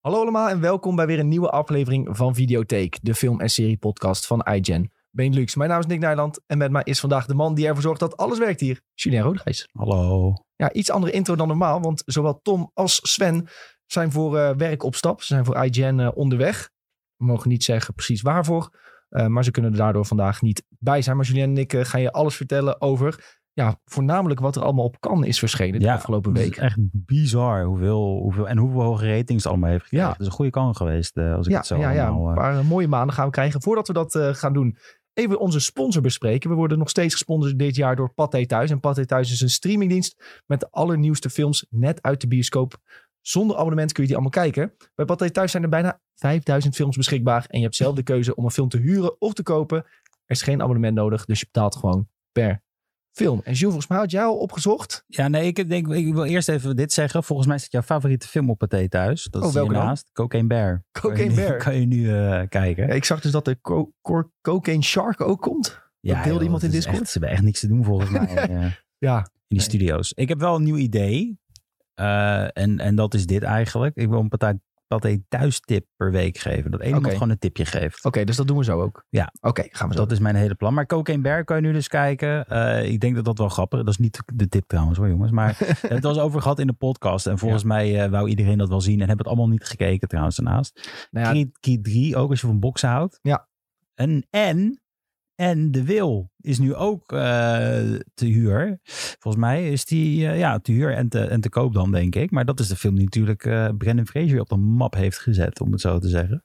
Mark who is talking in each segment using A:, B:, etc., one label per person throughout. A: Hallo allemaal en welkom bij weer een nieuwe aflevering van Videotheek, de film- en serie-podcast van iGen. Benelux, mijn naam is Nick Nijland en met mij is vandaag de man die ervoor zorgt dat alles werkt hier, Julien Roodgijs.
B: Hallo.
A: Ja, iets andere intro dan normaal, want zowel Tom als Sven zijn voor eh, werk op stap. Ze zijn voor iGen eh, onderweg. We mogen niet zeggen precies waarvoor, eh, maar ze kunnen er daardoor vandaag niet bij zijn. Maar Julien en ik eh, gaan je alles vertellen over, ja, voornamelijk wat er allemaal op kan is verschenen de
B: Ja, dus
A: afgelopen
B: Het is
A: week.
B: echt bizar hoeveel, hoeveel en hoeveel hoge ratings het allemaal heeft gekregen.
A: Ja.
B: Het is een goede kan geweest, eh, als ik
A: Ja,
B: het zo
A: ja, ja,
B: allemaal...
A: een
B: eh,
A: paar eh, mooie maanden gaan we krijgen. Voordat we dat eh, gaan doen, even onze sponsor bespreken. We worden nog steeds gesponsord dit jaar door Pathé Thuis. En Pathé Thuis is een streamingdienst met de allernieuwste films net uit de bioscoop. Zonder abonnement kun je die allemaal kijken. Bij Pathé Thuis zijn er bijna 5000 films beschikbaar. En je hebt zelf de keuze om een film te huren of te kopen. Er is geen abonnement nodig, dus je betaalt gewoon per film. En Jules, volgens mij had jij al opgezocht.
B: Ja, nee, ik, denk, ik wil eerst even dit zeggen. Volgens mij zit jouw favoriete film op Pathé thuis. Dat
A: Oh,
B: is
A: welke dan?
B: hiernaast. Cocaine Bear.
A: Cocaine
B: kan je nu-
A: Bear.
B: Kan je nu eh, kijken.
A: Ja, ik zag dus dat de co- co- Cocaine Shark ook komt. deelde
B: joh,
A: iemand in
B: het is
A: Discord?
B: echt- ze hebben echt niks te doen volgens mij eh, in
A: Ja,
B: die
A: Nee.
B: studio's. Ik heb wel een nieuw idee. Eh, en, en dat is dit eigenlijk. Ik wil een Pathé, Pathé thuis tip per week geven. Dat één iemand
A: Oké.
B: gewoon een tipje geeft.
A: oké, dus dat doen we zo ook.
B: Ja.
A: Oké, gaan we zo
B: Dat is mijn hele plan. Maar Cocaine Bear kan je nu dus kijken. Eh, ik denk dat dat wel grappig is. Dat is niet de tip trouwens hoor jongens. Maar eh, we hebben het al eens over gehad in de podcast. En volgens mij eh, wou iedereen dat wel zien. En hebben het allemaal niet gekeken trouwens daarnaast.
A: Nou ja,
B: Creed, Creed 3 ook als je van boksen houdt.
A: Ja.
B: En, en, en De Wil is nu ook eh, te huur. Volgens mij is die eh, ja, te huur en te, en te koop dan denk ik. Maar dat is de film die natuurlijk eh Brendan Fraser op de map heeft gezet. Om het zo te zeggen.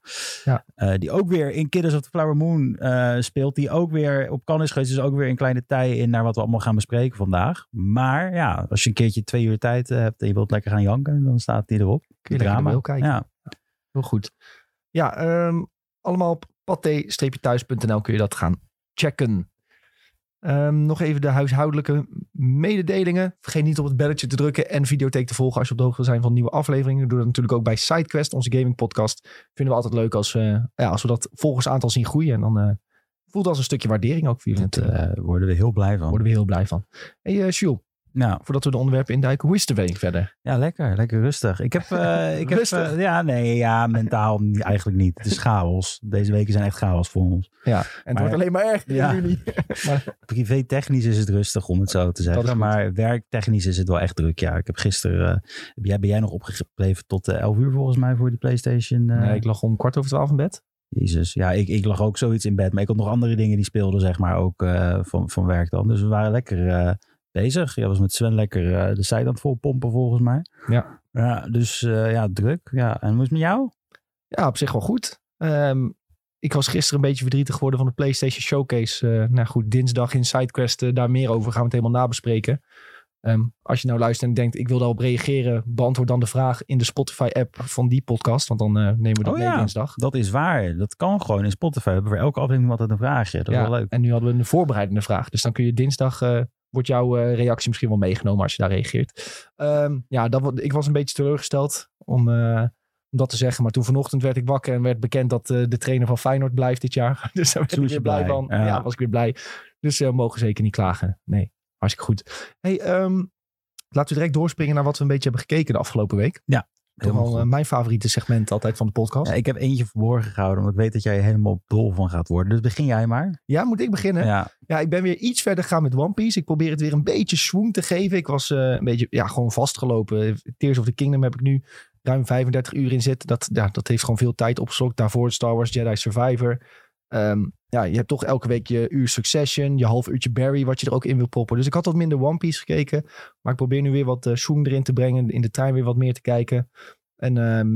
B: Eh, die ook weer in Killers of the Flower Moon eh, speelt. Die ook weer op kan is geweest. Dus ook weer een kleine tij in naar wat we allemaal gaan bespreken vandaag. Maar ja, als je een keertje twee uur tijd eh, hebt en je wilt lekker gaan janken, dan staat die erop.
A: kun je lekker naar
B: Drama.
A: Wil kijken.
B: Ja.
A: Heel goed. Ja, ehm, allemaal op pathé-thuis.nl kun je dat gaan checken. Ehm, nog even de huishoudelijke mededelingen. Vergeet niet op het belletje te drukken en videotheek te volgen als je op de hoogte wil zijn van nieuwe afleveringen. Doe dat natuurlijk ook bij SideQuest, onze gaming podcast. Vinden we altijd leuk als, eh, ja, als we dat volgersaantal zien groeien. En dan eh, voelt dat als een stukje waardering ook voor jullie.
B: Daar eh,
A: Daar
B: worden we heel blij van.
A: worden we heel blij van. Hey eh, Sjoel,
B: Nou,
A: voordat we de onderwerpen induiken, hoe is de week verder?
B: ja, lekker. Lekker rustig. Ik heb... eh, ik Heb,
A: Rustig?
B: eh, ja, nee, ja, mentaal niet- eigenlijk niet. Het is chaos. Deze weken zijn echt chaos voor ons.
A: Ja, en het wordt alleen maar erg
B: Ja.
A: in juli.
B: Privé-technisch is het rustig, om het zo te
A: is
B: zeggen.
A: goed.
B: Maar werktechnisch is het wel echt druk. Ja, ik heb gisteren. eh, heb jij, ben jij nog opgebleven tot eh 11 uur volgens mij voor die PlayStation? eh?
A: Nee, ik lag om kwart over twaalf in bed.
B: Jezus. Ja, ik, ik lag ook zoiets in bed. Maar ik had nog andere dingen die speelden, zeg maar, ook eh, van, van werk dan. Dus we waren lekker eh, bezig. Jij was met Sven lekker eh, de zijde aan het volpompen, volgens mij.
A: Ja.
B: Ja, dus eh, ja, druk. Ja, en hoe is het met jou?
A: Ja, op zich wel goed. Ehm, ik was gisteren een beetje verdrietig geworden van de PlayStation Showcase. Eh, nou goed, dinsdag in SideQuest eh, daar meer over. Gaan we het helemaal nabespreken. Ehm, als je nou luistert en denkt, ik wil daarop reageren, beantwoord dan de vraag in de Spotify-app van die podcast. Want dan eh, nemen we dat
B: Oh
A: mee
B: ja.
A: dinsdag.
B: Dat is waar. Dat kan gewoon in Spotify. We hebben voor elke aflevering altijd een vraagje. Dat is
A: Ja,
B: wel leuk.
A: En nu hadden we een voorbereidende vraag. Dus dan kun je dinsdag, eh, wordt jouw eh, reactie misschien wel meegenomen als je daar reageert. Ehm, ja, dat, wa- ik was een beetje teleurgesteld om, eh, om dat te zeggen. Maar toen vanochtend werd ik wakker en werd bekend dat eh, de trainer van Feyenoord blijft dit jaar. Dus daar werd
B: Toen
A: ik
B: was
A: weer
B: je
A: blij
B: blij,
A: van. Ja.
B: ja.
A: was ik weer blij. Dus eh, we mogen zeker niet klagen. Nee, hartstikke goed. Hey, ehm, laten we direct doorspringen naar wat we een beetje hebben gekeken de afgelopen week. Toch
B: Helemaal
A: wel
B: goed.
A: eh, mijn favoriete segment altijd van de podcast.
B: Ja,
A: Ja,
B: ik heb eentje verborgen gehouden, omdat ik weet dat jij er helemaal dol van gaat worden. Dus begin jij maar.
A: moet ik beginnen?
B: Ja,
A: Ja, ik ben weer iets verder gegaan met One Piece. Ik probeer het weer een beetje swoon te geven. Ik was eh, een beetje, ja, gewoon vastgelopen. Tears of the Kingdom heb ik nu ruim 35 uur in zitten. Dat, ja, dat heeft gewoon veel tijd opgeslokt. Daarvoor Star Wars Jedi Survivor. Ehm, ja, je hebt toch elke week je uur Succession, je half uurtje Barry, wat je er ook in wil proppen. Dus ik had wat minder One Piece gekeken. Maar ik probeer nu weer wat eh swoon erin te brengen. In de trein weer wat meer te kijken. En ehm,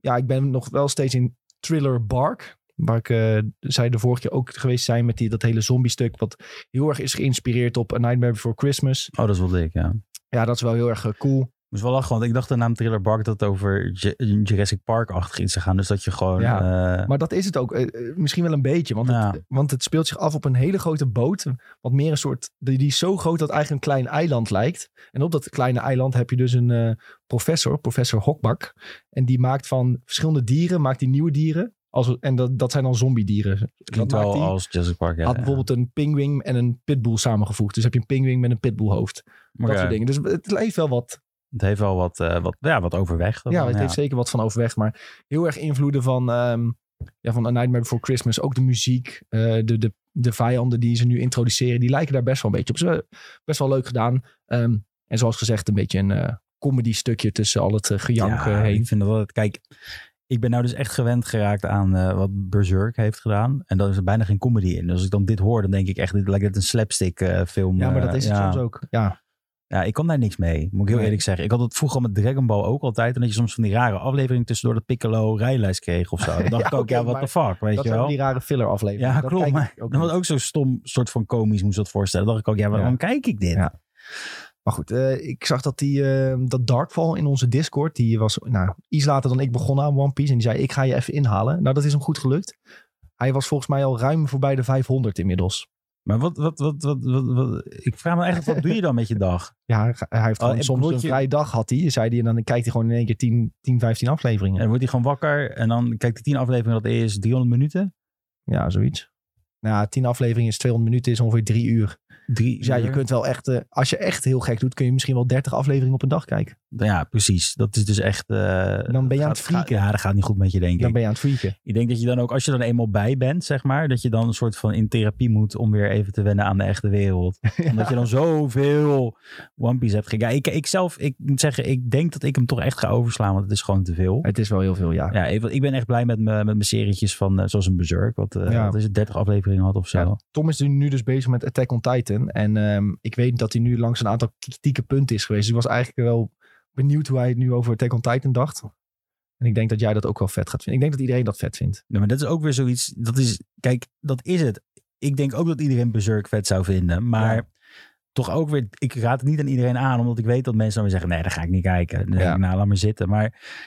A: ja, ik ben nog wel steeds in Thriller Bark. Waar ik eh, zei de vorige keer ook geweest zijn met die, dat hele zombie stuk. Wat heel erg is geïnspireerd op A Nightmare Before Christmas.
B: oh, dat is wel dik, ja. Ik
A: Ja, dat is wel heel erg eh, cool.
B: moest wel lachen, want ik dacht de naam Thriller Bark dat het over J- Jurassic Park-achtig iets te gaan. Dus dat je gewoon...
A: Ja,
B: eh,
A: Maar dat is het ook. eh, eh, misschien wel een beetje. Want,
B: Ja.
A: het, want het speelt zich af op een hele grote boot. Wat meer een soort... Die, die is zo groot dat eigenlijk een klein eiland lijkt. En op dat kleine eiland heb je dus een eh, professor. Professor Hokbak. En die maakt van verschillende dieren... Maakt die nieuwe dieren. Als, en dat, dat zijn dan zombiedieren. Dat
B: klinkt
A: maakt
B: wel
A: die.
B: als Jurassic Park, ja.
A: had
B: ja.
A: bijvoorbeeld een pingwing en een pitbull samengevoegd. Dus heb je een pingwing met een pitbull hoofd.
B: Oké.
A: Dat soort dingen. Dus het heeft wel wat
B: Het heeft wel wat, eh, wat, ja, wat overweg.
A: Ja,
B: daarvan,
A: het heeft zeker wat van overweg. Maar heel erg invloeden van, ehm, ja, van A Nightmare Before Christmas. Ook de muziek, eh, de, de, de vijanden die ze nu introduceren. Die lijken daar best wel een beetje op. Ze hebben best wel leuk gedaan. Ehm, en zoals gezegd, een beetje een eh, comedy stukje tussen al het eh, gejank eh,
B: Ja,
A: heen.
B: Ik vind dat altijd, kijk, ik ben nou dus echt gewend geraakt aan eh, wat Berserk heeft gedaan. En daar is er bijna geen comedy in. Dus als ik dan dit hoor, dan denk ik echt, dit lijkt net een slapstick eh, film.
A: Ja, maar dat
B: eh,
A: is het
B: ja.
A: soms ook. Ja,
B: Ja, ik kan daar niks mee, moet ik heel
A: Nee.
B: eerlijk zeggen. Ik had het vroeger met Dragon Ball ook altijd. En dat je soms van die rare afleveringen tussendoor dat Piccolo rijlijst kreeg of zo. Dan dacht
A: Ja,
B: ik ook,
A: oké,
B: ja, what
A: maar
B: the fuck, weet
A: dat
B: je
A: zijn
B: wel.
A: die rare filler afleveringen.
B: Ja,
A: dat
B: klopt.
A: kijk ik
B: Maar
A: ook
B: dan was
A: niet.
B: het ook zo stom, soort van komisch moest dat voorstellen. Dan dacht ik ook, ja, waarom
A: Ja.
B: kijk ik dit?
A: Ja. Maar goed, eh, ik zag dat, die, eh, dat Darkfall in onze Discord, die was nou, iets later dan ik begon aan One Piece. En die zei, ik ga je even inhalen. Nou, dat is hem goed gelukt. Hij was volgens mij al ruim voorbij de 500 inmiddels.
B: Maar wat, wat, wat, wat, wat, wat- ik vraag me eigenlijk, wat doe je dan met je dag?
A: Ja, hij, hij heeft
B: Oh,
A: gewoon
B: en
A: soms
B: word
A: een
B: je-
A: vrije dag had hij, zei hij. En dan kijkt hij gewoon in één keer 10, 10 15
B: En
A: afleveringen.
B: dan wordt hij gewoon wakker en dan kijkt hij tien afleveringen, dat is 300 minuten.
A: Ja, zoiets. Nou, ja, 10 afleveringen is 200 minuten, is ongeveer drie uur.
B: Drie
A: Dus ja, je
B: uur.
A: kunt wel echt, eh, als je echt heel gek doet, kun je misschien wel 30 afleveringen op een dag kijken.
B: Ja, precies. Dat is dus echt... eh,
A: Dan ben je aan
B: gaat-
A: het freaken.
B: gaat- Ja, dat gaat niet goed met je, denk ik.
A: Dan ben je aan het freaken.
B: Ik denk dat je dan ook, als je dan eenmaal bij bent, zeg maar, dat je dan een soort van in therapie moet om weer even te wennen aan de echte wereld. Omdat je dan zoveel One Piece hebt gekeken. Ja, ik, ik zelf, ik moet zeggen, ik denk dat ik hem toch echt ga overslaan, want het is gewoon te veel.
A: Het is wel heel veel, ja.
B: Ja, ik, ik ben echt blij met, me, met mijn serietjes van, eh, zoals een Berserk, wat, eh,
A: Ja.
B: wat is het, 30 afleveringen had of zo.
A: Ja. Tom is nu dus bezig met Attack on Titan. En ehm, ik weet dat hij nu langs een aantal kritieke punten is geweest. Dus ik was eigenlijk wel benieuwd hoe hij het nu over Attack on Titan dacht. En ik denk dat jij dat ook wel vet gaat vinden. Ik denk dat iedereen dat vet vindt.
B: Ja, maar dat is ook weer zoiets. Dat is, kijk, dat is het. Ik denk ook dat iedereen Berserk vet zou vinden. Maar
A: Ja.
B: toch ook weer, ik raad het niet aan iedereen aan. Omdat ik weet dat mensen dan weer zeggen, nee, daar ga ik niet kijken. Dan denk
A: Ja.
B: ik, nou, laat maar zitten. Maar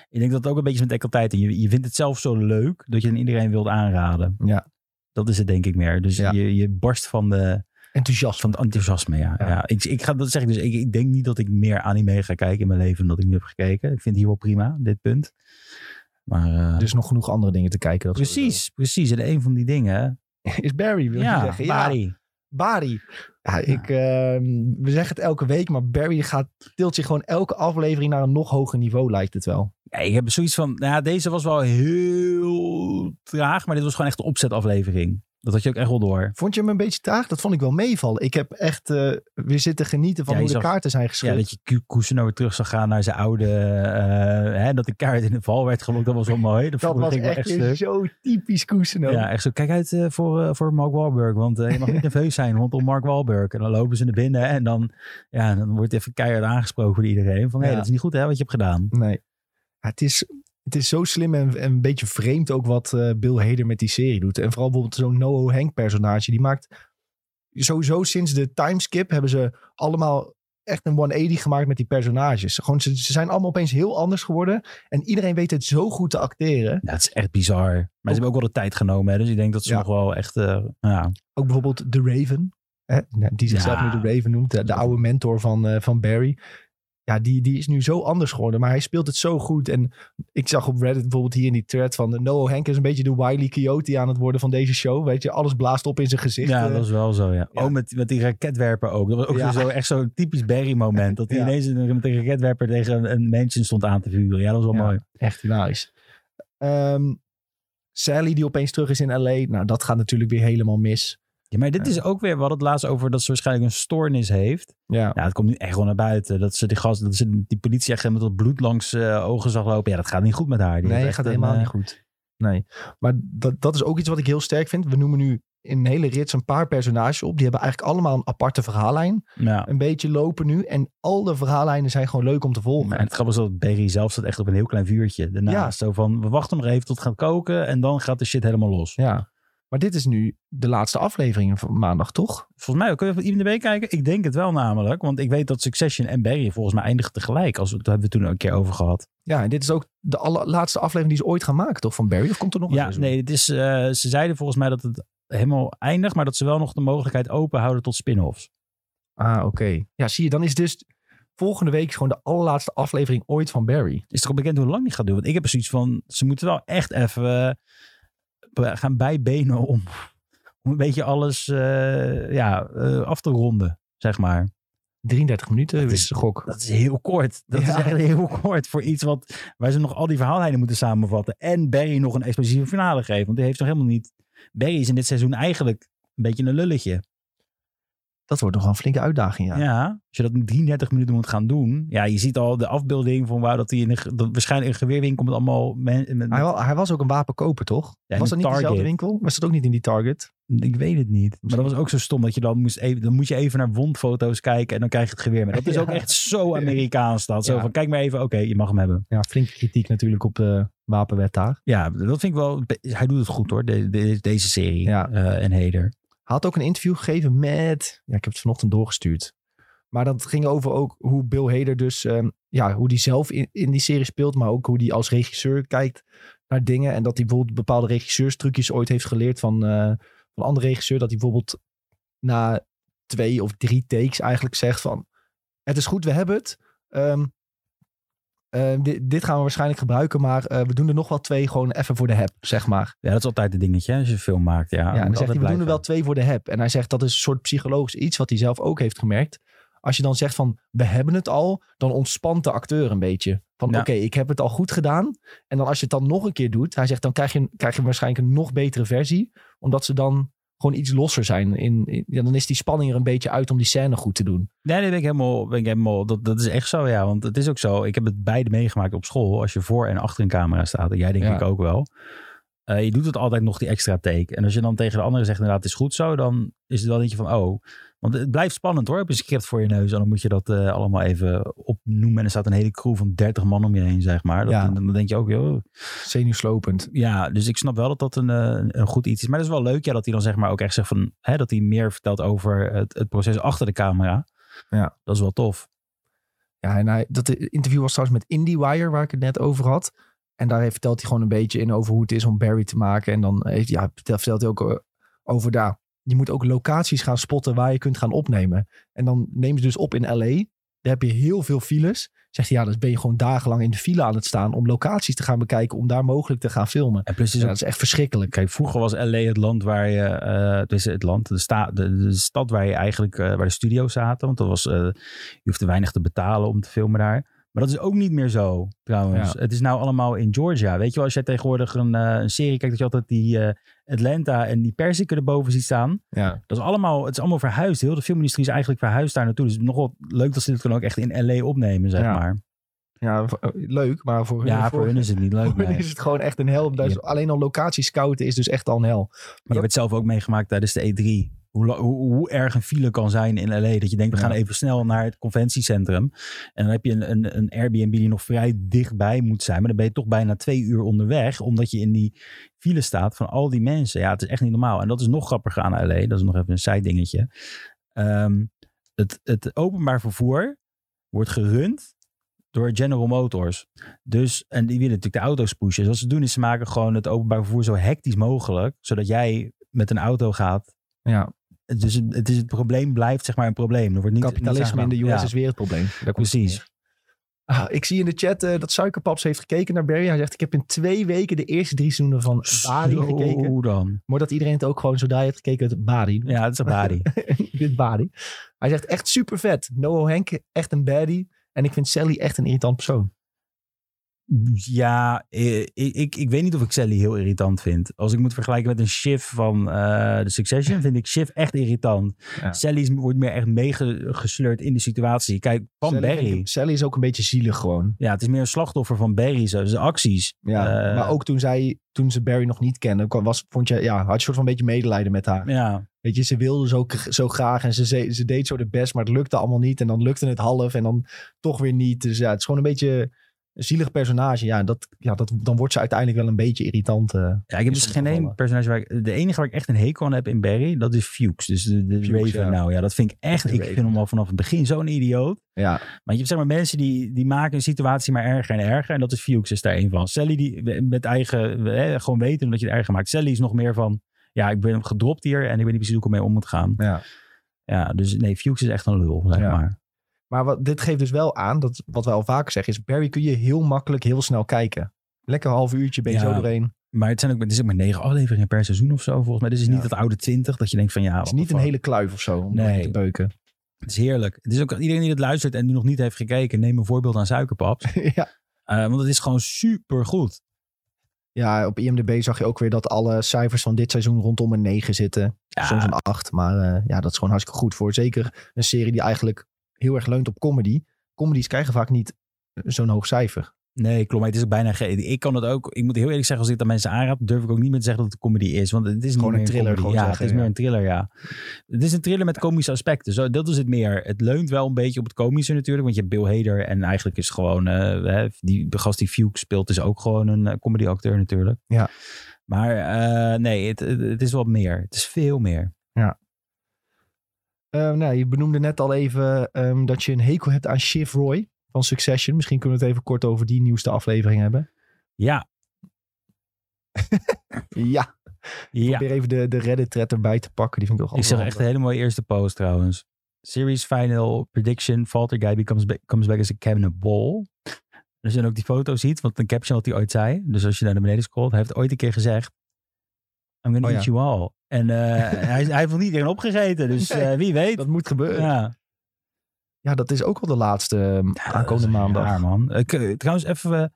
B: ik denk dat het ook een beetje is met Ekkeltijd. Je, je vindt het zelf zo leuk dat je het aan iedereen wilt aanraden.
A: Ja.
B: Dat is het denk ik meer. Dus
A: Ja.
B: je, je barst van, de,
A: Enthousiast.
B: van het enthousiasme, ja.
A: Ja.
B: ja. ik, ik ga dat zeggen. Dus ik, ik denk niet dat ik meer anime ga kijken in mijn leven dan dat ik nu heb gekeken. Ik vind het hier wel prima, dit punt. Maar eh,
A: Dus nog genoeg andere dingen te kijken. Dat
B: precies, precies. En een van die dingen,
A: Is Barry, wil je
B: ja,
A: zeggen. Ja,
B: Bari.
A: Barry. Ja, ik, ehm, we zeggen het elke week, maar Barry gaat, tilt zich gewoon elke aflevering naar een nog hoger niveau, lijkt het wel.
B: Ja, ik heb zoiets van, nou ja, deze was wel heel traag, maar dit was gewoon echt een opzetaflevering. Dat had je ook echt wel door.
A: Vond je hem een beetje traag? Dat vond ik wel meevallen. Ik heb echt eh, weer zitten genieten van
B: Ja,
A: hoe
B: je
A: de
B: zag-
A: kaarten zijn
B: Ja,
A: geschreven.
B: dat je Ku- Kusuno weer terug zag gaan naar zijn oude, eh, hè, dat de kaart in de val werd gelokt, dat was wel mooi. Dat,
A: Dat
B: vond ik
A: was
B: wel
A: echt, weer
B: stuk.
A: zo typisch Koesenoot.
B: Ja, echt zo, kijk uit eh, voor, eh, voor Mark Wahlberg, want eh, je mag niet nerveus zijn rondom Mark Wahlberg. En dan lopen ze naar binnen hè, en dan, ja, dan wordt even keihard aangesproken door iedereen. Van, hé,
A: Ja.
B: dat is niet goed hè, wat je hebt gedaan.
A: Nee. Ja, het, is, het is zo slim en, en een beetje vreemd ook wat eh, Bill Hader met die serie doet. En vooral bijvoorbeeld zo'n Noah Hank personage. Die maakt sowieso sinds de timeskip hebben ze allemaal echt een 180 gemaakt met die personages. Gewoon, ze, ze zijn allemaal opeens heel anders geworden. En iedereen weet het zo goed te acteren.
B: Dat is echt bizar. Maar ze
A: Ook-
B: hebben ook wel de tijd genomen, hè, dus ik denk dat ze
A: Ja.
B: nog wel echt, eh, ja,
A: Ook bijvoorbeeld The Raven. Hè? Nou, Die zichzelf
B: Ja.
A: nu The Raven noemt. De, de oude mentor van, eh, van Barry. Ja, die, die is nu zo anders geworden. Maar hij speelt het zo goed. En ik zag op Reddit bijvoorbeeld hier in die thread van... eh, Noah Henk is een beetje de Wiley Coyote aan het worden van deze show. Weet je, alles blaast op in zijn gezicht.
B: Ja,
A: eh.
B: dat is wel zo, ja.
A: ja.
B: Oh, met, met die raketwerper ook. Dat was ook
A: Ja.
B: zo, echt zo'n typisch Barry-moment. Dat hij
A: Ja.
B: ineens een- met een raketwerper tegen een, een mansion stond aan te vuren. Ja, dat was wel
A: Ja.
B: mooi.
A: Echt hilarisch. Ehm, Sally die opeens terug is in L.A. Nou, dat gaat natuurlijk weer helemaal mis.
B: Ja, maar dit
A: Ja.
B: is ook weer, we hadden het laatst over dat ze waarschijnlijk een stoornis heeft.
A: Ja,
B: Nou, het komt nu echt wel naar buiten. Dat ze die gast, dat ze die politieagent met dat bloed langs eh, ogen zag lopen. Ja, dat gaat niet goed met haar. Die
A: nee,
B: heeft
A: het
B: echt
A: gaat
B: een,
A: helemaal
B: eh,
A: niet goed. Nee, maar dat, dat is ook iets wat ik heel sterk vind. We noemen nu in een hele rits een paar personages op. Die hebben eigenlijk allemaal een aparte verhaallijn.
B: Ja.
A: Een beetje lopen nu. En al de verhaallijnen zijn gewoon leuk om te volgen.
B: En het grappige is dat Barry zelf staat echt op een heel klein vuurtje. Daarnaast zo van, we wachten nog even tot het gaat koken en dan gaat de shit helemaal los.
A: Ja. Maar dit is nu de laatste aflevering van maandag, toch?
B: Volgens mij, kunnen we even IMDb kijken? Ik denk het wel namelijk, want ik weet dat Succession en Barry volgens mij eindigen tegelijk. Als we, daar hebben we toen ook een keer over gehad.
A: Ja, en dit is ook de allerlaatste aflevering die ze ooit gaan maken, toch? Van Barry? Of komt er nog een
B: Ja,
A: seizoen?
B: nee, het is, eh, ze zeiden volgens mij dat het helemaal eindigt, maar dat ze wel nog de mogelijkheid open houden tot spin-offs.
A: Ah, oké. Ja, zie je, dan is dus volgende week gewoon de allerlaatste aflevering ooit van Barry.
B: Is toch al bekend hoe lang die gaat doen? Want ik heb zoiets van, ze moeten wel echt even eh, be- gaan bijbenen om, om een beetje alles eh, ja, eh, af te ronden, zeg maar.
A: 33 minuten,
B: Dat
A: dat
B: is-
A: is de gok.
B: Dat is heel kort. Dat is
A: Ja.
B: eigenlijk heel kort voor iets wat waar ze nog al die verhaallijnen moeten samenvatten. En Barry nog een explosieve finale geven. Want die heeft nog helemaal niet. Barry is in dit seizoen eigenlijk een beetje een lulletje.
A: Dat wordt nog wel een flinke uitdaging,
B: Ja.
A: ja.
B: Als je dat in 33 minuten moet gaan doen. Ja, je ziet al de afbeelding van waar dat hij in een, ge- dat waarschijnlijk in een geweerwinkel met allemaal. Men, met-
A: Hij, wa- hij was ook een wapenkoper, toch?
B: en
A: was dat
B: een
A: niet dezelfde
B: Target.
A: winkel? Was dat ook niet in die Target?
B: ik weet het niet. Maar dat was ook zo stom dat je dan moest even, dan moet je even naar wondfoto's kijken en dan krijg je het geweer. Maar dat is ook
A: Ja.
B: echt zo Amerikaans dat. Zo
A: Ja.
B: van kijk maar even, oké, je mag hem hebben.
A: Ja, flinke kritiek natuurlijk op de wapenwet daar.
B: Ja, dat vind ik wel. Hij doet het goed hoor, de, de- deze serie.
A: Ja.
B: Eh, en Heder.
A: Hij had ook een interview gegeven met... Ja, ik heb het vanochtend doorgestuurd. Maar dat ging over ook hoe Bill Hader dus... ehm, ja, hoe die zelf in, in die serie speelt. Maar ook hoe die als regisseur kijkt naar dingen. En dat hij bijvoorbeeld bepaalde regisseurstrucjes ooit heeft geleerd van, eh, van een andere regisseur. Dat hij bijvoorbeeld na twee of drie takes eigenlijk zegt van... Het is goed, we hebben het. Ehm, eh, di- dit gaan we waarschijnlijk gebruiken. Maar eh, we doen er nog wel twee gewoon even voor de heb, zeg maar.
B: Ja, dat is altijd een dingetje hè, als je een film maakt. Ja,
A: Ja,
B: moet
A: en dan zegt
B: altijd
A: hij, we doen er
B: blijven.
A: wel twee voor de heb. En hij zegt, dat is een soort psychologisch iets wat hij zelf ook heeft gemerkt. Als je dan zegt van, we hebben het al, dan ontspant de acteur een beetje. Van,
B: Ja.
A: oké, ik heb het al goed gedaan. En dan als je het dan nog een keer doet, hij zegt, dan krijg je, krijg je waarschijnlijk een nog betere versie. Omdat ze dan gewoon iets losser zijn. In, in- ja, dan is die spanning er een beetje uit om die scène goed te doen.
B: Nee, nee, ben ik helemaal. Ben ik helemaal dat, dat is echt zo, ja. Want het is ook zo. Ik heb het beide meegemaakt op school. Als je voor en achter een camera staat. en Jij denk
A: Ja.
B: ik ook wel. Eh, je doet het altijd nog die extra take. En als je dan tegen de andere zegt, inderdaad, het is goed zo. Dan is het wel een beetje van, oh. Want het blijft spannend hoor. Heb je een script voor je neus. En dan moet je dat eh, allemaal even opnoemen. En er staat een hele crew van 30 man om je heen, zeg maar. Dat,
A: Ja.
B: dan, dan denk je ook, joh,
A: Zenuwslopend.
B: Ja, dus ik snap wel dat dat een, eh, een goed iets is. Maar dat is wel leuk, ja, dat hij dan zeg maar ook echt zegt van... Hè, dat hij meer vertelt over het, het proces achter de camera.
A: Ja.
B: Dat is wel tof.
A: Ja, en hij, dat interview was trouwens met IndieWire, waar ik het net over had. En daar vertelt hij gewoon een beetje in over hoe het is om Barry te maken. En dan heeft, ja, vertelt- vertelt hij ook eh, over daar. Je moet ook locaties gaan spotten waar je kunt gaan opnemen. En dan nemen ze dus op in LA. Daar heb je heel veel files. Zegt hij, ja, dan ben je gewoon dagenlang in de file aan het staan om locaties te gaan bekijken, om daar mogelijk te gaan filmen.
B: En plus is
A: Dus
B: ook
A: dat is echt verschrikkelijk.
B: Kijk, vroeger was LA het land waar je, eh dus het land, de, sta, de, de stad waar je eigenlijk, eh, waar de studio's zaten. Want dat was, eh, je hoefde weinig te betalen om te filmen daar. Maar dat is ook niet meer zo, trouwens. Het is nou allemaal in Georgia. Weet je wel, als jij tegenwoordig een, eh, een serie kijkt, dat je altijd die eh, Atlanta en die Persiken erboven ziet staan.
A: Ja.
B: Dat is allemaal, het is allemaal verhuisd. Heel de filmindustrie is eigenlijk verhuisd daar naartoe. Dus het is nogal leuk dat ze dit dan ook echt in LA opnemen, zeg
A: Ja.
B: maar.
A: Ja, v- eh, leuk, maar voor hun,
B: Ja, voor hun is het niet leuk.
A: voor hun
B: nee.
A: is het gewoon echt een hel. om daar
B: Ja.
A: zo- Alleen al locaties scouten is dus echt al een hel.
B: Je hebt het zelf ook meegemaakt tijdens de E3. Hoe, la- hoe, hoe erg een file kan zijn in LA. Dat je denkt, we gaan
A: Ja.
B: even snel naar het conventiecentrum. En dan heb je een, een, een Airbnb die nog vrij dichtbij moet zijn. Maar dan ben je toch bijna twee uur onderweg. Omdat je in die file staat van al die mensen. Ja, het is echt niet normaal. En dat is nog grappiger aan LA. Dat is nog even een side dingetje. Ehm, het, het openbaar vervoer wordt gerund door General Motors. Dus, en die willen natuurlijk de auto's pushen. Dus wat ze doen is ze maken gewoon het openbaar vervoer zo hectisch mogelijk. Zodat jij met een auto gaat.
A: Ja,
B: Dus het, het, is, het probleem blijft zeg maar een probleem. Er wordt niet,
A: kapitalisme in
B: niets
A: de US
B: aangedaan.
A: is weer het probleem. Daar komt het
B: Precies.
A: neer. Ah, ik zie in de chat eh, dat Suikerpaps heeft gekeken naar Barry. Hij zegt, ik heb in twee weken de eerste drie seizoenen van Bari
B: Zo
A: gekeken.
B: dan?
A: Maar dat iedereen het ook gewoon zodra je hebt gekeken, het Bari.
B: Ja, het is een Bari.
A: Dit Bari. Hij zegt, echt super vet. Noah Henk, echt een baddie. En ik vind Sally echt een irritant persoon.
B: ja, eh, ik, ik, ik weet niet of ik Sally heel irritant vind. Als ik moet vergelijken met een Shiv van eh The Succession, vind ik Shiv echt irritant.
A: Ja.
B: Sally is- wordt meer echt meegesleurd in de situatie. Kijk, van
A: Sally,
B: Barry.
A: vind ik- Sally is ook een beetje zielig gewoon.
B: Ja, het is meer een slachtoffer van Barry, zo, zijn acties.
A: Ja,
B: Eh,
A: maar ook toen, zij, toen ze Barry nog niet kende, kwam- was, vond je, ja, had je een soort van een beetje medelijden met haar.
B: Ja,
A: Weet je, ze wilde zo, zo graag en ze, ze, ze deed zo de best, maar het lukte allemaal niet. En dan lukte het half en dan toch weer niet. Dus ja, het is gewoon een beetje een zielig personage. Ja, dat, ja dat, dan wordt ze uiteindelijk wel een beetje irritant. eh.
B: Ja, ik heb
A: In
B: dus
A: sommige
B: geen één
A: gevallen.
B: personage waar ik... De enige waar ik echt een hekel aan heb in Barry, dat is Fuchs. Dus de, de
A: Fuchs,
B: Raven
A: ja.
B: nou. Ja, dat vind ik echt...
A: De
B: Ik
A: Raven.
B: vind hem al vanaf het begin zo'n idioot.
A: Ja,
B: Maar je hebt zeg maar mensen die, die maken een situatie maar erger en erger. En dat is Fuchs is daar één van. Sally die met eigen... Hè, gewoon weten dat je het erger maakt. Sally is nog meer van... Ja, ik ben gedropt hier en ik weet niet precies hoe ik ermee om moet gaan.
A: ja.
B: Ja, dus nee, Fuchs is echt een lul, zeg
A: Ja.
B: maar.
A: Maar wat, dit geeft dus wel aan, dat, wat wij al vaker zeggen, is Barry kun je heel makkelijk heel snel kijken. Lekker een half uurtje ben je
B: Ja. Nou,
A: zo doorheen.
B: Maar het, zijn ook, het is ook maar negen afleveringen per seizoen of zo, volgens mij. Dit is
A: Ja.
B: niet dat oude twintig, dat je denkt van ja...
A: Het is
B: what
A: niet
B: the
A: een
B: fuck.
A: hele kluif of zo om
B: Nee.
A: doorheen te beuken.
B: Het is heerlijk. Het is ook iedereen die het luistert en nu nog niet heeft gekeken, neem een voorbeeld aan Suikerpaps.
A: ja.
B: Eh, want het is gewoon supergoed.
A: ja, op IMDb zag je ook weer dat alle cijfers van dit seizoen rondom een 9 zitten.
B: Ja,
A: Soms een 8, maar eh, ja, dat is gewoon hartstikke goed voor. Zeker een serie die eigenlijk heel erg leunt op comedy. Comedies krijgen vaak niet eh, zo'n hoog cijfer.
B: Nee, klopt. Maar het is ook bijna geen. Ik kan het ook. Ik moet heel eerlijk zeggen, als ik het aan mensen aanraad, durf ik ook niet meer te zeggen dat het een comedy is. Want het is
A: Gewoon
B: niet
A: een
B: meer
A: thriller,
B: comedy.
A: gewoon
B: Ja,
A: zeggen,
B: het is meer
A: ja.
B: een thriller, ja. Het is een thriller met komische aspecten. Zo, dat is het meer. Het leunt wel een beetje op het komische natuurlijk. Want je hebt Bill Hader en eigenlijk is gewoon. eh, hè, die, de gast die Fuke speelt is ook gewoon een eh, comedyacteur natuurlijk.
A: Ja.
B: Maar eh, nee, het, het, het is wat meer. Het is veel meer.
A: Eh, nou, je benoemde net al even ehm, dat je een hekel hebt aan Shiv Roy van Succession. Misschien kunnen we het even kort over die nieuwste aflevering hebben.
B: Ja,
A: Ja,
B: ja.
A: probeer even de, de Reddit-thread erbij te pakken. Die vind ik toch
B: Ik
A: altijd
B: zag
A: wel
B: echt een
A: handig.
B: hele mooie eerste post trouwens. Series final prediction. Falter guy becomes ba- comes back as a cabinet ball. Als je dan ook die foto ziet, want een caption wat hij ooit zei. Dus als je naar beneden scrolt, hij heeft ooit een keer gezegd. I'm gonna
A: Oh
B: eat
A: ja.
B: you all. En eh, hij, hij heeft nog niet erin opgegeten, dus
A: Nee,
B: eh, wie weet.
A: Dat eh, moet gebeuren. Ja.
B: ja.
A: dat is ook al de laatste ehm, aankomende
B: Dat is
A: maandag.
B: raar, man. Eh, k- trouwens, even, eh,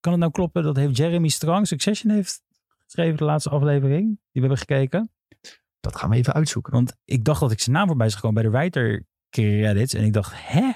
B: kan het nou kloppen dat heeft Jeremy Strang Succession heeft geschreven de laatste aflevering die we hebben gekeken?
A: Dat gaan we even uitzoeken.
B: Want ik dacht dat ik zijn naam voorbij is gekomen bij de writer credits. En ik dacht, hè?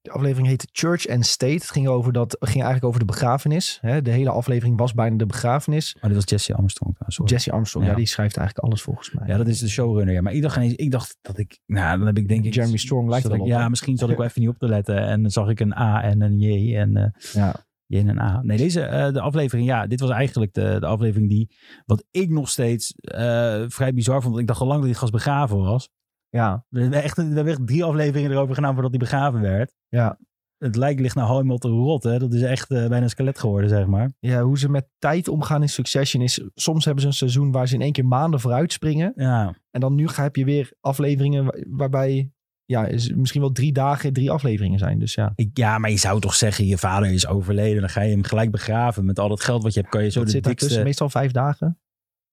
A: De aflevering heette Church and State. Het ging, over dat, ging eigenlijk over de begrafenis. Hè, de hele aflevering was bijna de begrafenis.
B: Maar dat was Jesse Armstrong. trouwens, Sorry.
A: Jesse Armstrong,
B: Ja.
A: ja. die schrijft eigenlijk alles volgens mij.
B: ja, dat is de showrunner. Ja. Maar ik dacht, ineens- ik dacht dat ik... Nou, dan heb ik denk ik...
A: Jeremy Strong lijkt
B: zat
A: wel
B: ik-
A: op,
B: Ja,
A: hè?
B: misschien zat ik wel even niet op te letten. En dan zag ik een A en een J en eh,
A: Ja.
B: J en een A. Nee, deze eh, de aflevering, ja, dit was eigenlijk de, de aflevering die... Wat ik nog steeds eh, vrij bizar vond. Want ik dacht al lang dat dit gast begraven was.
A: ja.
B: We hebben echt, we hebben echt drie afleveringen erover gedaan voordat hij begraven werd.
A: Ja.
B: Het lijk ligt nou helemaal te rot, hè. Dat is echt eh, bijna een skelet geworden, zeg maar.
A: Ja, hoe ze met tijd omgaan in Succession is... Soms hebben ze een seizoen waar ze in één keer maanden vooruit springen.
B: Ja,
A: En dan nu ga, heb je weer afleveringen wa- waarbij... Ja, is misschien wel drie dagen drie afleveringen zijn. Dus ja,
B: ik, ja, maar je zou toch zeggen, je vader is overleden. Dan ga je hem gelijk begraven. Met al dat geld wat je hebt, kan je zo
A: dat
B: de
A: zit daar tussen.
B: dikste...
A: Meestal vijf dagen.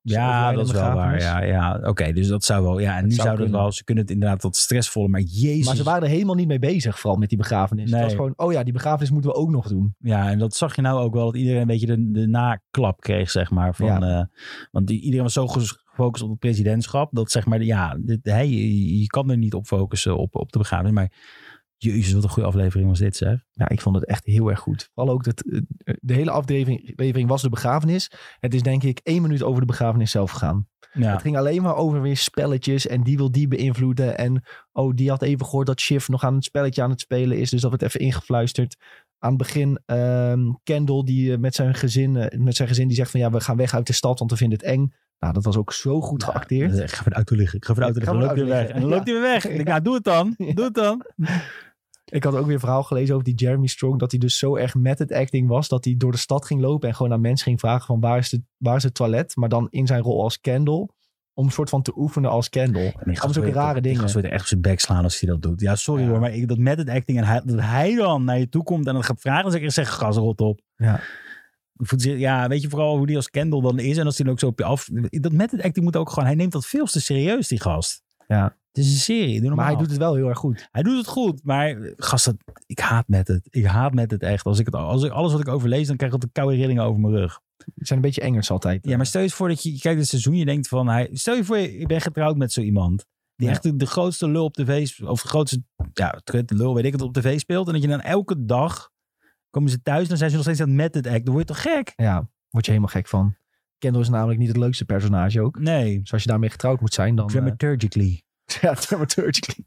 A: Dus
B: Ja,
A: overlijden
B: dat is
A: en
B: wel waar.
A: begrafenis.
B: Ja, ja. oké. dus dat zou wel... Ja, en nu
A: zou
B: zou dat
A: kunnen.
B: wel... Ze kunnen het inderdaad wat stressvolle, maar jezus.
A: Maar ze waren er helemaal niet mee bezig, vooral met die begrafenis.
B: Nee.
A: Het was gewoon, oh ja, die begrafenis moeten we ook nog doen.
B: Ja, en dat zag je nou ook wel. Dat iedereen een beetje de, de naklap kreeg, zeg maar. Van, eh, want die- iedereen was zo ges- gefocust op het presidentschap. Dat zeg maar, ja, dit, hè, je, je kan er niet op focussen op, op de begrafenis. Maar jezus, wat een goede aflevering was dit, zeg.
A: Ja, ik vond het echt heel erg goed. Vooral ook dat eh, de hele aflevering aflevering was de begrafenis. Het is denk ik één minuut over de begrafenis zelf gegaan.
B: Ja,
A: Het ging alleen maar over weer spelletjes en die wil die beïnvloeden. En oh, die had even gehoord dat Shiv nog aan het spelletje aan het spelen is. Dus dat werd even ingefluisterd. Aan het begin ehm Kendall die eh, met zijn, gezin, eh, met zijn gezin die zegt van ja, we gaan weg uit de stad, want we vinden het eng. Nou, dat was ook zo goed geacteerd.
B: Ik ga voor de auto liggen. Ik ga voor de auto
A: Ik
B: liggen.
A: ga
B: Dan
A: voor
B: loopt
A: de
B: hij weer
A: auto
B: weg. En dan loopt hij weer weg. Ik denk, nou, doe het dan.
A: Ja.
B: Doe het dan.
A: Ik had ook weer een verhaal gelezen over die Jeremy Strong. Dat hij dus zo erg met het acting was. Dat hij door de stad ging lopen en gewoon aan mensen ging vragen van waar is, de, waar is het toilet? Maar dan in zijn rol als Kendall. Om een soort van te oefenen als Kendall. Dat is ook een rare
B: Ik
A: ding.
B: ga zo echt op zijn bek slaan als hij dat doet. Ja, sorry
A: Ja.
B: hoor. Maar ik, dat met het acting en hij, dat hij dan naar je toe komt en dat gaat vragen. Dan zeg ik, zeg, gas rot op.
A: Ja.
B: Voelt zich- Ja, weet je vooral hoe die als Kendall dan is. En als hij dan ook zo op je af... Dat met het acting moet ook gewoon... Hij neemt dat veel te serieus, die gast.
A: Ja.
B: Het is een serie. Doe
A: Maar hij
B: normaal.
A: doet het wel heel erg goed.
B: Hij doet het goed, maar eh, gast, dat- ik haat met het. Ik haat met het echt. Als ik het, als ik, alles wat ik overlees, dan krijg ik altijd koude rillingen over mijn rug.
A: Ze zijn een beetje engers altijd.
B: Ja, maar stel je eens voor dat je, je kijkt het seizoen, je denkt van, hij, stel je voor je bent getrouwd met zo iemand. Die
A: Ja.
B: echt de, de grootste lul op tv, sp- of de grootste, ja, de lul weet ik het, op tv speelt. En dat je dan elke dag, komen ze thuis, dan zijn ze nog steeds aan het met het act. Dan word je toch gek?
A: Ja, word je helemaal gek van. Kendall is namelijk niet het leukste personage ook.
B: Nee.
A: Dus als je daarmee getrouwd moet zijn, dan... eh,
B: Dramaturgically.
A: Ja, dramaturgically.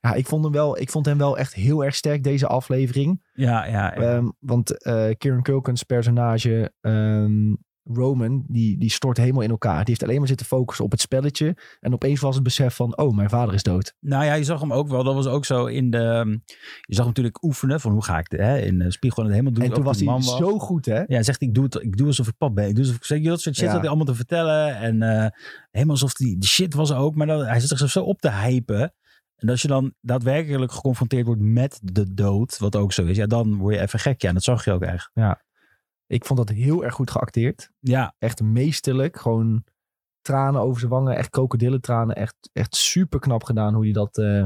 A: ja, ik vond, hem wel, ik vond hem wel echt heel erg sterk, deze aflevering.
B: Ja, ja. ja.
A: Ehm, want eh Kieran Culkin's personage ehm, Roman, die, die stort helemaal in elkaar. Die heeft alleen maar zitten focussen op het spelletje. En opeens was het besef van, oh, mijn vader is dood.
B: Nou ja, je zag hem ook wel. Dat was ook zo in de... ehm, Je zag hem natuurlijk oefenen van hoe ga ik hè, in de spiegel en het helemaal doen.
A: en toen
B: ook
A: was hij
B: man
A: zo goed, hè?
B: Ja, hij zegt ik doe het, ik doe alsof ik pap ben. Ik doe alsof ik zeg je dat soort shit
A: Ja.
B: had hij allemaal te vertellen en eh, helemaal alsof die de shit was ook, maar dan, hij zit zichzelf zo op te hypen. En als je dan daadwerkelijk geconfronteerd wordt met de dood, wat ook zo is, ja, dan word je even gek. Ja, en dat zag je ook echt.
A: Ik vond dat heel erg goed geacteerd.
B: Ja,
A: Echt meesterlijk. Gewoon tranen over zijn wangen. Echt krokodillentranen. Echt, echt super knap gedaan hoe hij dat, eh,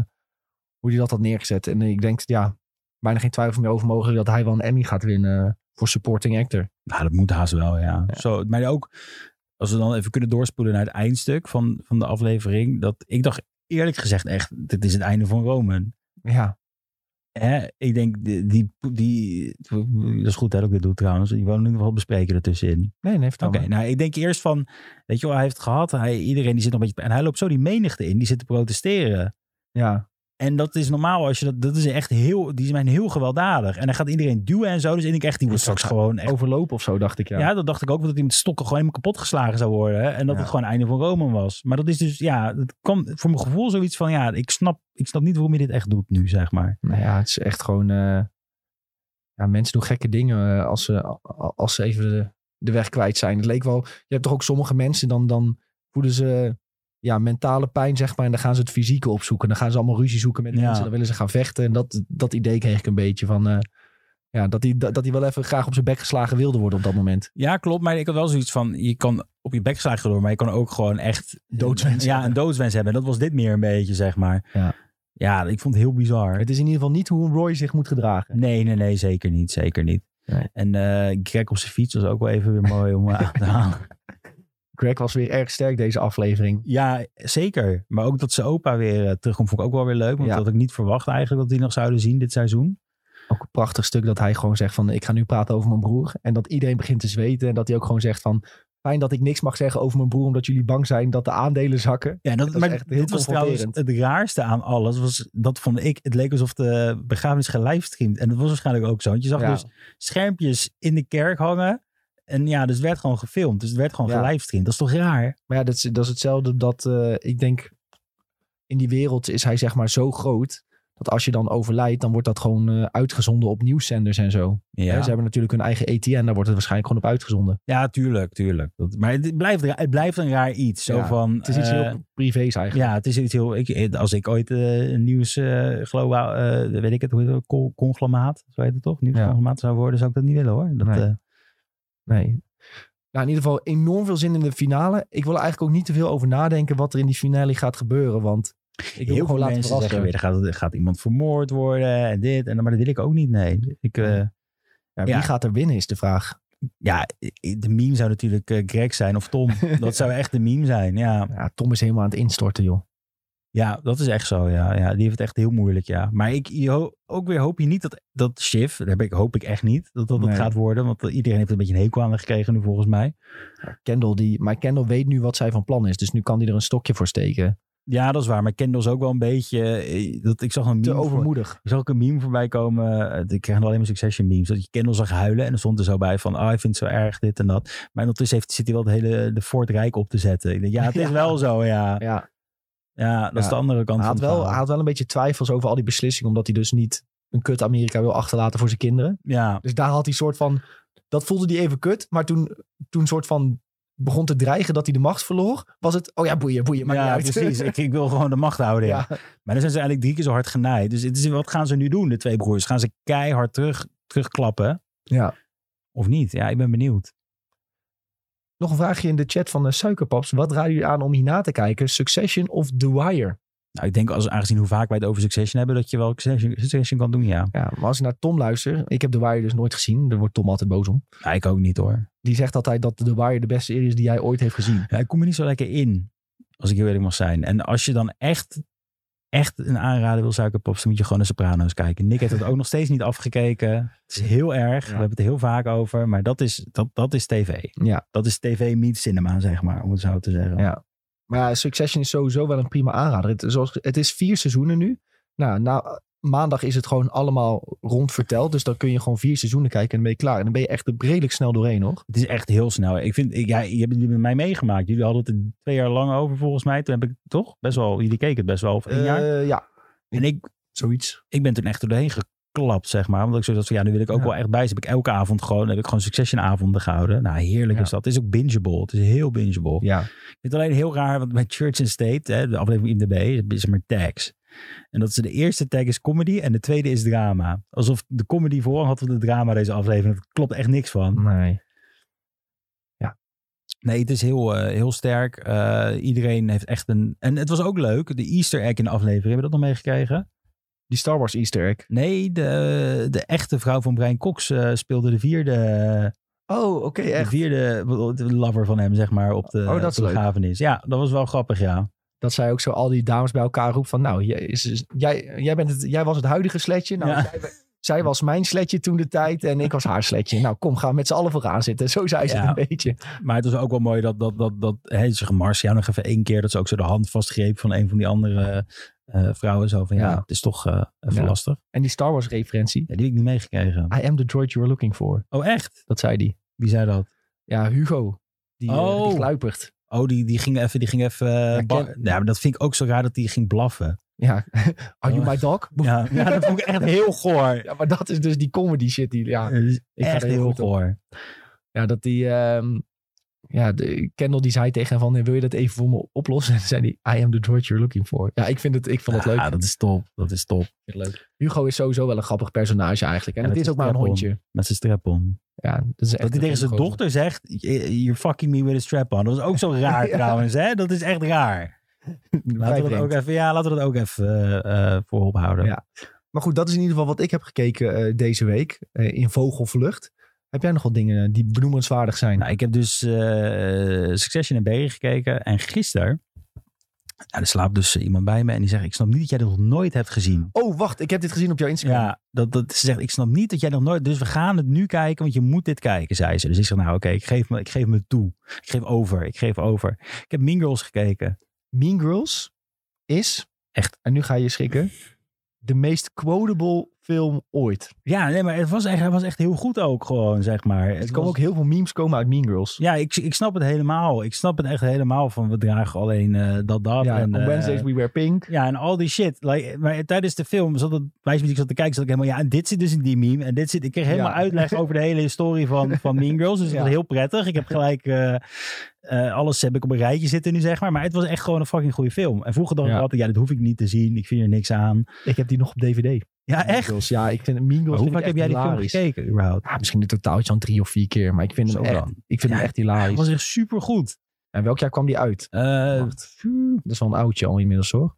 A: hoe die dat had neergezet. En ik denk, ja, bijna geen twijfel meer over mogelijk dat hij wel een Emmy gaat winnen voor supporting actor.
B: Nou, dat moet haast wel, ja.
A: Ja.
B: Zo, maar ook, als we dan even kunnen doorspoelen naar het eindstuk van, van de aflevering. Dat ik dacht eerlijk gezegd echt, dit is het einde van Roman.
A: Ja,
B: Hè? Ik denk, die, die, die- dat is goed hè, dat ik dit doe trouwens. Die wou in ieder geval bespreken ertussenin.
A: nee, nee,
B: Oké,
A: vertel maar.
B: nou ik denk eerst van, weet je wel, hij heeft het gehad. Hij, iedereen die zit nog een beetje, en hij loopt zo die menigte in, die zit te protesteren.
A: Ja,
B: En dat is normaal als je dat, dat is echt heel, die zijn heel gewelddadig. En hij gaat iedereen duwen en zo. Dus ik denk echt, die wordt
A: Dus dat
B: straks gewoon echt
A: overlopen of zo, dacht ik. Ja,
B: ja. dat dacht ik ook. want Dat hij met stokken gewoon helemaal kapot geslagen zou worden. hè, En dat
A: Ja.
B: het gewoon het einde van Roman was. Maar dat is dus, ja, dat kwam voor mijn gevoel zoiets van, ja, ik snap, ik snap niet waarom je dit echt doet nu, zeg maar.
A: Nou ja, het is echt gewoon... eh, ja, mensen doen gekke dingen eh, als, ze, a- a- als ze even de, de weg kwijt zijn. Het leek wel... Je hebt toch ook sommige mensen, dan, dan voelen ze ja, mentale pijn, zeg maar. En dan gaan ze het fysieke opzoeken. Dan gaan ze allemaal ruzie zoeken met
B: Ja.
A: mensen. Dan willen ze gaan vechten. En dat, dat idee kreeg ik een beetje van... eh, ja, dat hij dat, dat hij wel even graag op zijn bek geslagen wilde worden op dat moment.
B: Ja, klopt. Maar ik had wel zoiets van, je kan op je bek slagen door, maar je kan ook gewoon echt
A: Doodswens
B: Ja,
A: hebben.
B: een doodswens hebben. En dat was dit meer een beetje, zeg maar.
A: Ja.
B: ja ik vond het heel bizar.
A: Het is in ieder geval niet hoe een Roy zich moet gedragen.
B: Nee, nee, nee, zeker niet. Zeker niet.
A: Nee.
B: En eh Greg op zijn fiets was ook wel even weer mooi om eh, aan te halen.
A: Greg was weer erg sterk deze aflevering.
B: Ja, zeker. Maar ook dat zijn opa weer eh, terugkomt, vond ik ook wel weer leuk. Want
A: Ja.
B: dat had ik niet verwacht eigenlijk dat we die nog zouden zien dit seizoen.
A: Ook een prachtig stuk dat hij gewoon zegt van ik ga nu praten over mijn broer. En dat iedereen begint te zweten. En dat hij ook gewoon zegt van fijn dat ik niks mag zeggen over mijn broer. Omdat jullie bang zijn dat de aandelen zakken.
B: Ja, dat,
A: was
B: maar
A: echt heel
B: dit was trouwens het
A: confronterend.
B: raarste aan alles. Was, dat vond ik, het leek alsof de begrafenis gelivestreamd. En dat was waarschijnlijk ook zo. Want je zag
A: Ja.
B: dus schermpjes in de kerk hangen. En ja, dus het werd gewoon gefilmd. Dus het werd gewoon
A: Ja.
B: gelivestreamd. Dat is toch raar?
A: Maar ja, dat is, dat is hetzelfde dat eh, ik denk in die wereld is hij zeg maar zo groot. Dat als je dan overlijdt, dan wordt dat gewoon eh, uitgezonden op nieuwszenders en zo. Hè,
B: Ja,
A: Ze hebben natuurlijk hun eigen ETN, daar wordt het waarschijnlijk gewoon op uitgezonden.
B: ja tuurlijk, tuurlijk. Dat, maar het blijft, ra- het blijft een raar iets. Zo
A: Ja,
B: van,
A: Het is iets
B: eh,
A: heel privés eigenlijk.
B: Ja, het is iets heel. Ik, als ik ooit eh, een nieuws, eh globaal, eh, weet ik het, hoe heet het, co- conglomeraat, zo heet het toch? Nieuwsconglomeraat zou worden, zou ik dat niet willen hoor. Dat,
A: Nee.
B: eh,
A: Nee. Nou, in ieder geval enorm veel zin in de finale. Ik wil er eigenlijk ook niet te veel over nadenken wat er in die finale gaat gebeuren. Want ik wil me
B: heel veel
A: gewoon laten
B: mensen zeggen
A: verrassen.
B: weer, er gaat, er gaat iemand vermoord worden en dit. En, dan- maar dat wil ik ook niet, nee. Ik, eh,
A: Ja, wie
B: Ja.
A: gaat er winnen is de vraag.
B: ja, i- de meme zou natuurlijk eh, Greg zijn of Tom. dat zou echt de meme zijn, ja.
A: Ja, Tom is helemaal aan het instorten, joh.
B: Ja, dat is echt zo, ja. ja die heeft het echt heel moeilijk, ja. Maar ik, je ho- ook weer hoop je niet dat, dat Shiv, daar heb ik, hoop ik echt niet, dat dat het
A: Nee.
B: gaat worden. Want eh, iedereen heeft een beetje een hekel aan haar gekregen nu volgens mij.
A: Kendall die, maar Kendall weet nu wat zij van plan is. Dus nu kan hij er een stokje voor steken.
B: Ja, dat is waar. Maar Kendall is ook wel een beetje... eh, Dat, ik, zag een
A: Te
B: meme voor-
A: overmoedig.
B: ik zag ook een meme voorbij komen. eh, Ik kreeg nog alleen maar Succession memes. Dat je Kendall zag huilen en er stond er zo bij van... Ah, ik vind het zo erg, dit en dat. Maar ondertussen heeft, zit hij wel het hele de Fort Rijk op te zetten. Ik denk, ja, het is
A: Ja.
B: wel zo, ja.
A: Ja,
B: Ja, dat is
A: Ja.
B: de andere kant
A: hij, had
B: van het
A: wel, hij
B: verhaal.
A: had wel een beetje twijfels over al die beslissingen. Omdat hij dus niet een kut Amerika wil achterlaten voor zijn kinderen.
B: Ja,
A: Dus daar had hij soort van... Dat voelde hij even kut. Maar toen, toen soort van begon te dreigen dat hij de macht verloor. Was het, oh ja, boeien, boeien. Maar
B: ja precies. Ik, ik wil gewoon de macht houden, ja.
A: Ja.
B: Maar dan zijn ze eigenlijk drie keer zo hard genaaid. Dus het is, wat gaan ze nu doen, de twee broers? Gaan ze keihard terug, terugklappen
A: ja.
B: of niet? Ja, ik ben benieuwd.
A: Nog een vraagje in de chat van de Suikerpaps. Wat raad jullie aan om hierna te kijken? Succession of The Wire?
B: Nou, ik denk, als, aangezien hoe vaak wij het over Succession hebben... dat je wel Succession, Succession kan doen, ja.
A: Ja, maar als ik naar Tom luister. Ik heb The Wire dus nooit gezien. Daar wordt Tom altijd boos om.
B: Ja, Nou, ik ook niet hoor.
A: Die zegt altijd dat The Wire de beste serie is die hij ooit heeft gezien.
B: Ja, ik kom er niet zo lekker in, als ik heel eerlijk mag zijn. En als je dan echt, echt een aanrader wil suikerpops, dan moet je gewoon naar Soprano's kijken. Nick heeft het ook nog steeds niet afgekeken. Het is heel erg. We hebben het er heel vaak over. Maar dat is, dat, dat is tv.
A: Ja.
B: Dat is tv meets cinema, zeg maar, om het zo te zeggen.
A: Ja. Maar ja, Succession is sowieso wel een prima aanrader. Het, zoals, het is vier seizoenen nu. Nou, na, maandag is het gewoon allemaal rond verteld. Dus dan kun je gewoon vier seizoenen kijken en dan ben je klaar. En dan ben je echt er redelijk snel doorheen, hoor.
B: Het is echt heel snel. Ik vind, ik, ja, je hebt het met mij meegemaakt. Jullie hadden het er twee jaar lang over, volgens mij. Toen heb ik toch best wel, jullie keken het best wel, of één jaar.
A: Eh, ja,
B: En ik,
A: zoiets.
B: ik ben toen echt er doorheen geklapt, zeg maar. Omdat ik zo dacht van, ja, nu wil ik ook
A: Ja.
B: wel echt bij. Dus heb ik elke avond gewoon, heb ik gewoon Succession-avonden gehouden. Nou, heerlijk
A: Ja.
B: is dat. Het is ook bingeable. Het is heel bingeable.
A: Ja.
B: Ik vind het alleen heel raar, want bij Church and State, hè, de aflevering IMDb, is zeg maar tags. En dat is de eerste tag is comedy en de tweede is drama. Alsof de comedy voorrang had op de drama deze aflevering. Daar klopt echt niks van.
A: Nee. Ja.
B: Nee, het is heel, eh, heel sterk. Eh, iedereen heeft echt een... En het was ook leuk, de easter egg in de aflevering. Hebben we dat nog meegekregen?
A: Die Star Wars easter egg.
B: Nee, de, de echte vrouw van Brian Cox eh, speelde de vierde...
A: Oh, oké,
B: de vierde de lover van hem, zeg maar, op de,
A: Oh, dat
B: op
A: is
B: de
A: leuk.
B: begrafenis. Ja, dat was wel grappig, ja.
A: Dat zij ook zo al die dames bij elkaar roept van... Nou, jij, is- is- jij, jij, bent het, jij was het huidige sletje. Nou,
B: Ja.
A: zij, wa- zij was mijn sletje toen de tijd en ik was haar sletje. Nou, kom, gaan we met z'n allen vooraan zitten. Zo zei ze
B: Ja.
A: het een beetje.
B: Maar het was ook wel mooi dat, dat, dat, dat hè, ze gemars, ja, nog even één keer dat ze ook zo de hand vastgreep van een van die andere eh, vrouwen. Zo van, ja,
A: Ja.
B: het is toch eh, even
A: Ja.
B: lastig.
A: En die Star Wars referentie.
B: Ja, die heb ik niet meegekregen.
A: I am the droid you were looking for.
B: Oh, echt?
A: Dat zei die.
B: Wie zei dat?
A: Ja, Hugo. Die, eh,
B: Oh.
A: die gluipert.
B: Oh, die, die ging even, die ging even... eh,
A: Ken-
B: ba- ja, maar dat vind ik ook zo raar dat die ging blaffen.
A: Ja. Are you
B: Oh.
A: my dog?
B: Ja, ja dat vond ik echt heel goor.
A: Ja, maar dat is dus die comedy shit die... Ja,
B: Eh,
A: ik ga
B: echt
A: er heel
B: heel
A: goed op.
B: goor.
A: Ja, dat die... ehm, ja, de, Kendall die zei tegen hem van... Wil je dat even voor me oplossen? En toen zei hij... I am the droid you're looking for. Ja, ik, vind het, ik vond het leuk.
B: Ja, Ah, dat is top. Dat is top.
A: Ik vind het leuk. Hugo is sowieso wel een grappig personage eigenlijk. En
B: Ja,
A: het
B: dat
A: is
B: is
A: ook maar een
B: Japan.
A: hondje.
B: Met zijn strap om.
A: Ja, dat is echt
B: Dat hij
A: een
B: tegen zijn
A: gozer.
B: dochter zegt, you're fucking me with a strap on. Dat is ook zo raar
A: Ja.
B: trouwens, hè? Dat is echt raar. Laten we dat
A: Vrijbrengt.
B: ook even, ja, laten we dat ook even eh, eh, voor ophouden.
A: Ja. Maar goed, dat is in ieder geval wat ik heb gekeken eh, deze week. eh, in Vogelvlucht. Heb jij nog wat dingen die benoemenswaardig zijn?
B: Nou, ik heb dus eh, Succession en Barry gekeken. En gisteren, nou, er slaapt dus iemand bij me en die zegt, ik snap niet dat jij dat nog nooit hebt gezien.
A: Oh, wacht. Ik heb dit gezien op jouw Instagram.
B: Ja, dat, dat, ze zegt, ik snap niet dat jij nog nooit... Dus we gaan het nu kijken, want je moet dit kijken, zei ze. Dus ik zeg, nou oké, ik, geef me, ik geef me toe. Ik geef over, ik geef over. Ik heb Mean Girls gekeken.
A: Mean Girls is...
B: Echt.
A: En nu ga je schrikken. De meest quotable film ooit.
B: Ja, nee, maar het was echt, hij was echt heel goed ook gewoon, zeg maar.
A: Er
B: Het
A: komen
B: was-
A: ook heel veel memes komen uit Mean Girls.
B: Ja, ik, ik snap het helemaal. Ik snap het echt helemaal van we dragen alleen eh, dat, dat.
A: Ja,
B: en,
A: on
B: eh,
A: Wednesdays we wear pink.
B: ja, en al die shit. Like, maar tijdens de film zat het, wijs ik zat te kijken, zat ik helemaal, ja, en dit zit dus in die meme. En dit zit, ik kreeg helemaal
A: Ja.
B: uitleg over de hele historie van, van Mean Girls. Dus dat
A: Ja.
B: was heel prettig. Ik heb gelijk, eh, eh, alles heb ik op een rijtje zitten nu, zeg maar. Maar het was echt gewoon een fucking goede film. En vroeger dacht ik
A: Ja.
B: altijd, ja, dit hoef ik niet te zien. Ik vind er niks aan.
A: Ik heb die nog op DVD.
B: Ja,
A: Mean
B: echt.
A: Girls, Ja, ik vind Mean Girls
B: Maar hoe
A: vind
B: vaak
A: ik echt
B: heb jij die film
A: hilarisch.
B: gekeken überhaupt?
A: Ja, misschien in totaal iets van drie of vier keer. Maar ik vind
B: Zo
A: hem echt,
B: dan.
A: ik vind hem
B: Ja,
A: echt
B: Hij
A: hilarisch.
B: was echt supergoed.
A: En welk jaar kwam die uit?
B: Eh
A: Wacht. Dat is wel een oudje al inmiddels hoor.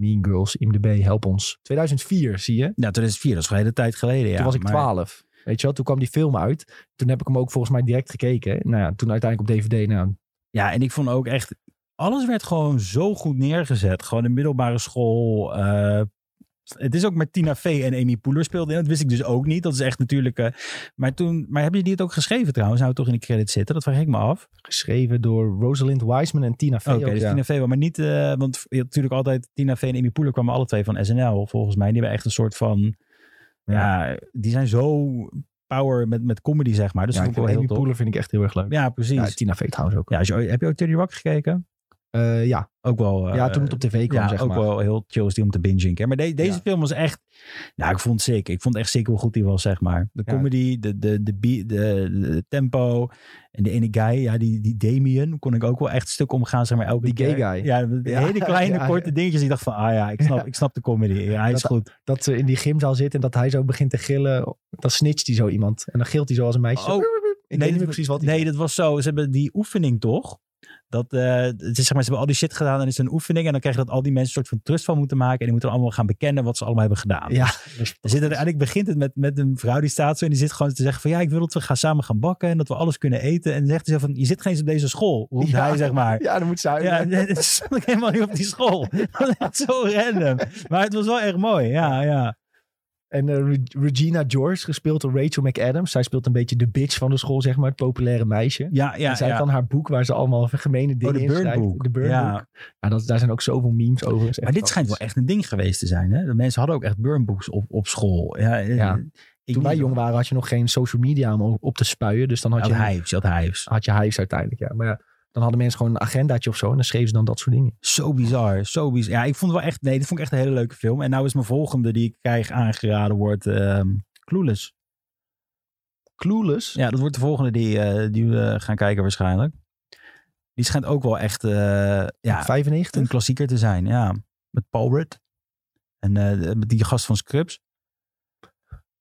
A: Mean Girls, IMDb, help ons. 2004, zie je?
B: ja, 2004, dat is wel een hele tijd geleden. ja,
A: toen was ik
B: maar-
A: 12. Weet je wel, toen kwam die film uit. Toen heb ik hem ook volgens mij direct gekeken. Nou ja, toen uiteindelijk op DVD. Nou,
B: Ja, en ik vond ook echt... Alles werd gewoon zo goed neergezet. Gewoon de middelbare school. eh, het is ook met Tina Fey en Amy Poehler speelde in. Dat wist ik dus ook niet. Dat is echt natuurlijk... eh, maar toen... Maar hebben jullie het ook geschreven trouwens? Nou, toch in de credits zitten? Dat vraag ik me af.
A: geschreven door Rosalind Wiseman en Tina Fey.
B: Oké,
A: ook,
B: dus
A: ja.
B: Tina Fey wel. Maar niet... eh, want je had natuurlijk altijd... Tina Fey en Amy Poehler kwamen alle twee van SNL volgens mij. Die hebben echt een soort van... Ja, die zijn zo power met, met comedy zeg maar. Dus
A: Ja,
B: dat
A: ik
B: vond
A: vind
B: ik wel
A: Amy
B: heel tof.
A: Poehler vind ik echt heel erg leuk.
B: Ja, precies.
A: Ja, Tina Fey trouwens ook.
B: Ja, als je, heb je ook Teddy Rock gekeken?
A: Eh, ja.
B: Ook wel. eh,
A: ja, toen het op tv kwam,
B: ja,
A: zeg
B: ook
A: maar.
B: wel heel chill is die om te binge Maar de- deze
A: Ja.
B: film was echt... Nou, ik vond het sick. Ik vond echt sick hoe goed die was, zeg maar. De
A: Ja.
B: comedy, de, de, de, bi- de, de tempo. En de ene guy, ja, die, die Damien, kon ik ook wel echt stuk omgaan, zeg maar. Elke
A: Die gay
B: keer.
A: guy.
B: Ja, de
A: Ja,
B: hele kleine,
A: ja.
B: korte dingetjes. Ik dacht van, ah ja, ik snap,
A: Ja.
B: ik snap de comedy. Ja, hij is
A: Dat-
B: goed.
A: Dat ze in die gymzaal zit en dat hij zo begint te gillen. Dan snitcht hij zo iemand. En dan gilt hij zo als een meisje. Zo,
B: Oh,
A: ik
B: nee,
A: weet niet meer
B: dat-
A: precies wat hij
B: Nee, dat was zo. Ze hebben die oefening toch? Dat, eh, het is, zeg maar, ze hebben al die shit gedaan en er is een oefening. En dan krijg je dat al die mensen een soort van trust van moeten maken. En die moeten dan allemaal gaan bekennen wat ze allemaal hebben gedaan.
A: Ja,
B: Er zit er, eigenlijk begint het met, met een vrouw die staat zo en die zit gewoon te zeggen van ja, ik wil dat we gaan samen gaan bakken en dat we alles kunnen eten. En dan zegt hij zo van, je zit geen eens op deze school, roept
A: Ja.
B: hij zeg maar.
A: ja, dan moet ze huilen.
B: Ja, en dan stond ik helemaal niet op die school. Dat is echt zo random. Maar het was wel echt mooi, ja, ja.
A: En eh, Re- Regina George, gespeeld door Rachel McAdams. Zij speelt een beetje de bitch van de school, zeg maar. Het populaire meisje.
B: Ja, ja,
A: en zij
B: ja.
A: heeft dan haar boek waar ze allemaal gemene dingen
B: de
A: in schrijft.
B: Burn Book.
A: Oh, De Burn
B: Ja.
A: Book. Ja, dat, daar zijn ook zoveel memes over.
B: Maar dit schijnt wel echt een ding geweest te zijn, hè. De mensen hadden ook echt burnbooks op, op school. Ja, eh,
A: Ja.
B: Ik
A: Toen wij
B: niet.
A: jong waren had je nog geen social media om o- op te spuien. Dus dan had
B: Had
A: je,
B: hives, je had hives.
A: had je hives uiteindelijk, ja. Maar ja, dan hadden mensen gewoon een agendaatje of zo. En dan schreven ze dan dat soort dingen.
B: Zo bizar, zo bizar. Ja, ik vond het wel echt, nee, dit vond ik echt een hele leuke film. En nou is mijn volgende die ik krijg aangeraden wordt ehm Clueless.
A: Clueless.
B: Ja, dat wordt de volgende die, eh, die we gaan kijken waarschijnlijk. Die schijnt ook wel echt eh, ja, een
A: 95.
B: klassieker te zijn. Ja, met Paul Rudd. En eh, met die gast van Scrubs.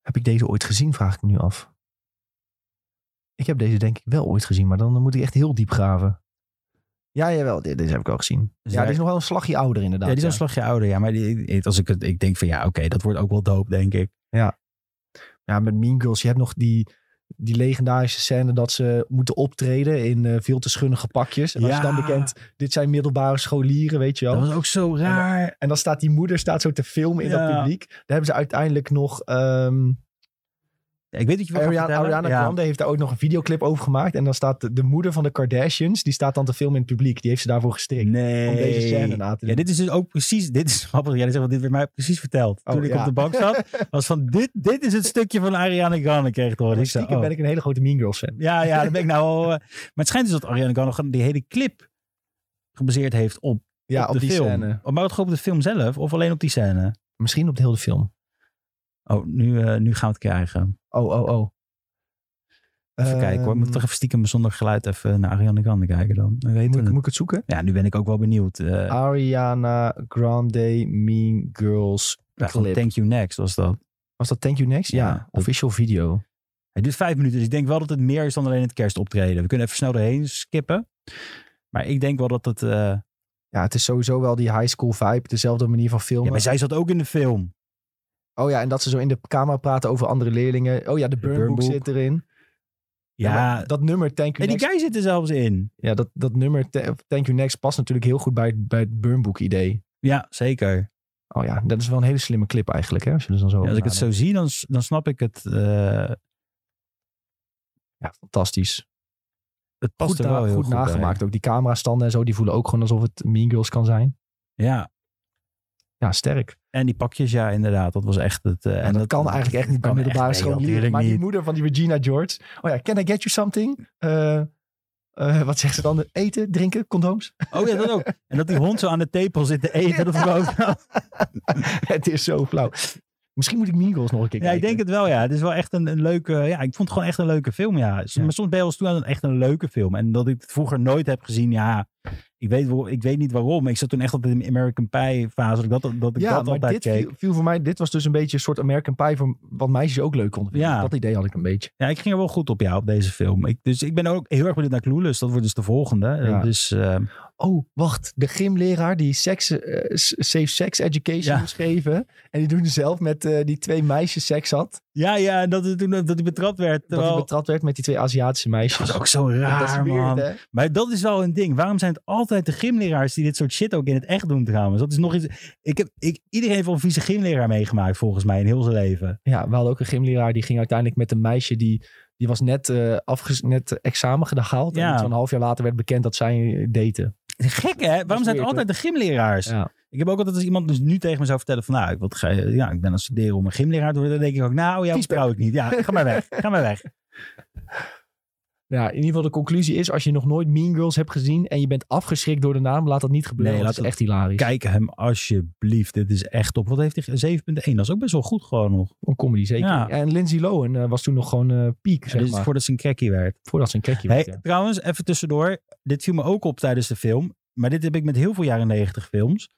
A: Heb ik deze ooit gezien, vraag ik me nu af. Ik heb deze denk ik wel ooit gezien, maar dan moet ik echt heel diep graven. Ja, jawel, de- deze heb ik al gezien.
B: Dus
A: ja,
B: daar-
A: die is nog wel een slagje ouder inderdaad.
B: Ja, die is
A: ja.
B: al een slagje ouder. Ja, maar die- ik- als ik, het, ik denk van ja, oké, dat wordt ook wel doop, denk ik.
A: Ja, met Mean Girls, je hebt nog die, die legendarische scène dat ze moeten optreden in eh, veel te schunnige pakjes. En als
B: Ja.
A: je dan bekend, dit zijn middelbare scholieren, weet je wel.
B: Dat was ook zo raar.
A: En dan staat die moeder staat zo te filmen in dat
B: Ja.
A: publiek. Daar hebben ze uiteindelijk nog... ehm,
B: Ik weet dat je wel
A: Ariana, Ariana
B: ja.
A: Grande heeft daar ook nog een videoclip over gemaakt. En dan staat de, de moeder van de Kardashians, die staat dan te filmen in het publiek. Die heeft ze daarvoor gestrikt.
B: Nee.
A: Om deze scène na te
B: Ja,
A: doen.
B: dit is dus ook precies, dit is grappig. Jij zegt, want dit werd mij precies verteld.
A: Oh,
B: Toen ik
A: ja.
B: op de bank zat, was van dit, dit is het stukje van Ariana Grande kreeg te horen.
A: Maar
B: Ik zei,
A: stiekem
B: oh.
A: ben ik een hele grote Mean Girls fan.
B: Ja, ja, dat ben ik nou al. eh, maar het schijnt dus dat Ariana Grande gewoon die hele clip gebaseerd heeft op,
A: Ja,
B: op
A: op,
B: de
A: die
B: film.
A: scène.
B: Oh, Maar ook gewoon op de film zelf of alleen op die scène?
A: Misschien op de hele film.
B: Oh, nu, eh, nu gaan we het krijgen.
A: Oh, oh, oh.
B: Even
A: Ehm,
B: kijken hoor. Moet toch even stiekem zonder geluid even naar Ariana Grande kijken dan. We weten
A: moet, ik-
B: het.
A: moet Ah, ik het zoeken?
B: Ja, nu ben ik ook wel benieuwd. Eh,
A: Ariana Grande Mean Girls
B: ja, van
A: clip.
B: Thank You Next was dat.
A: Was dat Thank You Next? Ja,
B: Ja, dat-
A: official video.
B: Hij duurt vijf minuten, dus ik denk wel dat het meer is dan alleen het kerstoptreden. We kunnen even snel erheen skippen. Maar ik denk wel dat het... eh,
A: Ja, het is sowieso wel die high school vibe. Dezelfde manier van
B: ja,
A: filmen.
B: maar zij zat ook in de film.
A: Oh ja, en dat ze zo in de camera praten over andere leerlingen. Oh ja, de Burn,
B: Burn
A: Book
B: Book.
A: zit erin.
B: Ja,
A: maar dat nummer Thank You
B: en
A: Next.
B: die guy zit er zelfs in.
A: Ja, dat, dat nummer Th- Thank You Next past natuurlijk heel goed bij, het- bij het Burn Book idee.
B: Ja, zeker.
A: Oh ja, dat is wel een hele slimme clip eigenlijk, hè? Als je er dan zo
B: Ja, als
A: over
B: ik het zo
A: nadenkt.
B: zie, dan, s- dan snap ik het. eh,
A: Ja, fantastisch.
B: het past
A: Goed,
B: er
A: na-
B: wel heel
A: goed
B: goed, bij.
A: nagemaakt ook. Die camerastanden en zo, die voelen ook gewoon alsof het Mean Girls kan zijn.
B: Ja,
A: Ja, sterk.
B: en die pakjes, ja, inderdaad. Dat was echt het... eh,
A: En, dat, kan eigenlijk echt niet bij
B: kan
A: middelbare
B: echt- nee,
A: school.
B: natuurlijk
A: Maar die
B: niet.
A: moeder van die Regina George. Oh ja, can I get you something? Eh, eh, wat zegt ze dan? Eten, drinken, condooms?
B: Oh ja, dat ook. En dat die hond zo aan de tepel zit te eten. Dat vond ik ook
A: het is zo flauw. Misschien moet ik Mean Girls nog een keer
B: Ja, ik
A: kijken.
B: denk het wel, ja. Het is wel echt een, een leuke... Ja, ik vond het gewoon echt een leuke film, ja. S-
A: Ja.
B: Maar soms ben je wel eens toe aan een, echt een leuke film. En dat ik het vroeger nooit heb gezien, ja... Ik weet, wel- ik weet niet waarom. Ik zat toen echt op de American Pie fase. Dat, ik dat, dat ik
A: ja,
B: dat
A: maar
B: altijd
A: dit
B: keek.
A: viel, viel voor mij... Dit was dus een beetje een soort American Pie... Voor, wat meisjes ook leuk konden vinden.
B: Ja.
A: Dat idee had ik een beetje.
B: Ja, ik ging er wel goed op, ja, op deze film. Ik, dus ik ben ook heel erg benieuwd naar Clueless. Dat wordt dus de volgende.
A: Ja.
B: Dus, eh,
A: Oh, wacht. De gymleraar die seks, eh, s- Safe Sex Education
B: Ja.
A: moest geven. En die doen zelf met eh, die twee meisjes seks had.
B: ja, ja, en dat, het toen, dat hij betrapt werd.
A: Dat hij
B: terwijl-
A: betrapt werd met die twee Aziatische meisjes.
B: dat is ook zo
A: Ja,
B: raar,
A: dat is
B: man.
A: weird, hè?
B: Maar dat is wel een ding. Waarom zijn het altijd de gymleraars die dit soort shit ook in het echt doen trouwens? Dat is nog iets... Ik heb, ik, iedereen heeft wel een vieze gymleraar meegemaakt volgens mij in heel zijn leven.
A: Ja, we hadden ook een gymleraar. Die ging uiteindelijk met een meisje die... Die was net, eh afges- net examen gehaald.
B: Ja.
A: En zo'n half jaar later werd bekend dat zij eh, daten.
B: Gek hè? Waarom zijn
A: weird,
B: het altijd de gymleraars?
A: Ja.
B: Ik heb ook altijd als iemand dus nu tegen me zou vertellen van... Nou, ik, wil het ge- ja, ik ben aan het studeren om een gymleraar te worden. Dan denk ik ook, nou ja,
A: Vies
B: vertrouw ik niet. Ja, ga maar weg. Ga maar weg.
A: Ja, in ieder geval de conclusie is, als je nog nooit Mean Girls hebt gezien en je bent afgeschrikt door de naam, laat dat niet gebeuren.
B: Nee,
A: want
B: laat
A: het is echt hilarisch.
B: Kijk hem alsjeblieft. Dit is echt top. Wat heeft hij? 7.1. Dat is ook best wel goed gewoon nog.
A: Een comedy zeker.
B: Ja.
A: En Lindsay Lohan eh, was toen nog gewoon eh piek,
B: Ja,
A: zeg
B: dit is
A: maar.
B: voordat ze een crackie werd.
A: Voordat ze een kekje
B: Hey,
A: werd, ja.
B: Trouwens, even tussendoor. Dit viel me ook op tijdens de film. Maar dit heb ik met heel veel jaren negentig films.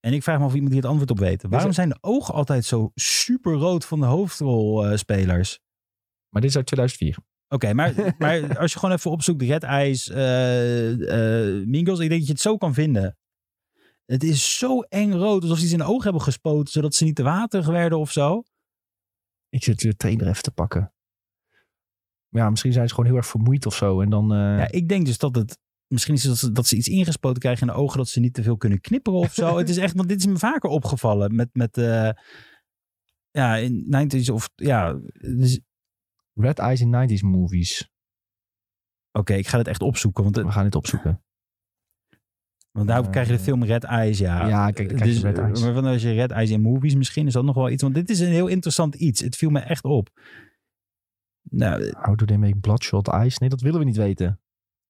B: En ik vraag me af of iemand hier het antwoord op weet. Waarom
A: het-
B: zijn de ogen altijd zo super rood van de hoofdrolspelers?
A: Maar dit is uit 2004.
B: Oké, maar, maar als je gewoon even opzoekt, Red Eyes, eh eh, Mean Girls, ik denk dat je het zo kan vinden. Het is zo eng rood, alsof ze iets in de ogen hebben gespoten, zodat ze niet te waterig werden of zo.
A: Ik zit de trainer even te pakken. Maar ja, misschien zijn ze gewoon heel erg vermoeid of zo. En dan... eh,
B: Ja, ik denk dus dat het. Misschien is het dat ze, dat ze iets ingespoten krijgen in de ogen dat ze niet te veel kunnen knipperen of zo. het is echt, want dit is me vaker opgevallen met. met eh, ja, in 90s of. Ja, dus, oké,
A: Red Eyes in 90s movies.
B: ik ga dit echt opzoeken, want, het-
A: We gaan dit opzoeken.
B: want daar
A: Eh,
B: krijg je de film Red Eyes. Ja, Dus, eh,
A: ja, eh, kijk, dan krijg je Red Eyes.
B: Maar van als je Red Eyes in movies misschien is dat nog wel iets. Want dit is een heel interessant iets. Het viel me echt op. Nou,
A: How do they make bloodshot eyes? Nee, dat willen we niet weten.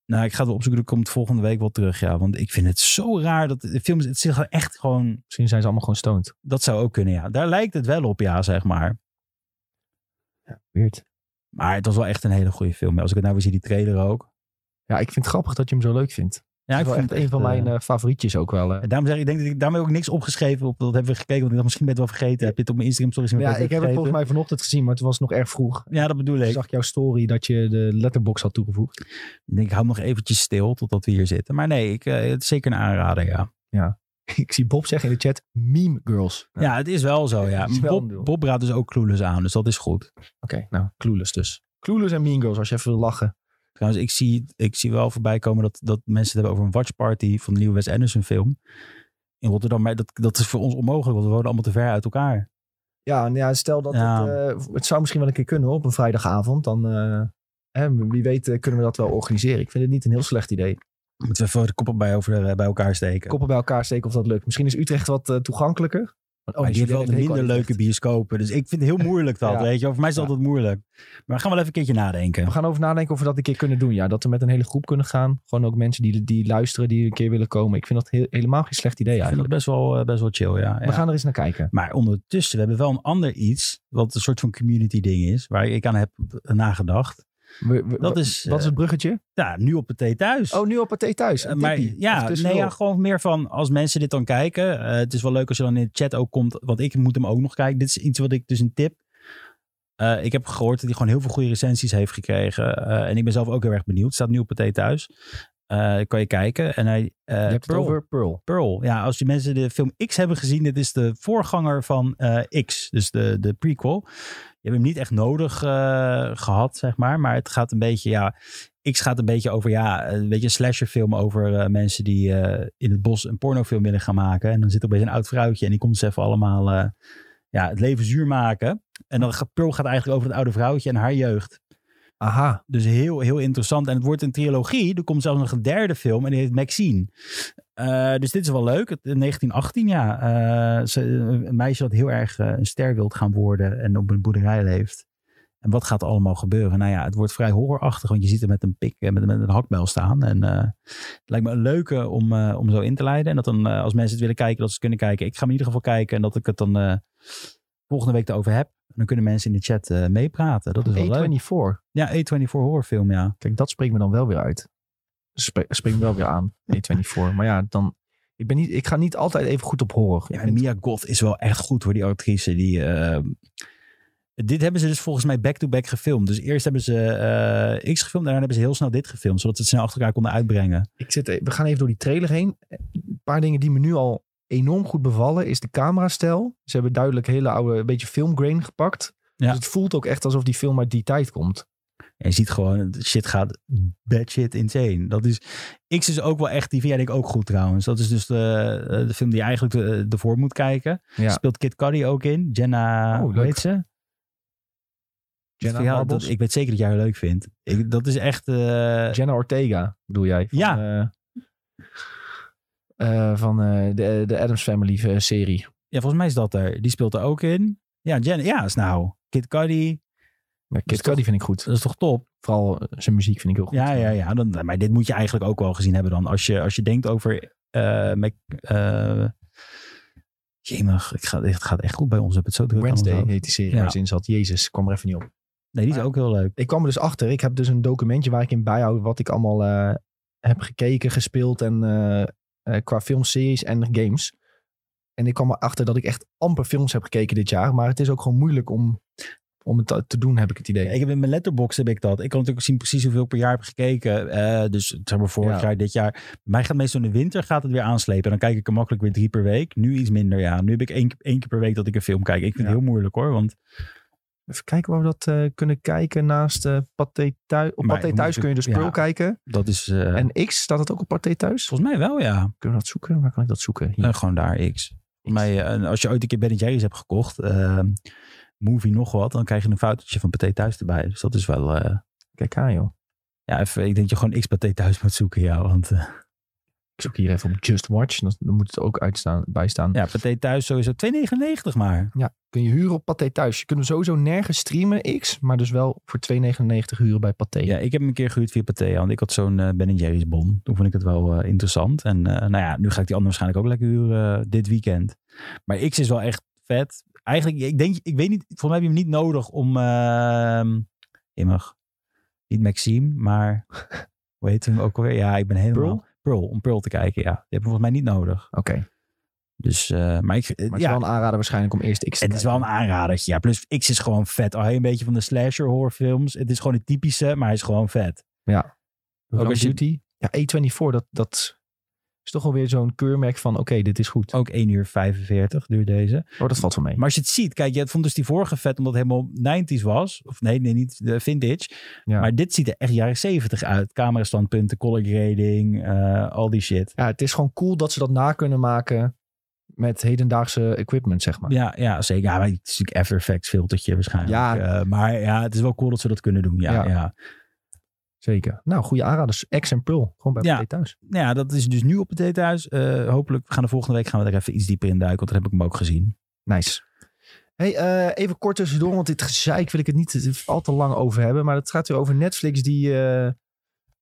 B: nou ik ga het wel opzoeken. Dat komt volgende week wel terug. Ja, want ik vind het zo raar dat de films. Het zit gewoon echt gewoon.
A: Misschien zijn ze allemaal gewoon stoned.
B: Dat zou ook kunnen, ja. Daar lijkt het wel op, ja, zeg maar.
A: Weird.
B: Maar het was wel echt een hele goede film. Als ik het nou weer zie, die trailer ook.
A: Ja, ik vind het grappig dat je hem zo leuk vindt.
B: Ja,
A: ik vond een van
B: eh,
A: mijn eh, favorietjes ook wel. eh.
B: en daarom zeg ik, ik denk dat ik daarmee ook niks opgeschreven op. Dat hebben we gekeken, want ik dacht misschien ben je het wel vergeten. Heb je het op mijn Instagram stories
A: Ja, ik heb het volgens mij vanochtend gezien, maar het was nog erg vroeg.
B: mij. Ja, dat bedoel
A: Ik
B: ik.
A: zag jouw story dat je de letterbox had toegevoegd.
B: Ik denk, ik hou nog eventjes stil totdat we hier zitten. Maar nee, ik, eh, het is zeker een aanrader, ja.
A: ik zie Bob zeggen in de chat, meme girls.
B: Ja, het is wel zo, ja.
A: Het is wel een doel.
B: Bob, Bob raadt dus ook Clueless aan, dus dat is goed.
A: Oké, nou, Clueless dus. Clueless en Mean Girls, als je even wil lachen.
B: Trouwens, ik zie, ik zie wel voorbij komen dat, dat mensen het hebben over een watchparty van de nieuwe Wes Anderson film. In Rotterdam, maar dat, dat is voor ons onmogelijk, want we wonen allemaal te ver uit elkaar.
A: Ja, nou ja stel dat
B: Ja.
A: het... eh, het zou misschien wel een keer kunnen hoor, op een vrijdagavond. Dan, eh, hè, wie weet eh, kunnen we dat wel organiseren. Ik vind het niet een heel slecht idee.
B: Moeten we even de koppen bij, over, eh, bij elkaar steken.
A: Koppen bij elkaar steken of dat lukt. Misschien is Utrecht wat eh, toegankelijker. Want, oh,
B: maar die
A: dus
B: heeft wel de
A: iedereen heeft
B: minder
A: hekel aan
B: leuke
A: Utrecht.
B: bioscopen. Dus ik vind het heel moeilijk dat,
A: Ja.
B: weet je. wel. Voor mij is het
A: Ja.
B: altijd moeilijk. Maar we gaan wel even een keertje nadenken.
A: We gaan over nadenken of we dat een keer kunnen doen. Ja, dat we met een hele groep kunnen gaan. Gewoon ook mensen die, die luisteren, die een keer willen komen. Ik vind dat heel- helemaal geen slecht idee
B: ik vind dat
A: eigenlijk.
B: best wel, eh, best wel chill, ja. ja.
A: We gaan er eens naar kijken.
B: Maar ondertussen, we hebben wel een ander iets, wat een soort van community ding is, waar ik aan heb nagedacht.
A: We- we-
B: Dat
A: wa-
B: is, eh,
A: wat is het bruggetje?
B: Ja, nu op het thee thuis.
A: Oh, nu op Pathé thuis.
B: Eh,
A: Een
B: maar
A: tippie. Of
B: ja, nee,
A: tussendoor.
B: ja, gewoon meer van als mensen dit dan kijken. eh, het is wel leuk als je dan in de chat ook komt, want ik moet hem ook nog kijken. Dit is iets wat ik dus een tip. Eh, ik heb gehoord dat hij gewoon heel veel goede recensies heeft gekregen. eh, en ik ben zelf ook heel erg benieuwd. Het staat nu op het thee thuis. Eh, kan je kijken. En hij, eh,
A: Je hebt het
B: Pearl.
A: over Pearl.
B: Pearl. Ja, als die mensen de film X hebben gezien, dit is de voorganger van eh, X, dus de, de prequel. Je hebt hem niet echt nodig eh, gehad, zeg maar, maar het gaat een beetje, ja, X gaat een beetje over, ja, een beetje een slasherfilm over eh, mensen die eh, in het bos een pornofilm willen gaan maken. En dan zit er opeens een oud vrouwtje en die komt ze even allemaal, eh, ja, het leven zuur maken. En dan gaat Pearl gaat eigenlijk over het oude vrouwtje en haar jeugd.
A: Aha.
B: Dus heel, heel interessant. En het wordt een trilogie. Er komt zelfs nog een derde film en die heet Maxine. Eh, dus dit is wel leuk. Het- 1918, ja. Eh, ze- een meisje dat heel erg eh, een ster wilt gaan worden en op een boerderij leeft. En wat gaat er allemaal gebeuren? Nou ja, het wordt vrij horrorachtig, want je ziet er met een pik en met, met een hakbel staan. En eh, het lijkt me een leuke om, eh, om zo in te leiden. En dat dan, eh, als mensen het willen kijken, dat ze het kunnen kijken. Ik ga hem in ieder geval kijken en dat ik het dan eh, volgende week erover heb. En dan kunnen mensen in de chat eh, meepraten. Dat is wel
A: E
B: leuk.
A: A24.
B: Ja, A24 horrorfilm, ja.
A: Kijk, dat spreekt me dan wel weer uit. Spre spreekt me wel weer aan. A24. maar ja, dan... Ik, ben niet, ik ga niet altijd even goed op horen.
B: Ja,
A: Ik
B: en
A: vind-
B: Mia Goth is wel echt goed hoor, die actrice. Die, eh, dit hebben ze dus volgens mij back-to-back gefilmd. Dus eerst hebben ze eh, X gefilmd en daarna hebben ze heel snel dit gefilmd. Zodat ze het snel achter elkaar konden uitbrengen.
A: ik zit, eh, we gaan even door die trailer heen. Een paar dingen die me nu al enorm goed bevallen is de camerastel. Ze hebben duidelijk hele oude, een beetje filmgrain gepakt.
B: Ja. Dus
A: Dus het voelt ook echt alsof die film uit die tijd komt.
B: En je ziet gewoon, shit gaat bad shit insane. Dat is, X is ook wel echt, die vind jij denk ik ook goed trouwens. Dat is dus de, de film die je eigenlijk de- ervoor moet kijken.
A: Ja.
B: Speelt Kid Cudi ook in. Jenna,
A: Oh,
B: hoe
A: leuk.
B: heet ze?
A: Jenna,
B: Ja, dat-
A: Marbles?
B: ik weet zeker dat jij haar leuk vindt. Ik, dat is echt... eh,
A: Jenna Ortega, bedoel jij? Van,
B: Ja.
A: eh, eh, van eh, de, de Adams Family eh, serie.
B: Ja, volgens mij is dat er. Die speelt er ook in. Ja, Jen, ja, is nou. Kid Cudi,
A: Maar Kid
B: is toch-
A: Cudi vind ik goed.
B: dat is toch top?
A: Vooral eh, zijn muziek vind ik heel goed.
B: Ja, ja, ja. Dan, maar dit moet je eigenlijk ook wel gezien hebben dan. Als je, als je denkt over... eh Mac, eh, jemig, ik ga, het gaat echt goed bij ons. We hebben het zo druk aan ons
A: Wednesday
B: hoofd.
A: heet die serie
B: Ja.
A: waar ze in zat. Jezus, ik kwam er even niet op.
B: Nee, die is ook heel leuk.
A: Ik kwam er dus achter. Ik heb dus een documentje waar ik in bijhoud wat ik allemaal eh, heb gekeken, gespeeld en eh, eh, qua filmseries en games. En ik kwam erachter dat ik echt amper films heb gekeken dit jaar. Maar het is ook gewoon moeilijk om, om het te doen, heb ik het idee.
B: Ja, ik heb in mijn letterbox heb ik dat. Ik kan natuurlijk zien precies hoeveel ik per jaar heb gekeken. Eh, dus zeg maar vorig
A: Ja.
B: jaar, dit jaar. Bij mij gaat meestal in de winter gaat het weer aanslepen. En dan kijk ik er makkelijk weer drie per week. Nu iets minder, ja. Nu heb ik één, één keer per week dat ik een film kijk. Ik vind
A: Ja.
B: het heel moeilijk hoor, want...
A: Even kijken waar we dat eh, kunnen kijken naast eh Pathé Thuis. Op
B: Maar
A: Pathé
B: je moet
A: Thuis kun je dus
B: natuurlijk-
A: Pearl
B: ja.
A: kijken.
B: Dat is. eh,
A: En X, staat het ook op Pathé Thuis?
B: volgens mij wel, ja.
A: Kunnen we dat zoeken? Waar kan ik dat zoeken? Hier.
B: Eh, gewoon daar, X. Volgens mij, eh, en als je ooit een keer Ben Jerry's hebt gekocht, eh, movie nog wat, dan krijg je een foutetje van Pathé Thuis erbij. Dus dat is wel. eh,
A: Kijk aan joh.
B: ja, even, ik denk dat je gewoon X Pathé Thuis moet zoeken, ja. Want eh,
A: Ik zoek hier even op Just Watch. Dan dan moet het ook uitstaan, bijstaan.
B: ja, Pathé Thuis sowieso 2,99 maar.
A: Kun je huren op Pathé Thuis. Je kunt hem sowieso nergens streamen, X. Maar dus wel voor 2,99 huren bij Pathé.
B: Ja, ik heb hem een keer gehuurd via Pathé, want ik had zo'n eh, Ben Jerry's bon. Toen vond ik het wel eh, interessant. En eh, nou ja, nu ga ik die andere waarschijnlijk ook lekker huren eh, dit weekend. Maar X is wel echt vet. Eigenlijk, ik denk, ik weet niet, volgens mij heb je hem niet nodig om, ehm immig, niet Maxime, maar hoe heet hem ook alweer? Ja, ik ben helemaal...
A: Pearl?
B: Pearl? Pearl, om Pearl te kijken. Ja, die hebben we volgens mij niet nodig.
A: Oké.
B: Dus, eh, maar ik,
A: Maar het
B: ja,
A: is wel een aanrader waarschijnlijk om eerst X te
B: het is wel een aanradertje. Ja, plus X is gewoon vet. Al hou je een beetje van de slasher horrorfilms. Het is gewoon het typische, maar hij is gewoon vet.
A: kijken.
B: ook als je-
A: Duty. Ja, A24, dat, dat is toch alweer zo'n keurmerk van oké, dit is goed.
B: Ook 1 uur 45 duurt deze.
A: Oh, dat valt wel mee.
B: Oh, Maar als je het ziet, kijk, je vond dus die vorige vet omdat het helemaal 90s was. Of nee, nee, niet de vintage.
A: Ja.
B: Maar dit ziet er echt jaren 70 uit. Camerastandpunten, color grading, eh, al die shit.
A: ja, het is gewoon cool dat ze dat na kunnen maken met hedendaagse equipment, zeg maar.
B: Ja, ja, zeker. Ja, maar het is natuurlijk After Effects filtertje waarschijnlijk.
A: Ja.
B: Eh, maar ja, het is wel cool dat ze dat kunnen doen. Ja,
A: Ja.
B: ja. ja.
A: Zeker. Nou, goede aanraders. X en Pearl. Gewoon bij
B: Ja.
A: ja. thuis.
B: Nou ja, dat is dus nu op het theehuis. Eh hopelijk gaan we volgende week gaan we er even iets dieper in duiken. Want dat heb ik hem ook gezien.
A: Nice. Hey, eh, even kort tussendoor, want dit gezeik wil ik het niet al te lang over hebben. Maar het gaat weer over Netflix die, eh,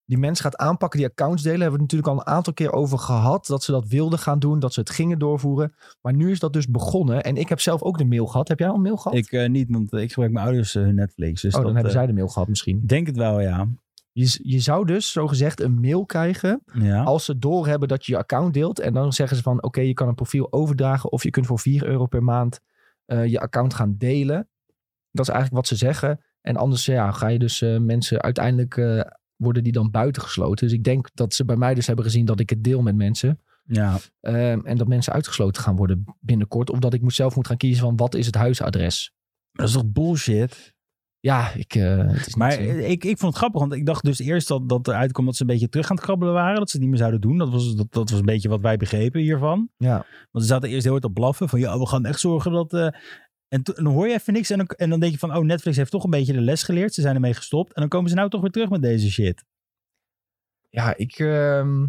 A: die mensen gaat aanpakken, die accounts delen. Hebben we het natuurlijk al een aantal keer over gehad. Dat ze dat wilden gaan doen, dat ze het gingen doorvoeren. Maar nu is dat dus begonnen. En ik heb zelf ook de mail gehad. Heb jij al een mail gehad?
B: Ik eh, niet, want ik gebruik mijn ouders eh, hun Netflix. Dus
A: oh, dan
B: dat,
A: hebben
B: eh,
A: zij de mail gehad misschien.
B: Ik denk het wel, ja.
A: Je, z- je zou dus zogezegd een mail krijgen
B: ja.
A: als ze doorhebben dat je je account deelt. En dan zeggen ze van oké, je kan een profiel overdragen of je kunt voor 4 euro per maand eh, je account gaan delen. Dat is eigenlijk wat ze zeggen. En anders ja, ga je dus eh, mensen uiteindelijk eh, worden die dan buitengesloten. Dus ik denk dat ze bij mij dus hebben gezien dat ik het deel met mensen.
B: ja.
A: Ehm, en dat mensen uitgesloten gaan worden binnenkort. Of dat ik moet zelf moet gaan kiezen van wat is het huisadres.
B: Dat is toch bullshit?
A: Ja, ik, eh, het is niet
B: Maar
A: zo-
B: ik, ik vond het grappig, want ik dacht dus eerst dat, dat eruit kwam dat ze een beetje terug aan het krabbelen waren. Dat ze het niet meer zouden doen. Dat was, dat, dat was een beetje wat wij begrepen hiervan.
A: Ja.
B: Want ze zaten eerst heel hard op blaffen van ja, we gaan echt zorgen dat... eh, en to- en dan hoor je even niks en dan, en dan denk je van, oh, Netflix heeft toch een beetje de les geleerd. Ze zijn ermee gestopt. En dan komen ze nou toch weer terug met deze shit.
A: ja, ik, ehm,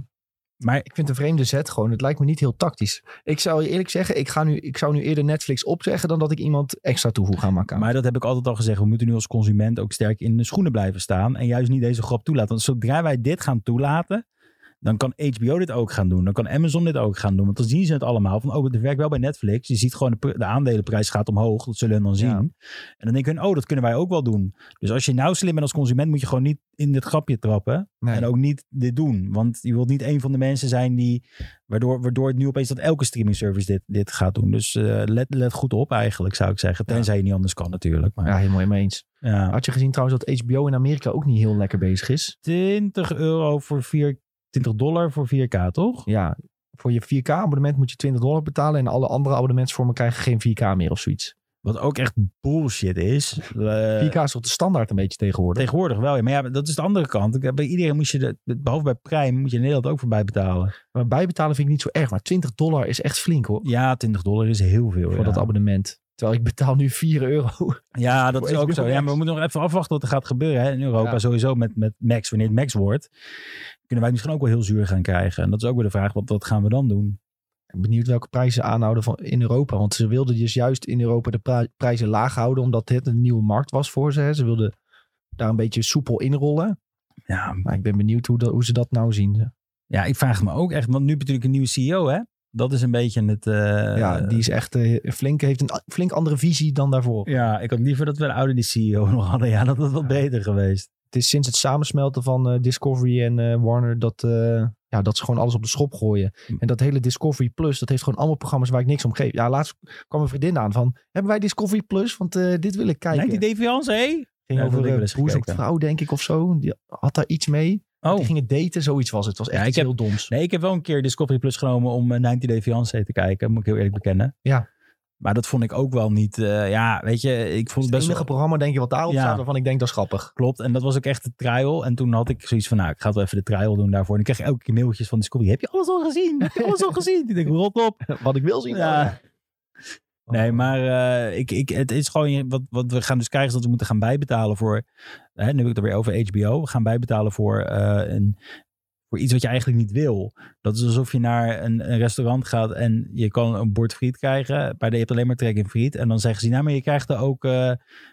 B: Maar
A: Ik vind het een vreemde zet gewoon. Het lijkt me niet heel tactisch. Ik zou je eerlijk zeggen, ik, ga nu, ik zou nu eerder Netflix opzeggen dan dat ik iemand extra toevoeg aan mijn account.
B: Maar dat heb ik altijd al gezegd. We moeten nu als consument ook sterk in de schoenen blijven staan. En juist niet deze grap toelaten. Want zodra wij dit gaan toelaten, dan kan HBO dit ook gaan doen. Dan kan Amazon dit ook gaan doen. Want dan zien ze het allemaal. Van, oh, het werkt wel bij Netflix. Je ziet gewoon de, pr- de aandelenprijs gaat omhoog. Dat zullen hun dan zien.
A: Ja.
B: En dan denken hun, oh, dat kunnen wij ook wel doen. Dus als je nou slim bent als consument, moet je gewoon niet in dit grapje trappen.
A: Nee.
B: En ook niet dit doen. Want je wilt niet een van de mensen zijn die... Waardoor, waardoor het nu opeens dat elke streaming service dit, dit gaat doen. Dus eh, let, let goed op eigenlijk, zou ik zeggen. Tenzij je niet anders kan natuurlijk. Maar,
A: Ja, helemaal in me eens.
B: ja.
A: Had je gezien trouwens dat HBO in Amerika ook niet heel lekker bezig is?
B: 20 euro voor 4... 20 dollar voor 4K, toch?
A: Ja, voor je 4K abonnement moet je 20 dollar betalen en alle andere abonnementsvormen krijgen geen 4K meer of zoiets.
B: Wat ook echt bullshit is. Eh,
A: 4K is toch de standaard een beetje tegenwoordig?
B: Tegenwoordig wel, ja. Maar ja, dat is de andere kant. Ik- Bij iedereen moest je, de, behalve bij Prime, moet je in Nederland ook voorbij betalen.
A: Maar bijbetalen vind ik niet zo erg, maar 20 dollar is echt flink hoor,
B: Ja, 20 dollar is heel veel.
A: voor
B: ja.
A: dat abonnement. Terwijl ik betaal nu 4 euro.
B: Ja, dat
A: Voor
B: is ook
A: HBO
B: zo. Ja, maar
A: Max.
B: we moeten nog even afwachten wat er gaat gebeuren hè, in Europa.
A: Ja.
B: Sowieso met, met Max. Wanneer het Max wordt, kunnen wij het misschien ook wel heel zuur gaan krijgen. En dat is ook weer de vraag, wat, wat gaan we dan doen?
A: Ik ben benieuwd welke prijzen ze aanhouden van, in Europa. Want ze wilden dus juist in Europa de pri- prijzen laag houden. Omdat dit een nieuwe markt was voor ze. Hè. Ze wilden daar een beetje soepel inrollen.
B: Ja,
A: Maar ik ben benieuwd hoe, dat, hoe ze dat nou zien.
B: ja, ik vraag me ook echt, want nu heb je natuurlijk een nieuwe CEO, hè? Dat is een beetje het... eh,
A: ja, die is echt eh, flink, heeft een a- flink andere visie dan daarvoor.
B: ja, ik had liever dat we een oude die CEO nog hadden. Ja, dat was wel
A: Ja.
B: beter geweest.
A: Het is sinds het samensmelten van eh, Discovery en eh, Warner dat, eh, ja, dat ze gewoon alles op de schop gooien.
B: Hm.
A: En dat hele Discovery Plus, dat heeft gewoon allemaal programma's waar ik niks om geef. Ja, laatst kwam een vriendin aan van, hebben wij Discovery Plus? Want eh, dit wil ik kijken.
B: Lijkt die deviance, hé?
A: ging
B: Ja, dat
A: over
B: heb ik
A: eh,
B: wel eens
A: Hoe zoekt
B: gekeken.
A: vrouw, denk ik, of zo. Die had daar iets mee.
B: Oh,
A: Die gingen daten, zoiets was het. Het was echt
B: Ja,
A: iets
B: ik heb-
A: heel doms.
B: nee, ik heb wel een keer Discovery Plus genomen om eh, 90 Day Fiancé te kijken. Moet ik heel eerlijk bekennen.
A: Ja.
B: Maar dat vond ik ook wel niet... eh, ja, weet je, ik vond het
A: het
B: best wel...
A: enige programma, denk je, wat daarop
B: Ja.
A: staat, waarvan ik denk, dat is grappig.
B: Klopt. En dat was ook echt de trial. En toen had ik zoiets van, nou, ik ga wel even de trial doen daarvoor. En ik kreeg elke keer mailtjes van Discovery. Heb je alles al gezien? Heb je alles al gezien? Ik denk, rot op.
A: wat ik wil zien.
B: Ja. Nee,
A: Oh.
B: maar eh, ik, ik, het is gewoon, wat, wat we gaan dus krijgen is dat we moeten gaan bijbetalen voor, hè, nu heb ik het er weer over HBO. We gaan bijbetalen voor, eh, een, voor iets wat je eigenlijk niet wil. Dat is alsof je naar een, een restaurant gaat en je kan een bord friet krijgen. Maar je hebt alleen maar trek in friet. En dan zeggen ze, nou, maar je krijgt er ook eh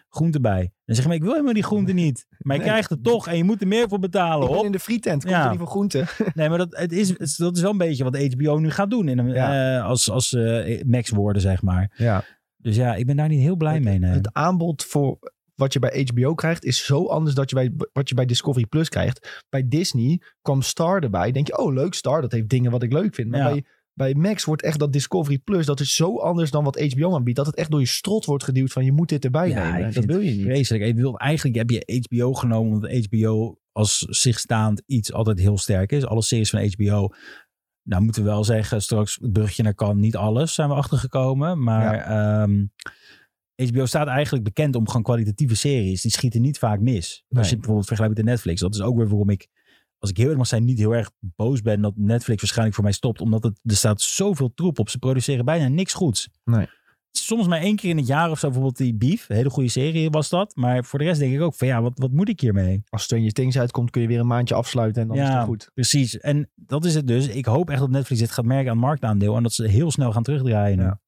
B: groente bij. Dan zeg je, maar ik wil helemaal die groente niet. Maar je
A: Nee.
B: krijgt het toch en je moet er meer voor betalen.
A: Ik ben
B: Hop.
A: in de frietent, komt
B: Ja.
A: er niet van groenten.
B: Nee, maar dat, het is, het is- dat is wel een beetje wat HBO nu gaat doen. In een,
A: Ja.
B: eh, als als eh, Max worden, zeg maar.
A: Ja.
B: Dus ja, ik ben daar niet heel blij mee. nee.
A: Het aanbod voor wat je bij HBO krijgt is zo anders dan je bij, wat je bij Discovery Plus krijgt. Bij Disney kwam Star erbij. Denk je, oh leuk Star, dat heeft dingen wat ik leuk vind. Maar
B: Ja.
A: bij, bij Max wordt echt dat Discovery Plus, dat is zo anders dan wat HBO aanbiedt. Dat het echt door je strot wordt geduwd van je moet dit erbij
B: Ja, ik
A: nemen. Dat
B: vind
A: wil je niet.
B: Vreselijk. Ik bedoel, eigenlijk heb je HBO genomen, omdat HBO als zichstaand iets altijd heel sterk is. Alle series van HBO, nou moeten we wel zeggen, straks het brugje naar kan, niet alles zijn we achtergekomen. Maar ehm, HBO staat eigenlijk bekend om gewoon kwalitatieve series. Die schieten niet vaak mis.
A: Nee.
B: Als je bijvoorbeeld vergelijkt met de Netflix, dat is ook weer waarom ik, als ik heel eerlijk mag zijn, niet heel erg boos ben dat Netflix waarschijnlijk voor mij stopt. Omdat het, er staat zoveel troep op. Ze produceren bijna niks goeds soms maar één keer in het jaar of zo. Bijvoorbeeld die Beef. Een hele goede serie was dat. Maar voor de rest denk ik ook van ja, wat, wat moet ik hiermee?
A: Als Stranger Things uitkomt, kun je weer een maandje afsluiten en dan is
B: Ja.
A: het goed.
B: Precies. En dat is het dus. Ik hoop echt dat Netflix dit gaat merken aan het marktaandeel. En dat ze heel snel gaan terugdraaien. nu.
A: Ja.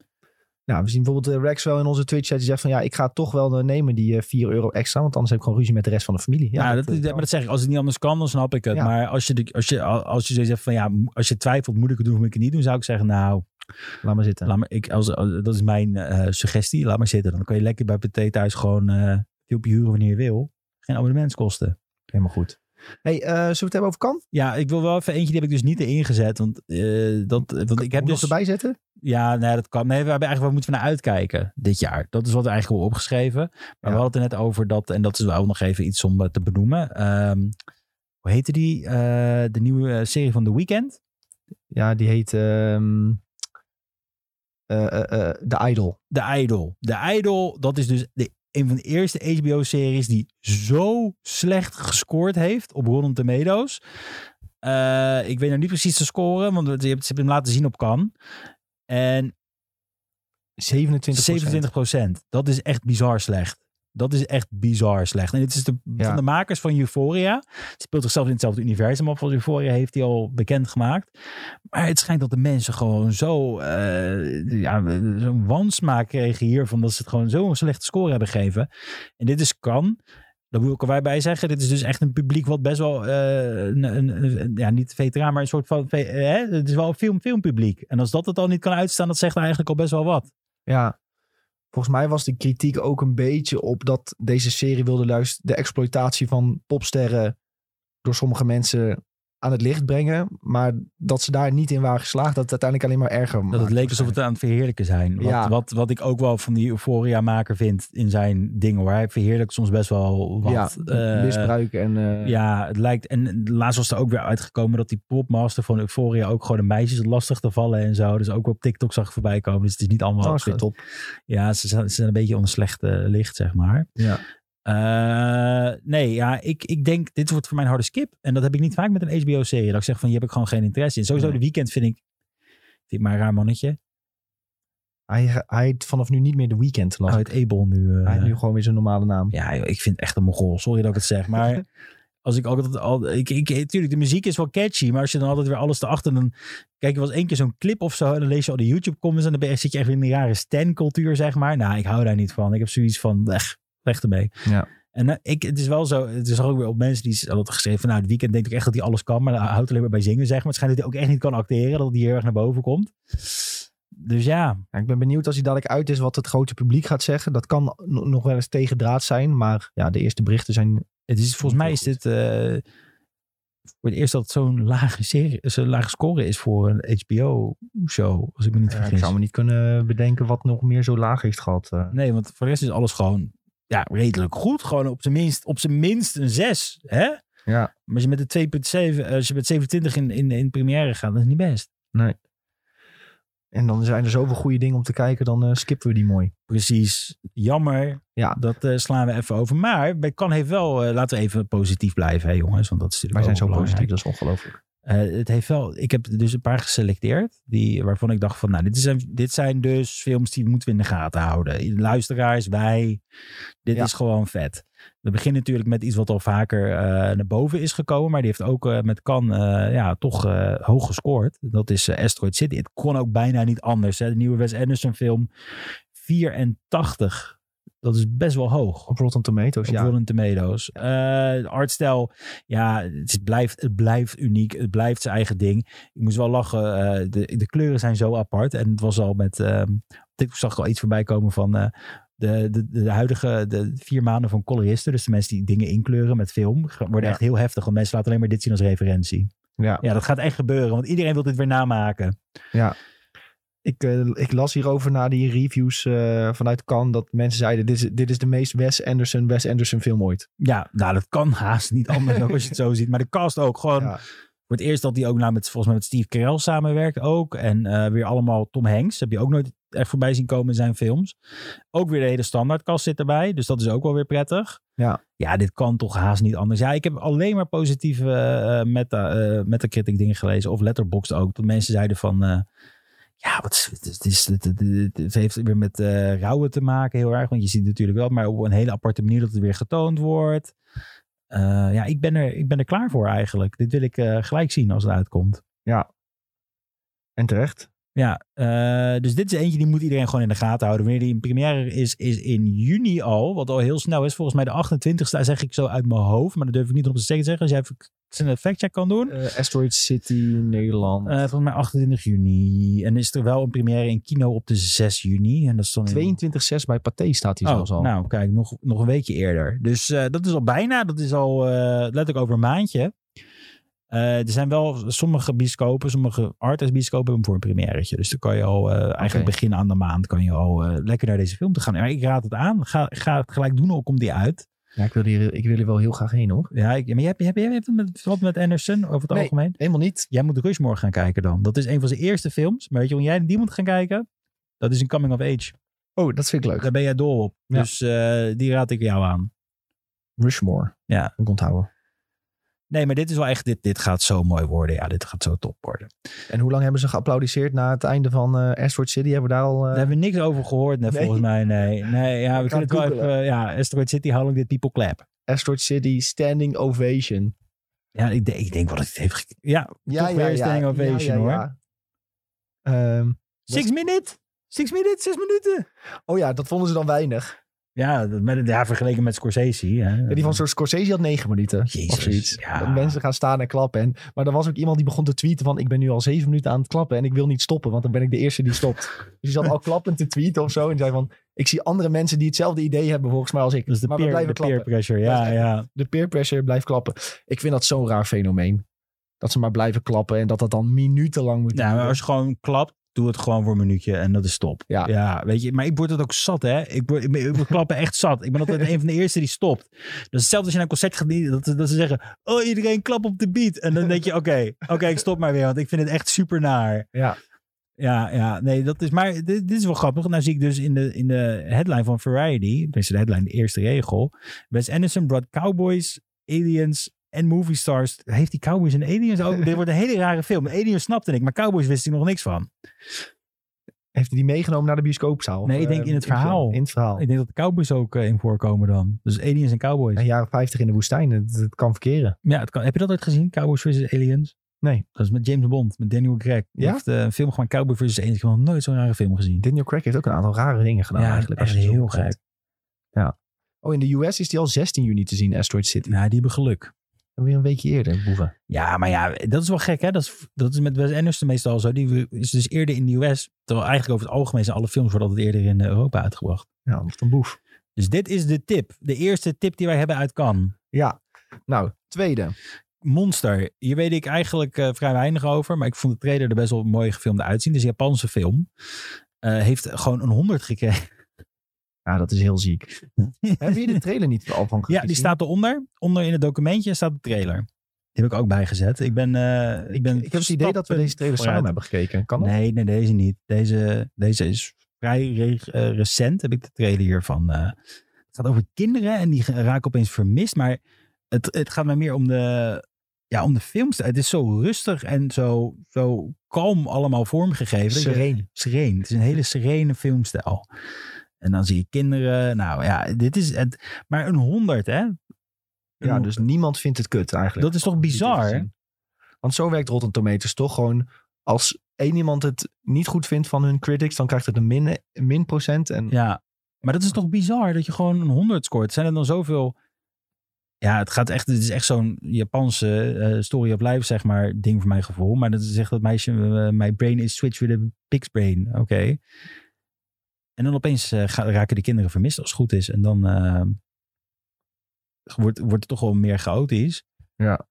A: Nou, we zien bijvoorbeeld eh, Rex wel in onze Twitch chat. Die zegt van ja, ik ga het toch wel eh, nemen die eh 4 euro extra. Want anders heb ik gewoon ruzie met de rest van de familie.
B: Ja, Nou, dat,
A: eh,
B: dat- maar dat zeg ik. Als het niet anders kan, dan snap ik het.
A: Ja.
B: Maar als je, de- als, je, als je zo zegt van ja, als je twijfelt, moet ik het doen of moet ik het niet doen, zou ik zeggen nou,
A: laat maar zitten.
B: laat maar, ik, als, als- dat is mijn eh, suggestie. Laat maar zitten. Dan kan je lekker bij Pathé thuis gewoon eh filmpje huren wanneer je wil. Geen abonnementskosten.
A: Helemaal goed. hey, eh, zullen we het hebben over kan?
B: Ja, ik wil wel even eentje, die heb ik dus niet erin gezet. Want, eh, dat, want ik heb
A: Moet
B: dus...
A: nog erbij zetten?
B: Ja, nee, dat kan. Nee, we hebben eigenlijk, waar moeten we naar uitkijken dit jaar? Dat is wat we eigenlijk hebben opgeschreven. Maar we
A: Ja.
B: hadden het er net over dat, en dat is wel nog even iets om eh, te benoemen. Ehm, hoe heette die? Eh, de nieuwe eh, serie van The Weeknd?
A: Ja, die heet ehm, eh, eh, eh, The Idol.
B: The Idol. The Idol, dat is dus de, een van de eerste HBO-series die zo slecht gescoord heeft op Rotten Tomatoes. Eh, ik weet nou niet precies de score, want het- je hebt, ze hebben hem laten zien op Cannes. En
A: 27
B: 27 Dat is echt bizar slecht. Dat is echt bizar slecht. En het is de,
A: Ja.
B: van de makers van Euphoria. Het speelt zichzelf in hetzelfde universum af als Euphoria. Heeft hij al bekendgemaakt. Maar het schijnt dat de mensen gewoon zo... eh, ja, zo'n wansmaak kregen hiervan. Dat ze het gewoon zo'n slechte score hebben gegeven. En dit is kan. Dat wil ik er wij bij zeggen. Dit is dus echt een publiek wat best wel... eh, een, een, een- ja, niet veteraan, maar een soort van... ve- Hè? Het is wel een film, filmpubliek. En als dat het al niet kan uitstaan, dat zegt eigenlijk al best wel wat.
A: Ja. Volgens mij was de kritiek ook een beetje op dat deze serie wilde luisteren. De exploitatie van popsterren door sommige mensen aan het licht brengen. Maar dat ze daar niet in waren geslaagd. Dat het uiteindelijk alleen maar erger
B: Dat het leek alsof het aan het verheerlijken zijn. Wat,
A: Ja.
B: wat, wat ik ook wel van die Euphoria-maker vind in zijn dingen. Hoor. Hij verheerlijkt soms best wel wat.
A: Ja,
B: eh,
A: misbruik en... eh,
B: ja, het lijkt. En laatst was er ook weer uitgekomen dat die popmaster van Euphoria ook gewoon de meisjes lastig te vallen en zo. Dus ook op TikTok zag ik voorbij komen. Dus het is niet allemaal.
A: Oh, is weer top.
B: ja, ze zijn, ze zijn een beetje onder slecht eh, licht, zeg maar.
A: Ja.
B: Eh, nee, ja, ik, ik denk, dit wordt voor mijn harde skip. En dat heb ik niet vaak met een HBO-serie. Dat ik zeg van, hier heb ik gewoon geen interesse in. Sowieso
A: Nee.
B: de weekend vind ik, vind ik maar een raar mannetje.
A: Hij, hij heet vanaf nu niet meer The Weeknd. las
B: Oh,
A: ik.
B: het Ebel nu. eh.
A: Hij heeft nu gewoon weer zijn normale naam.
B: Ja, joh, ik vind het echt een mogol. Sorry dat ik het zeg. Maar als ik altijd al... Ik, ik, tuurlijk, de muziek is wel catchy. Maar als je dan altijd weer alles erachter... Dan kijk je wel eens één keer zo'n clip of zo. En dan lees je al de YouTube-comments. En dan ben je, zit je echt weer in de rare stan-cultuur, zeg maar. Nou, ik hou daar niet van. Ik heb zoiets van... Weg, weg ermee.
A: Ja.
B: En eh, ik, het is wel zo, het is ook weer op mensen die hadden geschreven van nou, het weekend denk ik echt dat hij alles kan, maar hij houdt alleen maar bij zingen, zeg maar. Het schijnt dat hij ook echt niet kan acteren, dat hij heel erg naar boven komt. Dus ja,
A: Ja, ik ben benieuwd als hij dadelijk uit is wat het grote publiek gaat zeggen. Dat kan no- nog wel eens tegendraad zijn. Maar ja, de eerste berichten zijn...
B: Het is, volgens mij is
A: Heel goed.
B: dit eh, voor het eerst dat zo'n lage, serie, zo'n lage score is voor een HBO-show, als ik me niet
A: Ja, ik
B: vergis.
A: zou me niet kunnen bedenken wat nog meer zo laag heeft gehad. eh.
B: Nee, want voor de rest is alles gewoon ja, redelijk goed. Gewoon op zijn minst, op zijn minst een 6. Hè?
A: Ja.
B: Maar als je met de 2.7, eh, als je met 27 in, in, in première gaat, dat is niet best.
A: En dan zijn er zoveel goede dingen om te kijken. Dan eh, skippen we die mooi.
B: Precies. Jammer.
A: Ja.
B: Dat eh, slaan we even over. Maar bij kan heeft wel, eh, laten we even positief blijven, hè, jongens. Want dat is
A: Wij
B: natuurlijk
A: zijn
B: ook
A: zo
B: belangrijk.
A: positief. Dat is ongelooflijk.
B: Eh, het heeft wel, ik heb dus een paar geselecteerd. Die, waarvan ik dacht van, nou, dit zijn, dit zijn dus films die moeten we in de gaten houden. Luisteraars, wij. Dit
A: Ja.
B: is gewoon vet. We beginnen natuurlijk met iets wat al vaker eh, naar boven is gekomen. Maar die heeft ook eh, met Kan ja, toch eh, hoog gescoord. Dat is eh, Asteroid City. Het kon ook bijna niet anders. Hè? De nieuwe Wes Anderson film. 84. Dat is best wel hoog.
A: Op Rotten Tomatoes,
B: Op
A: ja.
B: Dus Rotten Tomatoes. Eh, de artstijl, ja, het, is- blijft, het blijft uniek. Het blijft zijn eigen ding. Ik moest wel lachen. eh, de, de kleuren zijn zo apart. En het was al met... ehm, op TikTok zag ik al iets voorbij komen van... eh, de, de, de huidige de vier maanden van coloristen, dus de mensen die dingen inkleuren met film, ge- worden
A: Ja.
B: echt heel heftig. Want mensen laten alleen maar dit zien als referentie.
A: Ja.
B: Ja, dat gaat echt gebeuren, want iedereen wil dit weer namaken.
A: Ik, eh, ik las hierover na die reviews eh, vanuit Cannes dat mensen zeiden dit is, dit is de meest Wes Anderson, Wes Anderson film ooit.
B: Ja, nou, dat kan haast niet anders dan als je het zo ziet. Maar de cast ook gewoon.
A: Ja.
B: Voor het eerst dat hij ook nou met, volgens mij met Steve Carell samenwerkt ook. En eh, weer allemaal Tom Hanks. Heb je ook nooit echt voorbij zien komen in zijn films. Ook weer de hele standaardkast zit erbij. Dus dat is ook wel weer prettig.
A: Ja.
B: ja, dit kan toch haast niet anders. Ja, ik heb alleen maar positieve eh meta, eh metacritic dingen gelezen. Of letterboxd ook. Dat mensen zeiden van... eh, ja, wat is, het, is, het, is- het- het- het heeft weer met eh rouwen te maken heel erg. Want je ziet natuurlijk wel, maar op een hele aparte manier dat het weer getoond wordt. Eh, ja, ik ben, er, ik ben er klaar voor eigenlijk. Dit wil ik eh, gelijk zien als het uitkomt.
A: En terecht.
B: Ja, eh, dus dit is eentje die moet iedereen gewoon in de gaten houden. Wanneer die in première is, is in juni al. Wat al heel snel is. Volgens mij de 28ste zeg ik zo uit mijn hoofd. Maar dat durf ik niet op de zeker te zeggen. Als jij even een factcheck kan doen.
A: Eh, Asteroid City, Nederland.
B: Eh, volgens mij 28 juni. En is er wel een première in kino op de 6 juni. En dat is dan in-
A: 22-6 bij Pathé staat hij
B: Oh,
A: zelfs al.
B: Nou, kijk, nog, nog een weekje eerder. Dus eh, dat is al bijna. Dat is al eh, letterlijk over een maandje. Eh, er zijn wel sommige bioscopen, sommige artist bioscopen hebben hem voor een premièretje. Dus dan kan je al, eh, eigenlijk
A: Oké.
B: begin aan de maand, kan je al eh, lekker naar deze film te gaan. Maar ik raad het aan. Ga, ga het gelijk doen, ook komt die uit.
A: Ja, ik wil, hier, ik wil hier wel heel graag heen hoor.
B: Ja, ik, maar je hebt, je hebt, je hebt het met, wat met Anderson over het
A: Nee.
B: algemeen.
A: Helemaal niet.
B: Jij moet Rushmore gaan kijken dan. Dat is een van zijn eerste films. Maar weet je, wanneer jij die moet gaan kijken, dat is een coming of age.
A: Oh, dat vind ik leuk.
B: Daar ben jij dol op.
A: Ja.
B: Dus eh, die raad ik jou aan.
A: Rushmore.
B: Ja.
A: Moet Ik onthouden.
B: Nee, maar dit is wel echt, dit, dit gaat zo mooi worden. Ja, dit gaat zo top worden.
A: En hoe lang hebben ze geapplaudiceerd na het einde van eh Asteroid City? Hebben we daar al... eh,
B: Daar hebben we niks over gehoord, net,
A: Nee.
B: volgens mij. Nee, nee ja, we
A: Ik ga
B: kunnen het
A: het
B: wel even,
A: googlen.
B: ja, Asteroid City, how long did people clap?
A: Asteroid City, Standing Ovation.
B: Ja, ik, denk- ik denk wel dat het heeft gek- Ja,
A: Ja,
B: weer standing ovation, hoor.
A: Ehm,
B: six minutes. Six minutes, zes minuten.
A: oh ja, dat vonden ze dan weinig.
B: Ja, dat met, ja vergeleken met Scorsese. Hè.
A: Ja, die van zo'n Scorsese had negen minuten.
B: Jezus,
A: of zoiets.
B: ja.
A: Dat mensen gaan staan en klappen. En, maar er was ook iemand die begon te tweeten van... ik ben nu al zeven minuten aan het klappen en ik wil niet stoppen... want dan ben ik de eerste die stopt. dus die zat al klappend te tweeten of zo. En zei van... ik zie andere mensen die hetzelfde idee hebben volgens mij als ik.
B: Dat is de,
A: maar we
B: peer, de
A: blijven klappen.
B: peer pressure. Ja,
A: Ja.
B: ja.
A: de peer pressure blijft klappen. Ik vind dat zo'n raar fenomeen. Dat ze maar blijven klappen en dat dat dan minutenlang moet
B: Nou, maar
A: duren.
B: als je gewoon klapt, doe het gewoon voor een minuutje en dat is top.
A: Ja.
B: weet je. Maar ik word het ook zat, hè. Ik word, ik, ben- ik word klappen echt zat. Ik ben altijd een van de eerste die stopt. Dat is hetzelfde als je naar een concert gaat, die- dat, dat ze zeggen, oh, iedereen klap op de beat. En dan denk je, oké, oké, ik stop maar weer, want ik vind het echt super naar.
A: Ja.
B: Ja, ja, nee, dat is maar. Dit, dit is wel grappig. Nou zie ik dus in de, in de headline van Variety, tenminste de headline, de eerste regel. Wes Anderson brought cowboys, aliens en movie stars. Heeft die cowboys en aliens ook? dit wordt een hele rare film. Aliens snapte ik, maar cowboys wist ik nog niks van.
A: Heeft hij die meegenomen naar de bioscoopzaal?
B: Nee,
A: Of,
B: ik denk
A: eh,
B: in het
A: film?
B: verhaal.
A: In het verhaal.
B: Ik denk dat de cowboys ook eh, in voorkomen dan. Dus aliens en cowboys.
A: Een jaren 50 in de woestijn, het, het kan verkeren.
B: Ja, het kan, heb je dat ooit gezien? Cowboys vs. Aliens?
A: Nee.
B: Dat is met James Bond, met Daniel Craig. Die
A: Ja?
B: heeft eh, een film gewoon Cowboy vs. Aliens. Ik heb nog nooit zo'n rare film gezien.
A: Daniel Craig heeft ook een aantal rare dingen gedaan
B: ja,
A: eigenlijk.
B: echt
A: als je zo
B: heel
A: bekijkt.
B: gek.
A: Oh, in de US is die al 16 juni te zien, Asteroid City.
B: Nou, die hebben geluk.
A: Weer een weekje eerder, boeven.
B: Ja, maar ja, dat is wel gek, hè? Dat is, dat is met Wes Anderson meestal zo. Die is dus eerder in de US. Terwijl eigenlijk over het algemeen zijn alle films worden altijd eerder in eh, Europa uitgebracht.
A: Ja, wat een boef.
B: Dus dit is de tip. De eerste tip die wij hebben uit Cannes.
A: Ja, nou, tweede.
B: Monster. Hier weet ik eigenlijk eh, vrij weinig over. Maar ik vond de trailer er best wel mooi gefilmd uitzien. Het is een Japanse film. Eh, heeft gewoon een 100 gekregen.
A: Ja, dat is heel ziek. Hebben jullie de trailer niet al van gezien?
B: ja, die staat eronder. Onder in het documentje staat de trailer. Die heb ik ook bijgezet. Ik ben. eh, ik,
A: Ik,
B: ben
A: ik heb het idee dat we
B: stappen Oh
A: deze trailer samen
B: vooruit.
A: hebben gekeken. Kan dat?
B: Nee, nee, deze niet. Deze, deze is vrij re- eh, recent, heb ik de trailer hiervan. eh. het gaat over kinderen en die ge- raken opeens vermist. Maar het, het gaat mij meer om de, ja, om de films. Het is zo rustig en zo, zo kalm allemaal vormgegeven. Dat je-
A: Sereen.
B: sereen. Het is een hele serene filmstijl. En dan zie je kinderen. Nou ja, dit is het. Maar een honderd, hè?
A: Ja, dus niemand vindt het kut eigenlijk.
B: Dat is toch
A: Om dit even te
B: bizar?
A: zien. Want zo werkt Rotten Tomatoes toch gewoon. Als één iemand het niet goed vindt van hun critics, dan krijgt het een min, een min procent. En
B: Ja, maar dat is toch bizar dat je gewoon een 100 scoort. Zijn er dan zoveel... Ja, het gaat echt, het is echt zo'n Japanse eh, story of life, zeg maar, ding voor mijn gevoel. Maar dat is echt dat meisje, eh, my brain is switched with a pig's brain. Oké. En dan opeens eh, ga- raken die kinderen vermist als het goed is. En dan eh, wordt, wordt het toch wel meer chaotisch.
A: Ja.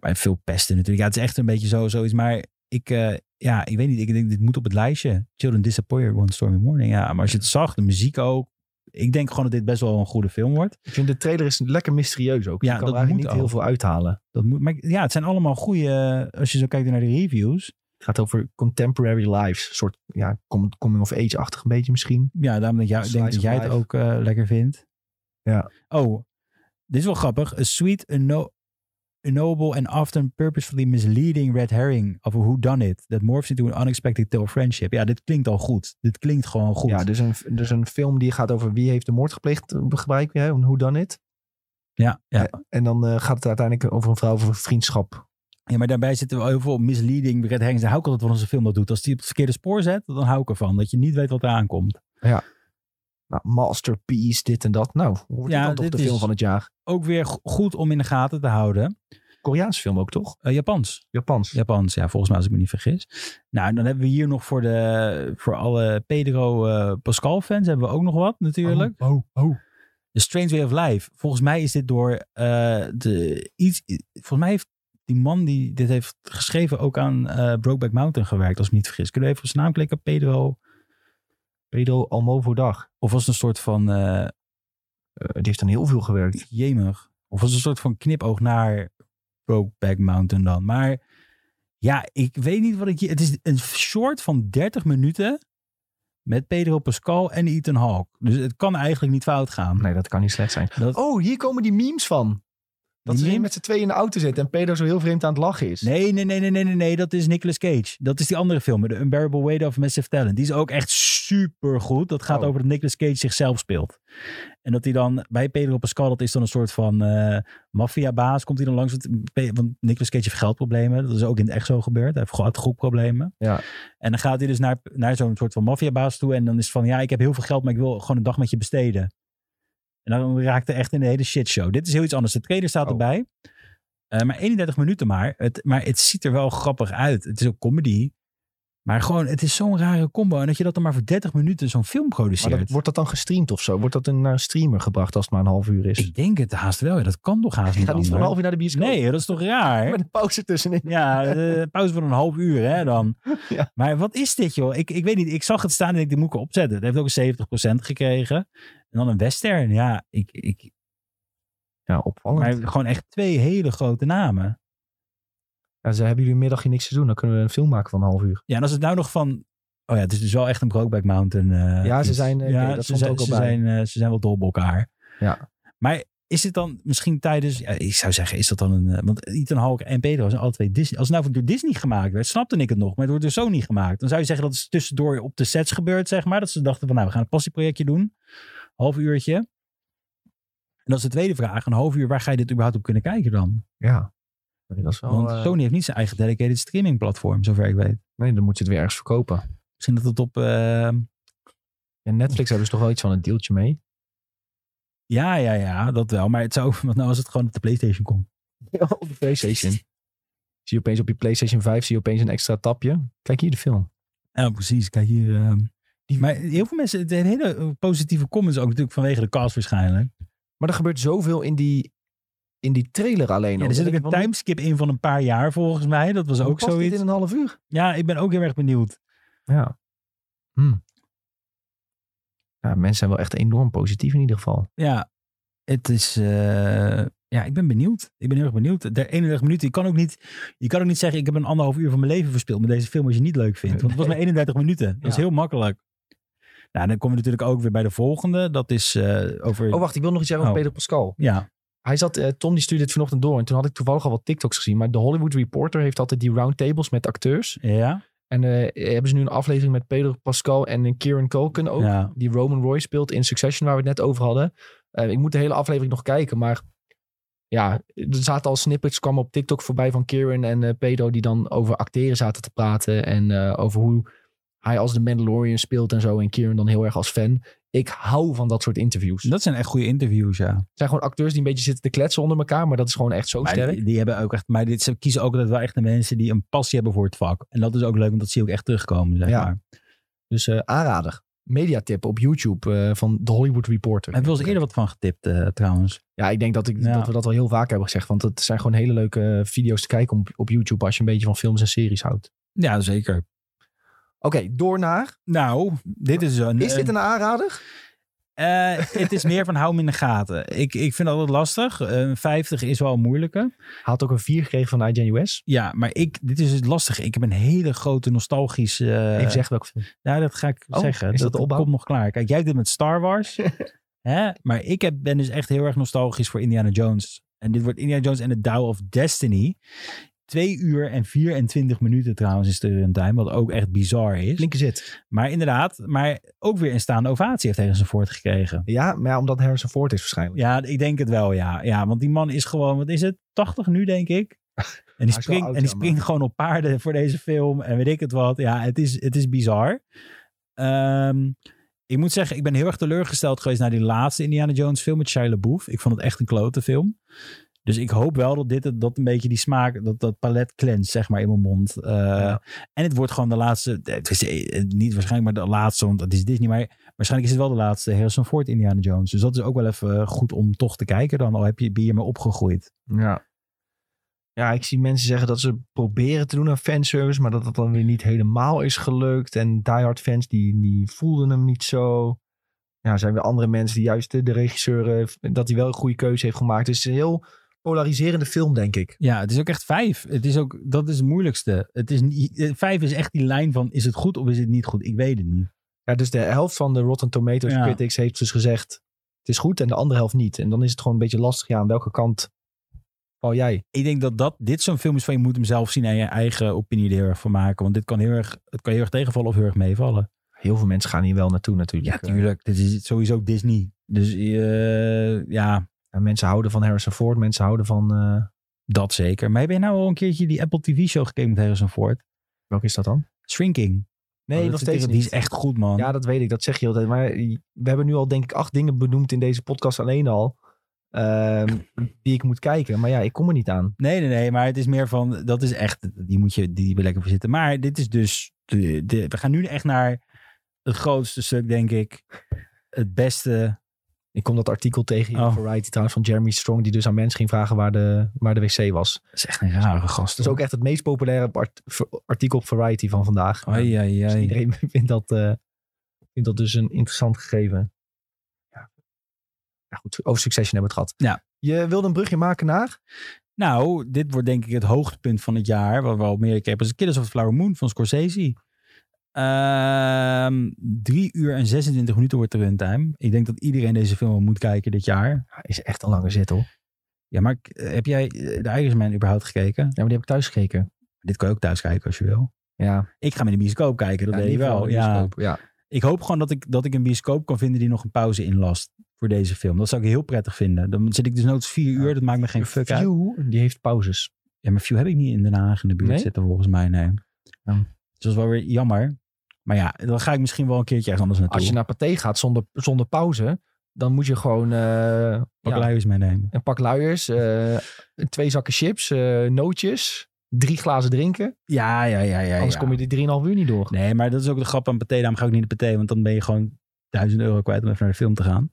B: Maar veel pesten natuurlijk. Ja, het is echt een beetje zo, zoiets. Maar ik, eh, ja, ik weet niet. Ik denk, dit moet op het lijstje. Children Disappear, One Stormy Morning. Ja, maar als je het zag, de muziek ook. Ik denk gewoon dat dit best wel een goede film wordt.
A: Ik vind de trailer is lekker mysterieus ook.
B: Ja,
A: je kan
B: dat
A: er eigenlijk
B: moet
A: niet heel
B: ook.
A: veel uithalen.
B: Dat moet, maar ik- ja, het zijn allemaal goede, als je zo kijkt naar de reviews.
A: Het gaat over contemporary lives. Een soort ja, com- coming of age-achtig een beetje misschien.
B: Ja, daarom dat jij,
A: Slice
B: denk dat
A: of
B: jij het
A: life.
B: ook eh, lekker vindt.
A: Ja.
B: Oh, dit is wel grappig. A sweet, inno- ignoble and often purposefully misleading red herring of a who done it that morphs into an unexpected tale of friendship. Ja, dit klinkt al goed. Dit klinkt gewoon goed.
A: Ja, dus een, dus een film die gaat over wie heeft de moord gepleegd, eh, gebruik je, hè, hoe dan het.
B: ja, ja.
A: En dan eh, gaat het uiteindelijk over een vrouw of een vriendschap.
B: Ja, maar daarbij zitten we heel veel misleading. Red Herrings, daar hou ik altijd van als een film dat doet. Als die op het verkeerde spoor zet, dan hou ik ervan. Dat je niet weet wat eraan komt.
A: Nou, masterpiece, dit en dat. Nou, wordt
B: Ja,
A: dit dan toch
B: dit
A: de
B: is-
A: film van het jaar?
B: Ook weer go- goed om in de gaten te houden.
A: Koreaans film ook, toch?
B: Eh, Japans.
A: Japans.
B: Japans, ja, volgens mij als ik me niet vergis. Nou, en dan hebben we hier nog voor, de, voor alle Pedro eh, Pascal fans hebben we ook nog wat natuurlijk.
A: Oh, oh, oh.
B: The Strange Way of Life. Volgens mij is dit door eh, de iets. Volgens mij heeft die man die dit heeft geschreven ook aan eh Brokeback Mountain gewerkt, als ik me niet vergis. Kunnen we even op zijn naam klikken? Pedro.
A: Pedro Almodovar.
B: Of was het een soort van eh
A: Eh, die heeft dan heel veel gewerkt.
B: jemig. Of was het een soort van knipoog naar Brokeback Mountain dan. Maar ja, ik weet niet wat ik hier... Het is een short van 30 minuten met Pedro Pascal en Ethan Hawke. Dus het kan eigenlijk niet fout gaan.
A: Nee, dat kan niet slecht zijn.
B: Dat-
A: Oh, hier komen die memes van. Dat
B: Die
A: ze
B: meme-
A: met z'n tweeën in de auto zitten en Pedro zo heel vreemd aan het lachen is.
B: Nee, nee, nee, nee, nee, nee, nee, dat is Nicolas Cage. Dat is die andere film, The Unbearable Weight of Massive Talent. Die is ook echt supergoed. Dat gaat
A: Oh.
B: over dat Nicolas Cage zichzelf speelt. En dat hij dan bij Pedro Pascal, dat is dan een soort van eh maffiabaas, komt hij dan langs. Want Pe- Want Nicolas Cage heeft geldproblemen. Dat is ook in het echt zo gebeurd. Hij heeft gehad groepproblemen.
A: Ja.
B: En dan gaat hij dus naar, naar zo'n soort van maffiabaas toe. En dan is het van, ja, ik heb heel veel geld, maar ik wil gewoon een dag met je besteden. En dan raakte echt in een hele shitshow. Dit is heel iets anders. De trailer staat
A: Oh.
B: erbij. Eh, maar 31 minuten maar. Het, maar het ziet er wel grappig uit. Het is ook comedy. Maar gewoon, het is zo'n rare combo. En dat je dat dan maar voor 30 minuten zo'n film
A: Maar
B: produceert.
A: dat, wordt dat dan gestreamd of zo? Wordt dat een, naar een streamer gebracht als het maar een half uur is?
B: Ik denk het haast wel. Ja, dat kan toch haast
A: Ik
B: niet
A: ga dus- niet
B: anders.
A: van een half uur naar de bioscoop.
B: Nee, dat is toch raar?
A: Met een pauze tussenin.
B: Ja, eh, pauze van een half uur hè dan.
A: Ja.
B: Maar wat is dit joh? Ik, ik weet niet, ik zag het staan en ik dacht, dit moet ik opzetten. Het heeft ook een 70% gekregen. En dan een western. Ja, ik, ik,
A: Ja, opvallend.
B: maar gewoon echt twee hele grote namen.
A: Ja, ze hebben jullie een middagje niks te doen. Dan kunnen we een film maken van een half uur.
B: Ja, en als het nou nog van... Oh ja, het is dus wel echt een Brokeback Mountain. eh,
A: Ja, ze
B: iets.
A: zijn- oké, dat
B: ze
A: stond
B: zijn,
A: ook al
B: ze
A: bij.
B: Zijn, eh, ze zijn wel dol op elkaar.
A: Ja.
B: Maar is het dan misschien tijdens... Ja, ik zou zeggen, is dat dan een... eh, Want Ethan Hawke en Pedro zijn alle twee Disney. Als het nou door Disney gemaakt werd, snapte ik het nog. Maar het wordt door Sony gemaakt. Dan zou je zeggen dat het tussendoor op de sets gebeurt, zeg maar. Dat ze dachten van, nou, we gaan een passieprojectje doen. Half uurtje. En dat is de tweede vraag. Een half uur, waar ga je dit überhaupt op kunnen kijken dan?
A: Ja. Nee, dat is wel,
B: Want
A: eh,
B: Sony heeft niet zijn eigen dedicated streaming platform, zover ik weet.
A: nee, dan moet je het weer ergens verkopen.
B: Misschien dat het op... eh,
A: En Netflix hebben ze toch wel iets van een deeltje mee?
B: Ja, ja, ja, dat wel. Maar het zou, want nou als het gewoon op de PlayStation komt.
A: op de PlayStation. Zie je opeens op je PlayStation 5 zie je opeens een extra tapje. Kijk hier de film.
B: Ja, precies. Kijk hier. ehm, die, maar heel veel mensen, de hele eh, positieve comments ook natuurlijk vanwege de cast waarschijnlijk.
A: Maar er gebeurt zoveel in die, in die trailer alleen.
B: Ja,
A: al.
B: er zit
A: Dan
B: ook
A: denk
B: een
A: ik van,
B: timeskip in van een paar jaar volgens mij. Dat was
A: hoe
B: ook
A: past dit
B: zoiets.
A: in een half uur.
B: Ja, ik ben ook heel erg benieuwd.
A: Ja. Hm. Ja, mensen zijn wel echt enorm positief in ieder geval.
B: Ja, het is. eh, ja, ik ben benieuwd. Ik ben heel erg benieuwd. De 31 minuten. Je kan, ook niet, je kan ook niet zeggen: ik heb een anderhalf uur van mijn leven verspild met deze film als je het niet leuk vindt. Want het was maar 31 minuten. Dat is
A: Ja.
B: heel makkelijk. Nou, dan komen we natuurlijk ook weer bij de volgende. Dat is eh, over.
A: Oh, wacht, ik wil nog iets zeggen over
B: Oh.
A: Pedro Pascal.
B: Ja,
A: Hij zat, eh, Tom die stuurde het vanochtend door en toen had ik toevallig al wat TikToks gezien. Maar de Hollywood Reporter heeft altijd die roundtables met acteurs.
B: ja,
A: En eh, hebben ze nu een aflevering met Pedro Pascal en eh, Kieran Culkin ook.
B: ja.
A: die Roman Roy speelt in Succession, waar we het net over hadden. Eh, ik moet de hele aflevering nog kijken, maar ja, er zaten al snippets, kwam op TikTok voorbij van Kieran en eh Pedro, die dan over acteren zaten te praten en eh, over hoe hij als de Mandalorian speelt en zo. En Kieran dan heel erg als fan. Ik hou van dat soort interviews. Het
B: Dat zijn echt goede interviews, ja.
A: zijn gewoon acteurs die een beetje zitten te kletsen onder elkaar, maar dat is gewoon echt zo
B: Maar
A: sterk.
B: die, die hebben ook echt, maar dit, ze kiezen ook dat wel echt de mensen die een passie hebben voor het vak. En dat is ook leuk, want dat zie je ook echt terugkomen, zeg
A: Ja.
B: maar.
A: Dus eh, aanrader. mediatip op YouTube eh, van The Hollywood Reporter.
B: Heb je wel eens eerder wat van getipt eh, trouwens?
A: Ja, ik denk dat, ik,
B: Ja.
A: dat we dat wel heel vaak hebben gezegd. Want het zijn gewoon hele leuke eh, video's te kijken op, op YouTube als je een beetje van films en series houdt.
B: Ja, zeker.
A: Oké, door naar.
B: Nou, dit is een...
A: Is dit een aanrader?
B: Eh, het is meer van hou hem in de gaten. Ik, ik vind dat altijd lastig. Een 50 is wel moeilijker.
A: Had ook een 4 gekregen van IGN US.
B: Ja, maar ik, dit is het lastige. Ik heb een hele grote nostalgische... eh,
A: Even zeggen welke film.
B: Nou, dat ga ik
A: Oh,
B: zeggen.
A: is dat
B: dat
A: de opbouw?
B: komt nog klaar. Kijk, jij hebt dit met Star Wars. hè? Maar ik heb, ben dus echt heel erg nostalgisch voor Indiana Jones. En dit wordt Indiana Jones en de Dow of Destiny. Twee uur en 24 minuten trouwens is de runtime. Wat ook echt bizar is.
A: Flinke zit.
B: Maar inderdaad, maar ook weer een staande ovatie heeft tegen zijn voort gekregen.
A: Ja, maar ja, omdat Harrison Ford is waarschijnlijk.
B: Ja, ik denk het wel, ja. Ja, want die man is gewoon, wat is het? 80 nu, denk ik. En die
A: wel
B: springt,
A: oud,
B: en die
A: ja,
B: springt gewoon op paarden voor deze film en weet ik het wat. Ja, het is, het is bizar. Ehm, ik moet zeggen, ik ben heel erg teleurgesteld geweest naar die laatste Indiana Jones film met Shia LaBeouf. Ik vond het echt een klote film. Dus ik hoop wel dat dit het- dat een beetje die smaak, dat, dat palet cleanst, zeg maar, in mijn mond. Eh,
A: Ja.
B: En het wordt gewoon de laatste, het is eh, niet waarschijnlijk maar de laatste, want dat is Disney, maar Waarschijnlijk is het wel de laatste Harrison Ford Indiana Jones. Dus dat is ook wel even eh, goed om toch te kijken dan. Al heb je ben je maar opgegroeid.
A: Ja. Ja, ik zie mensen zeggen dat ze proberen te doen aan fanservice, maar dat dat dan weer niet helemaal is gelukt. En diehard fans die, die voelden hem niet zo. Ja, er zijn weer andere mensen die juist de, de regisseur, eh, dat hij wel een goede keuze heeft gemaakt. Dus het is een heel polariserende film, denk ik.
B: Ja, het is ook echt vijf. Het is ook, dat is het moeilijkste. Het is, niet- eh, vijf is echt die lijn van is het goed of is het niet goed? Ik weet het niet.
A: Ja, dus de helft van de Rotten Tomatoes
B: Ja.
A: critics heeft dus gezegd, het is goed en de andere helft niet. En dan is het gewoon een beetje lastig, ja, aan welke kant val jij?
B: Ik denk dat, dat dit zo'n film is van je moet hem zelf zien en je eigen opinie er heel erg van maken. Want dit kan heel erg, het kan heel erg tegenvallen of heel erg meevallen.
A: Heel veel mensen gaan hier wel naartoe natuurlijk. Eh,
B: tuurlijk. Dit is sowieso Disney. Dus eh, ja,
A: en mensen houden van Harrison Ford, mensen houden van, eh,
B: dat zeker. Maar heb je nou al een keertje die Apple TV show gekeken met Harrison Ford?
A: welke is dat dan?
B: Shrinking.
A: Nee,
B: Oh,
A: nog
B: dat is-
A: steeds
B: Die
A: niet.
B: is echt goed, man.
A: Ja, dat weet ik. Dat zeg je altijd. Maar we hebben nu al denk ik acht dingen benoemd in deze podcast alleen al. ehm, die ik moet kijken. Maar ja, ik kom er niet aan.
B: Nee, nee, nee. Maar het is meer van, dat is echt, die moet je, die wil lekker voor zitten. Maar dit is dus, de, de- we gaan nu echt naar het grootste stuk, denk ik. Het beste.
A: Ik kom dat artikel tegen in
B: Oh.
A: Variety trouwens van Jeremy Strong. Die dus aan mensen ging vragen waar de, waar de wc was.
B: Dat is echt een rare gast.
A: Dat is ook echt het meest populaire art- ver- artikel op Variety van vandaag.
B: Ai, ai,
A: Dus
B: ai.
A: iedereen vindt dat, eh, vindt dat dus een interessant gegeven. Ja. ja goed, over Succession hebben we het gehad.
B: Ja.
A: Je wilde een brugje maken naar?
B: Nou, dit wordt denk ik het hoogtepunt van het jaar. Wat we al meer hebben. is Killers of the Flower Moon van Scorsese. Ehm 3 uur en 26 minuten wordt de runtime. Ik denk dat iedereen deze film wel moet kijken dit jaar.
A: Ja, is echt een lange zit hoor.
B: Ja, maar k- heb jij eh, de Irishman überhaupt gekeken?
A: Ja, maar die heb ik thuis gekeken.
B: Dit kan je ook thuis kijken als je wil.
A: Ja,
B: Ik ga hem in de bioscoop kijken, dat
A: ja,
B: weet
A: die
B: je wel.
A: van de
B: Ja.
A: bioscoop, ja.
B: Ik hoop gewoon dat ik, dat ik een bioscoop kan vinden die nog een pauze inlast voor deze film. Dat zou ik heel prettig vinden. Dan zit ik dus noods vier uur, dat maakt me geen fuck uit.
A: View, die heeft pauzes.
B: Ja, maar View heb ik niet in Den Haag in de buurt
A: Nee?
B: zitten volgens mij, nee.
A: Ja.
B: Dus dat is wel weer jammer. Maar ja, dan ga ik misschien wel een keertje ergens anders naartoe.
A: Als je naar Pathé gaat zonder, zonder pauze, dan moet je gewoon eh,
B: Pak
A: ja,
B: luiers meenemen.
A: een pak luiers, eh, twee zakken chips, eh, nootjes, drie glazen drinken.
B: Ja, ja, ja, ja.
A: Anders
B: ja.
A: kom je de 3,5 uur niet door.
B: Nee, maar dat is ook de grap aan Pathé. Daarom ga ik niet naar Pathé, want dan ben je gewoon duizend euro kwijt om even naar de film te gaan.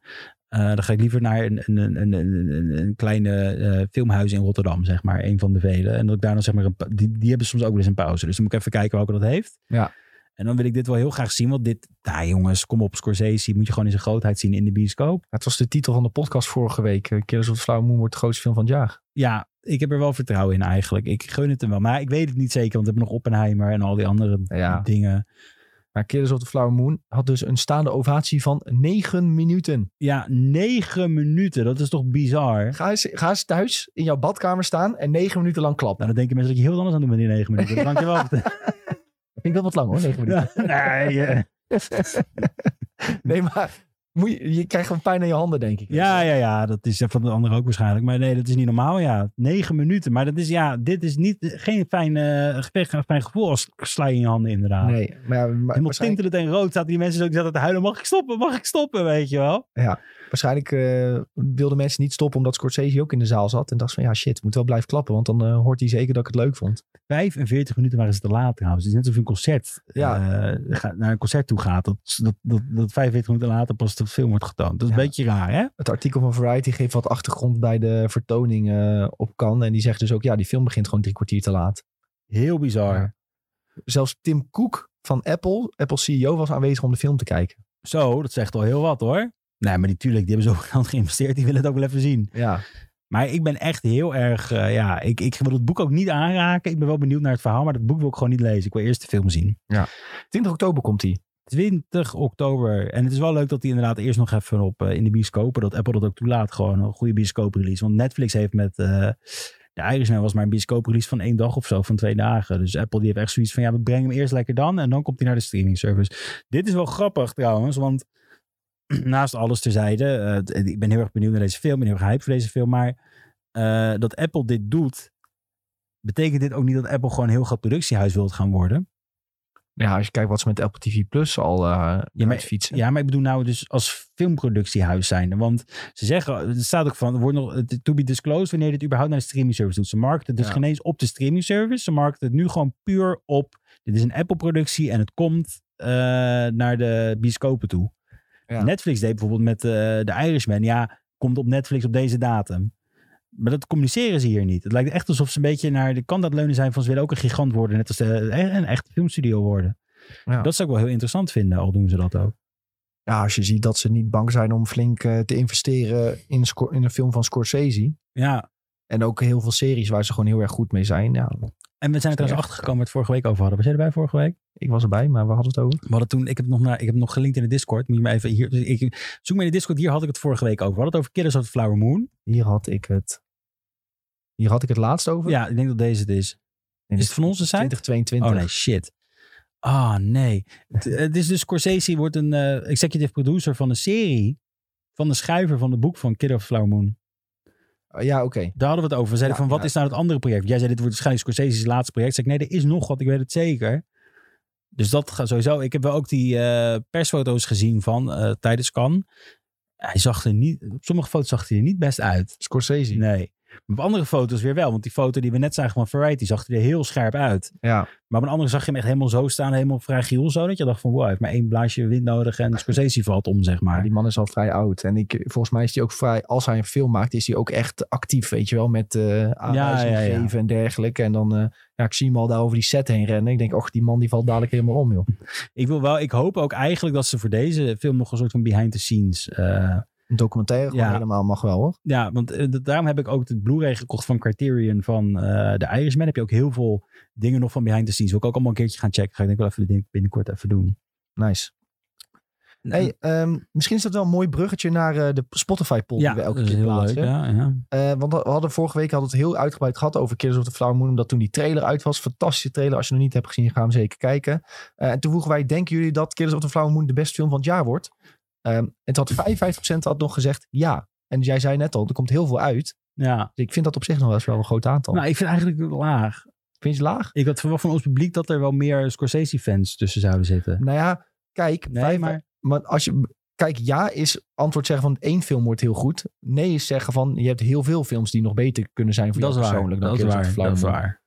B: Eh, dan ga ik liever naar een, een, een, een, een, een- een kleine eh, filmhuis in Rotterdam, zeg maar. Een van de vele. En dat ik daar dan zeg maar... Een, pa- die, die hebben soms ook wel eens een pauze. Dus dan moet ik even kijken welke dat heeft.
A: Ja.
B: En dan wil ik dit wel heel graag zien, want dit... Nou jongens, kom op, Scorsese moet je gewoon in zijn grootheid zien in de bioscoop.
A: Het was de titel van de podcast vorige week. eh, Killers of the Flower Moon wordt de grootste film van het jaar.
B: Ja, ik heb er wel vertrouwen in eigenlijk. Ik gun het hem wel. Maar ik weet het niet zeker, want we hebben nog Oppenheimer en al die andere
A: Ja.
B: dingen.
A: Maar Nou, Killers of the Flower Moon had dus een staande ovatie van 9 minuten.
B: Ja, negen minuten, dat is toch bizar?
A: Ga eens, ga eens thuis in jouw badkamer staan en 9 minuten lang klappen.
B: Nou, dan denken mensen dat je heel anders aan het doen bent in negen minuten. Dat kan ik je wel vertellen.
A: Vind ik wel wat lang hoor, 9 minuten.
B: Ja, nee, eh.
A: Nee, maar moet je, je krijgt gewoon pijn aan je handen, denk ik. Dus-
B: ja, ja, ja, dat is van de ander ook waarschijnlijk. Maar nee, dat is niet normaal, ja. Negen minuten. Maar dat is, ja, dit is niet, geen fijn, eh, geen fijn gevoel als sla je in je handen inderdaad.
A: Nee, maar, ja, maar
B: Helemaal
A: waarschijnlijk-
B: tintelend en rood zaten die mensen zo die zaten te huilen. Mag ik stoppen? Mag ik stoppen? Weet je wel?
A: Ja. Waarschijnlijk eh, wilden mensen niet stoppen omdat Scorsese ook in de zaal zat. En dacht van ja shit, moet wel blijven klappen. Want dan eh, hoort hij zeker dat ik het leuk vond.
B: 45 minuten waren ze te laat trouwens. Het is net alsof je een concert
A: Ja.
B: eh, ga- naar een concert toe gaat. Dat, dat, dat, dat 45 minuten later pas de film wordt getoond. Dat is
A: Ja.
B: een beetje raar, hè?
A: Het artikel van Variety geeft wat achtergrond bij de vertoning eh, op kan. En die zegt dus ook ja, die film begint gewoon drie kwartier te laat.
B: Heel bizar.
A: Ja. Zelfs Tim Cook van Apple, Apple CEO, was aanwezig om de film te kijken.
B: Zo, dat zegt al heel wat hoor. Nee, maar natuurlijk, die hebben zoveel geïnvesteerd. Die willen het ook wel even zien.
A: Ja,
B: Maar ik ben echt heel erg, eh, ja, ik, ik wil het boek ook niet aanraken. Ik ben wel benieuwd naar het verhaal, maar dat boek wil ik gewoon niet lezen. Ik wil eerst de film zien.
A: 20 oktober komt die.
B: 20 oktober. En het is wel leuk dat die inderdaad eerst nog even op eh, in de bioscopen, dat Apple dat ook toelaat, gewoon een goede bioscooprelease. Want Netflix heeft met eh de Irishman was maar een bioscooprelease van één dag of zo, van twee dagen. Dus Apple die heeft echt zoiets van, ja, we brengen hem eerst lekker dan en dan komt hij naar de streaming service. Dit is wel grappig trouwens, want naast alles terzijde, eh, ik ben heel erg benieuwd naar deze film, ik ben heel erg hype voor deze film, maar eh, dat Apple dit doet, betekent dit ook niet dat Apple gewoon een heel groot productiehuis wilt gaan worden?
A: Ja, als je kijkt wat ze met Apple TV Plus al eh
B: maar-
A: uit fietsen.
B: Ja, maar ik bedoel nou dus als filmproductiehuis zijnde. Want ze zeggen, er staat ook van, er wordt nog eh, to be disclosed wanneer je dit überhaupt naar de streaming service doet. Ze markten het dus
A: Ja.
B: geen eens op de streaming service. Ze markten het nu gewoon puur op, dit is een Apple productie en het komt eh, naar de bioscopen toe.
A: Ja.
B: Netflix deed bijvoorbeeld met eh de Irishman, ja, komt op Netflix op deze datum. Maar dat communiceren ze hier niet. Het lijkt echt alsof ze een beetje naar de kant aan het leunen zijn van ze willen ook een gigant worden. Net als de, eh, een echte filmstudio worden.
A: Ja.
B: Dat zou ik wel heel interessant vinden, al doen ze dat ook.
A: Ja, als je ziet dat ze niet bang zijn om flink eh, te investeren in, Scor- in een film van Scorsese.
B: Ja,
A: En ook heel veel series waar ze gewoon heel erg goed mee zijn. Ja,
B: En we zijn er
A: Sterk.
B: trouwens achtergekomen waar we het vorige week over hadden. Was jij erbij vorige week?
A: ik was erbij, maar we hadden het over.
B: We hadden toen, ik heb nog, naar, ik heb nog gelinkt in de Discord. Moet je maar even hier, dus ik, zoek me in de Discord, hier had ik het vorige week over. We hadden het over Killers of the Flower Moon.
A: Hier had ik het. Hier had ik het laatst over.
B: Ja, ik denk dat deze het is.
A: Nee,
B: Is
A: dit
B: het van onze site?
A: 2022.
B: Oh nee, shit. Ah nee. Het, het is dus Scorsese wordt een eh, executive producer van een serie. Van de schrijver van het boek van Killers of the Flower Moon.
A: Oh, Ja, oké.
B: Daar hadden we het over. We zeiden
A: Ja,
B: van, wat
A: ja.
B: is nou het andere project? Jij zei, dit wordt waarschijnlijk Scorsese's laatste project. Zeg ik, nee, er is nog wat. Ik weet het zeker. Dus dat gaat sowieso. Ik heb wel ook die eh, persfoto's gezien van eh, tijdens Kan. Hij zag er niet... Op sommige foto's zag hij er niet best uit.
A: Scorsese.
B: Nee. Maar op andere foto's weer wel. Want die foto die we net zagen van Variety zag hij er heel scherp uit.
A: Ja.
B: Maar op een andere zag je hem echt helemaal zo staan. Helemaal fragiel zo. Dat je dacht van, wow, hij heeft maar één blaasje wind nodig. En Scorsese valt om, zeg
A: Maar
B: maar.
A: die man is al vrij oud. En ik, volgens mij is hij ook vrij, als hij een film maakt, is hij ook echt actief, weet je wel, met eh aanwijzingen
B: ja, ja.
A: geven en dergelijke. En dan, eh, ja, ik zie hem al daar over die set heen rennen. Ik denk, och, die man die valt dadelijk helemaal om, joh.
B: Ik, wil wel, ik hoop ook eigenlijk dat ze voor deze film nog een soort van behind the scenes... eh,
A: Een documentaire gewoon
B: Ja.
A: helemaal mag wel, hoor.
B: Ja, want eh, dat- daarom heb ik ook de Blu-ray gekocht van Criterion van eh, de Irishman. Heb je ook heel veel dingen nog van behind the scenes. Wil ik ook allemaal een keertje gaan checken. Ga ik denk wel even de ding binnenkort even doen.
A: Nice. Hey, ehm, misschien is dat wel een mooi bruggetje naar eh, de Spotify-poll
B: ja,
A: die we elke
B: dat is
A: keer
B: heel leuk.
A: plaatsen.
B: Ja, ja.
A: Eh, want we hadden vorige week hadden we het heel uitgebreid gehad over Killers of the Flower Moon. Omdat toen die trailer uit was. Fantastische trailer. Als je hem nog niet hebt gezien, ga hem zeker kijken. Eh, en toen vroegen wij, denken jullie dat Killers of the Flower Moon de beste film van het jaar wordt? Ehm, en het had 55% had nog gezegd ja. En jij zei net al, er komt heel veel uit.
B: ja.
A: Dus ik vind dat op zich nog best wel een groot aantal.
B: Nou, ik vind het eigenlijk laag.
A: Vind je het laag?
B: Ik had verwacht van ons publiek dat er wel meer Scorsese-fans tussen zouden zitten.
A: Nou ja, kijk.
B: Nee,
A: vijf-
B: maar
A: Maar als je... Kijk, ja is antwoord zeggen van één film wordt heel goed. Nee is zeggen van je hebt heel veel films die nog beter kunnen zijn voor
B: dat is
A: jou
B: waar.
A: persoonlijk dan
B: Dat is
A: Killers of
B: waar.
A: the Flower
B: Dat is
A: Moon.
B: waar. Nou-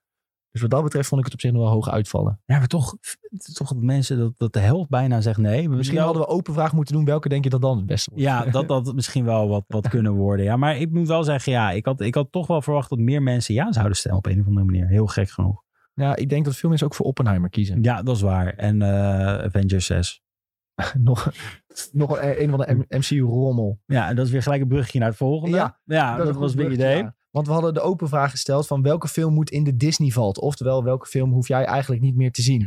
A: Dus wat dat betreft vond ik het op zich nog wel hoog uitvallen.
B: Ja, maar toch, het is toch dat mensen, dat, dat de helft bijna zegt nee. Maar
A: Misschien hadden we open vraag moeten doen. Welke denk je dat dan het beste wordt?
B: Ja, dat dat misschien wel wat, wat kunnen worden. Ja, maar ik moet wel zeggen, ja, ik had, ik had toch wel verwacht dat meer mensen ja zouden stemmen op een of andere manier. Heel gek genoeg.
A: Ja, ik denk dat veel mensen ook voor Oppenheimer kiezen.
B: Ja, dat is waar. En eh, Avengers 6.
A: Nog, nog een, een van de MCU-rommel.
B: Ja, en dat is weer gelijk een brugje naar het volgende.
A: Ja,
B: dat, was mijn idee.
A: Want we hadden de open vraag gesteld van welke film moet in de Disney valt. Oftewel, welke film hoef jij eigenlijk niet meer te zien?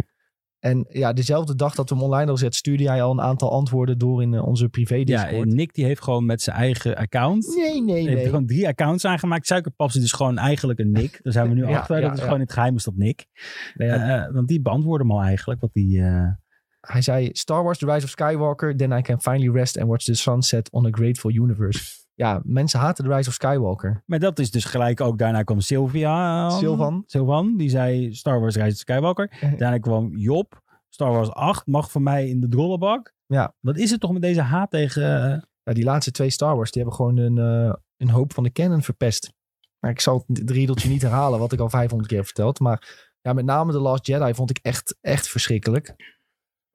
A: En ja, dezelfde dag dat we hem online hadden gezet, stuurde jij al een aantal antwoorden door in eh, onze
B: Ja,
A: privé-discord.
B: en Nick die heeft gewoon met zijn eigen account.
A: nee, nee,
B: Hij heeft
A: nee.
B: gewoon drie accounts aangemaakt. Suikerpaps is dus gewoon eigenlijk een Nick. Daar zijn we nu
A: Ja,
B: achter.
A: ja,
B: dat is
A: ja.
B: gewoon in het geheim is dat Nick.
A: Nee, ja,
B: Eh, eh, want die beantwoordde hem al eigenlijk. Wat die, eh,
A: Hij zei Star Wars The Rise of Skywalker. Then I can finally rest and watch the sunset on a grateful universe. Ja, mensen haten The Rise of Skywalker.
B: Maar dat is dus gelijk ook. Daarna kwam Sylvia. eh,
A: Sylvan.
B: Sylvan, die zei Star Wars Rise of Skywalker.
A: Eh.
B: Daarna kwam Job. Star Wars 8 mag van mij in de drollenbak.
A: Ja.
B: Wat is het toch met deze haat tegen... eh,
A: ja, die laatste twee Star Wars, die hebben gewoon een, eh, een hoop van de canon verpest. Nou, ik zal het riedeltje niet herhalen, wat ik al 500 keer heb verteld. Maar ja, met name The Last Jedi vond ik echt, echt verschrikkelijk.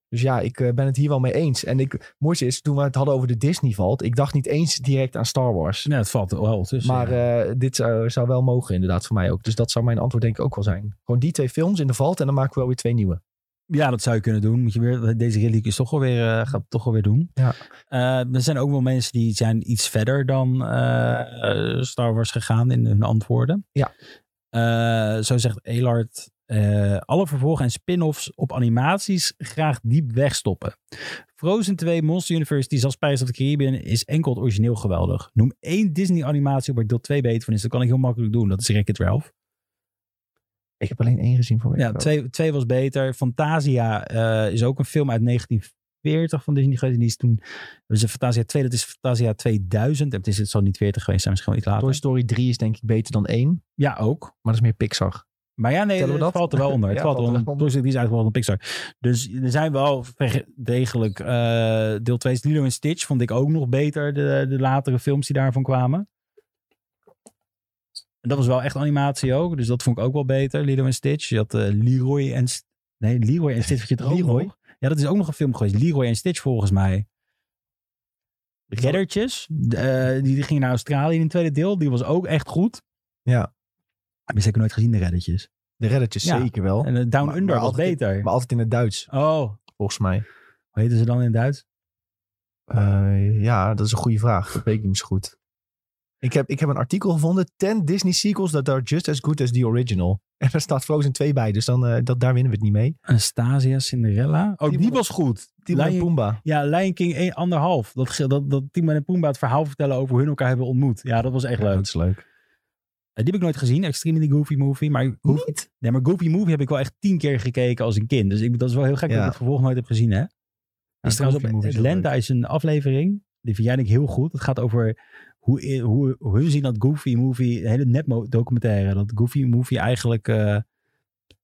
A: Dus ja, ik eh, ben het hier wel mee eens. En ik, mooiste is, toen we het hadden over de Disney valt, ik dacht niet eens direct aan Star Wars.
B: Nou, het valt wel tussen.
A: Maar
B: ja.
A: eh, dit zou, zou wel mogen inderdaad voor mij ook. Dus dat zou mijn antwoord denk ik ook wel zijn. Gewoon die twee films in de valt en dan maken we wel weer twee nieuwe.
B: Ja, dat zou je kunnen doen. Moet je weer, deze reliek is toch alweer, eh gaat het toch alweer doen.
A: Ja.
B: Eh, er zijn ook wel mensen die zijn iets verder dan eh, eh, Star Wars gegaan in hun antwoorden.
A: Ja.
B: Eh, zo zegt Elard, eh, alle vervolgen en spin-offs op animaties graag diep wegstoppen. Frozen 2, Monster Universe, die zelfs Pirates of the Caribbean is enkel het origineel geweldig. Noem één Disney animatie waar deel 2 beter van is. Dat kan ik heel makkelijk doen. Dat is Wreck-It Ralph.
A: Ik heb alleen één gezien voor
B: Ja, twee, twee was beter. Fantasia eh, is ook een film uit 1940 van Disney geweest. Die is toen, dat is een Fantasia 2, dat is Fantasia 2000. Het, is, het zal niet 40 geweest zijn, misschien wel iets later.
A: Toy Story 3 is denk ik beter dan één.
B: Ja, ook.
A: Maar dat is meer Pixar.
B: Maar ja, nee,
A: Tellen we dat?
B: het valt er wel onder. Het
A: Ja,
B: valt er
A: valt er
B: wel
A: wel
B: onder. Toy Story 3 is uitgevallen van Pixar. Dus er zijn wel verge- degelijk eh, deel 2. is Lilo en Stitch vond ik ook nog beter. De, de latere films die daarvan kwamen. En dat was wel echt animatie ook. Dus dat vond ik ook wel beter. Lilo en Stitch. Je had eh, Leroy en... St- Nee, Leroy en Stitch. vond je het ook
A: Leroy?
B: nog? Ja, dat is ook nog een film geweest. Leroy en Stitch volgens mij. Reddertjes. eh, die gingen naar Australië in het tweede deel. Die was ook echt goed.
A: Ja.
B: Heb je zeker nooit gezien, de Reddertjes?
A: De Redditjes
B: Ja.
A: zeker wel.
B: En eh, Down
A: Maar-
B: Under
A: maar
B: was
A: altijd-
B: beter.
A: Maar altijd in het Duits,
B: Oh, hoe
A: volgens mij.
B: heten ze dan in het Duits?
A: Eh, ja, dat is een goede vraag. Dat weet ik niet zo goed. Ik heb, ik heb een artikel gevonden. 10 Disney sequels that are just as good as the original. En daar staat Frozen 2 bij, dus dan, eh, dat, daar winnen we het niet mee.
B: Anastasia, Cinderella. Oh, die,
A: Timon-
B: was goed.
A: Timon en
B: Lion-
A: Pumbaa.
B: Ja, Lion King 1, anderhalf. Dat, ge- dat, dat Timon en Pumbaa het verhaal vertellen over hoe hun elkaar hebben ontmoet. Ja, dat was echt
A: Ja,
B: leuk.
A: Dat is leuk.
B: Eh, Die heb ik nooit gezien, Extremely Goofy Movie. Maar, Goof-
A: Niet?
B: nee, maar Goofy Movie heb ik wel echt tien keer gekeken als een kind. Dus ik, dat is wel heel gek
A: Ja.
B: dat ik het vervolg nooit heb gezien, hè? is trouwens op Atlanta is een aflevering. Die vind jij denk ik heel goed. Het gaat over hoe, hoe, hoe hun zien dat Goofy Movie, een hele nepmo documentaire, dat Goofy Movie eigenlijk... eh,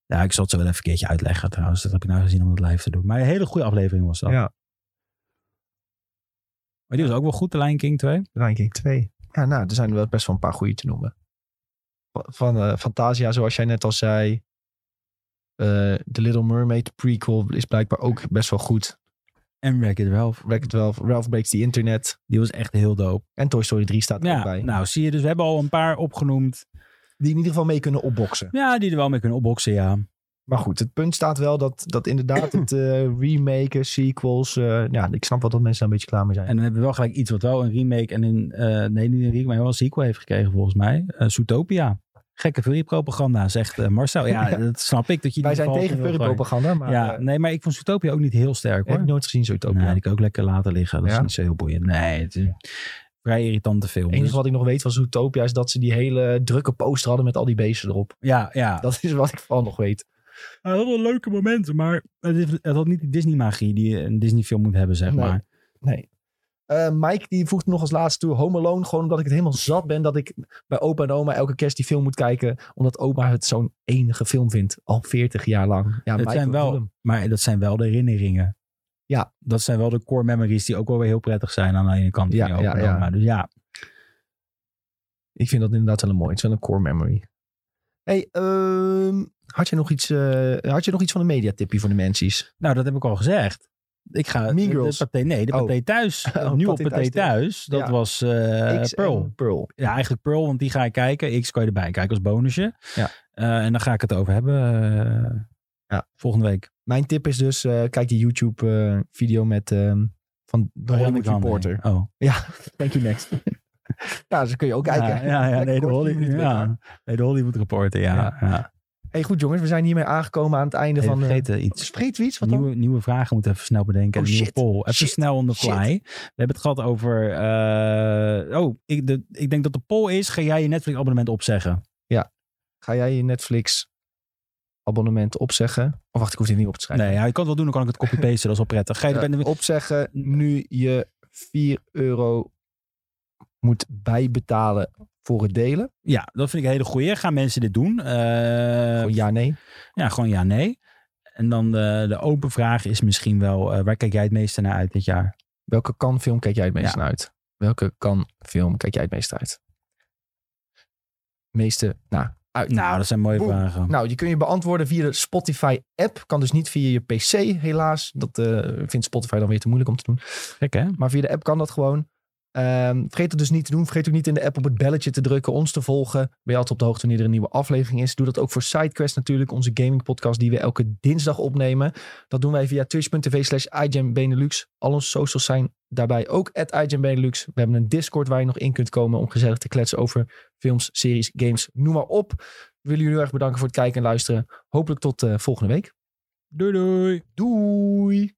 B: nou, ik zal het zo wel even een keertje uitleggen trouwens. Dat heb ik nou gezien om dat live te doen. Maar een hele goede aflevering was dat.
A: Ja.
B: Maar die was ook wel goed, de Lion King 2.
A: Ranking 2. Ja, nou, er zijn wel best wel een paar goede te noemen. Van- Van eh, Fantasia, zoals jij net al zei. Eh, The Little Mermaid prequel is blijkbaar ook best wel goed.
B: En Wreck-It Ralph.
A: Wreck-It Ralph, Ralph Breaks the Internet.
B: Die was echt heel dope.
A: En Toy Story 3 staat er ook
B: Ja,
A: bij.
B: nou zie je, dus we hebben al een paar opgenoemd.
A: Die in ieder geval mee kunnen opboksen.
B: Ja, die er wel mee kunnen opboksen, ja.
A: Maar goed, het punt staat wel dat, dat inderdaad het eh remaken, sequels... eh, ja, ik snap wel dat mensen daar een beetje klaar mee zijn.
B: En dan hebben we wel gelijk iets wat wel een remake en een, eh, nee niet een remake, maar wel een sequel heeft gekregen volgens mij. Eh Zootopia. Gekke furry-propaganda, zegt eh, Marcel. Ja, dat snap ik. Dat je
A: Wij
B: die
A: zijn
B: geval
A: tegen
B: wil gooien.
A: furrypropaganda, maar
B: Ja,
A: eh,
B: nee, maar ik vond Zootopia ook niet heel sterk
A: heb
B: hoor.
A: ik nooit gezien zoiets ook.
B: nee,
A: ja.
B: die kan ik ook lekker laten liggen. Dat
A: Ja?
B: is niet zo heel boeiend. Nee, het is een vrij irritante film.
A: Het enige
B: Dus-
A: wat ik nog weet van Zootopia is dat ze die hele drukke poster hadden met al die beesten erop.
B: ja, ja.
A: Dat is wat ik van nog weet.
B: Hij had wel leuke momenten, maar het, heeft- het had niet die Disney-magie die een Disney-film moet hebben, zeg
A: Nee.
B: maar.
A: Nee. Eh, Mike die voegt nog als laatste toe Home Alone. Gewoon omdat ik het helemaal zat ben dat ik bij opa en oma elke kerst die film moet kijken. Omdat opa het zo'n enige film vindt. Al 40 jaar lang. Ja,
B: Het
A: Mike,
B: zijn
A: we
B: wel-
A: voelen hem.
B: Maar dat zijn wel de herinneringen.
A: Ja.
B: Dat zijn wel de core memories die ook wel weer heel prettig zijn aan de ene kant.
A: Ja,
B: van je
A: ja,
B: opa en oma.
A: ja.
B: Dus ja,
A: Ik vind dat inderdaad wel een mooi. Het is wel een core memory. Hey, ehm, had, jij nog iets, eh, had je nog iets van een mediatipje voor de mensies?
B: nou dat heb ik al gezegd. Ik ga...
A: Mean
B: de-
A: Girls.
B: De, paté, nee, de
A: Oh.
B: paté thuis.
A: Oh,
B: nu op
A: Pathé
B: paté
A: Thuis,
B: thuis. Dat
A: Ja.
B: was eh,
A: X en
B: Pearl.
A: Pearl.
B: Ja, eigenlijk Pearl, want die ga ik kijken. X kan je erbij kijken als bonusje.
A: Ja.
B: Eh, en dan ga ik het over hebben eh,
A: Ja.
B: volgende week.
A: Mijn tip is dus, eh, kijk die YouTube eh, video met, ehm, van The Hollywood
B: Ariana Grande.
A: Reporter.
B: Oh.
A: Thank you next. ja, dus kun je ook kijken.
B: Ja, ja, ja,
A: Lekker
B: nee, de
A: kort,
B: Hollywood,
A: minuten
B: ja. nee, de Hollywood Reporter, ja.
A: Ja.
B: ja.
A: Hey, goed jongens, we zijn hiermee aangekomen aan het einde
B: Even
A: van... eh,
B: vergeten iets.
A: Vergeet we iets? Wat dan?
B: nieuwe, nieuwe vragen moeten we even snel bedenken.
A: Oh,
B: en een nieuwe
A: shit.
B: poll. Even
A: Shit.
B: snel on the
A: Shit.
B: fly. We hebben het gehad over... eh, oh, ik, de, ik denk dat de poll is... Ga jij je Netflix abonnement opzeggen?
A: Ga jij je Netflix abonnement opzeggen? Of wacht, ik hoef dit niet op te schrijven.
B: Nee, ja, je kan het wel doen. Dan kan ik het copy-pasten. dat is wel prettig. Ga je,
A: Eh,
B: ben- Mm.
A: opzeggen nu je 4 euro moet bijbetalen voor het delen.
B: ja, dat vind ik een hele goeie. Gaan mensen dit doen? Eh,
A: Gewoon ja, nee.
B: ja, gewoon ja, nee. En dan de, de eh, open vraag is misschien wel... eh, waar kijk jij het meeste naar uit dit jaar?
A: Welke kanfilm kijk jij het meest
B: Ja.
A: naar uit? Welke kan film kijk jij het meest uit? Meeste, nou, uit.
B: Nou, dat zijn mooie
A: Boem.
B: vragen.
A: Nou, die kun je beantwoorden via de Spotify-app. Kan dus niet via je PC, helaas. Dat eh, vindt Spotify dan weer te moeilijk om te doen.
B: Gek hè?
A: Maar via de app kan dat gewoon. Ehm, vergeet het dus niet te doen. Vergeet ook niet in de app op het belletje te drukken. Ons te volgen. Ben je altijd op de hoogte wanneer er een nieuwe aflevering is. Doe dat ook voor SideQuest natuurlijk. Onze gaming podcast die we elke dinsdag opnemen. Dat doen wij via twitch.tv slash Benelux. Al onze socials zijn daarbij ook at Benelux. We hebben een Discord waar je nog in kunt komen om gezellig te kletsen over films, series, games. Noem maar op. We willen jullie heel erg bedanken voor het kijken en luisteren. Hopelijk tot eh, volgende week.
B: Doei doei.
A: Doei!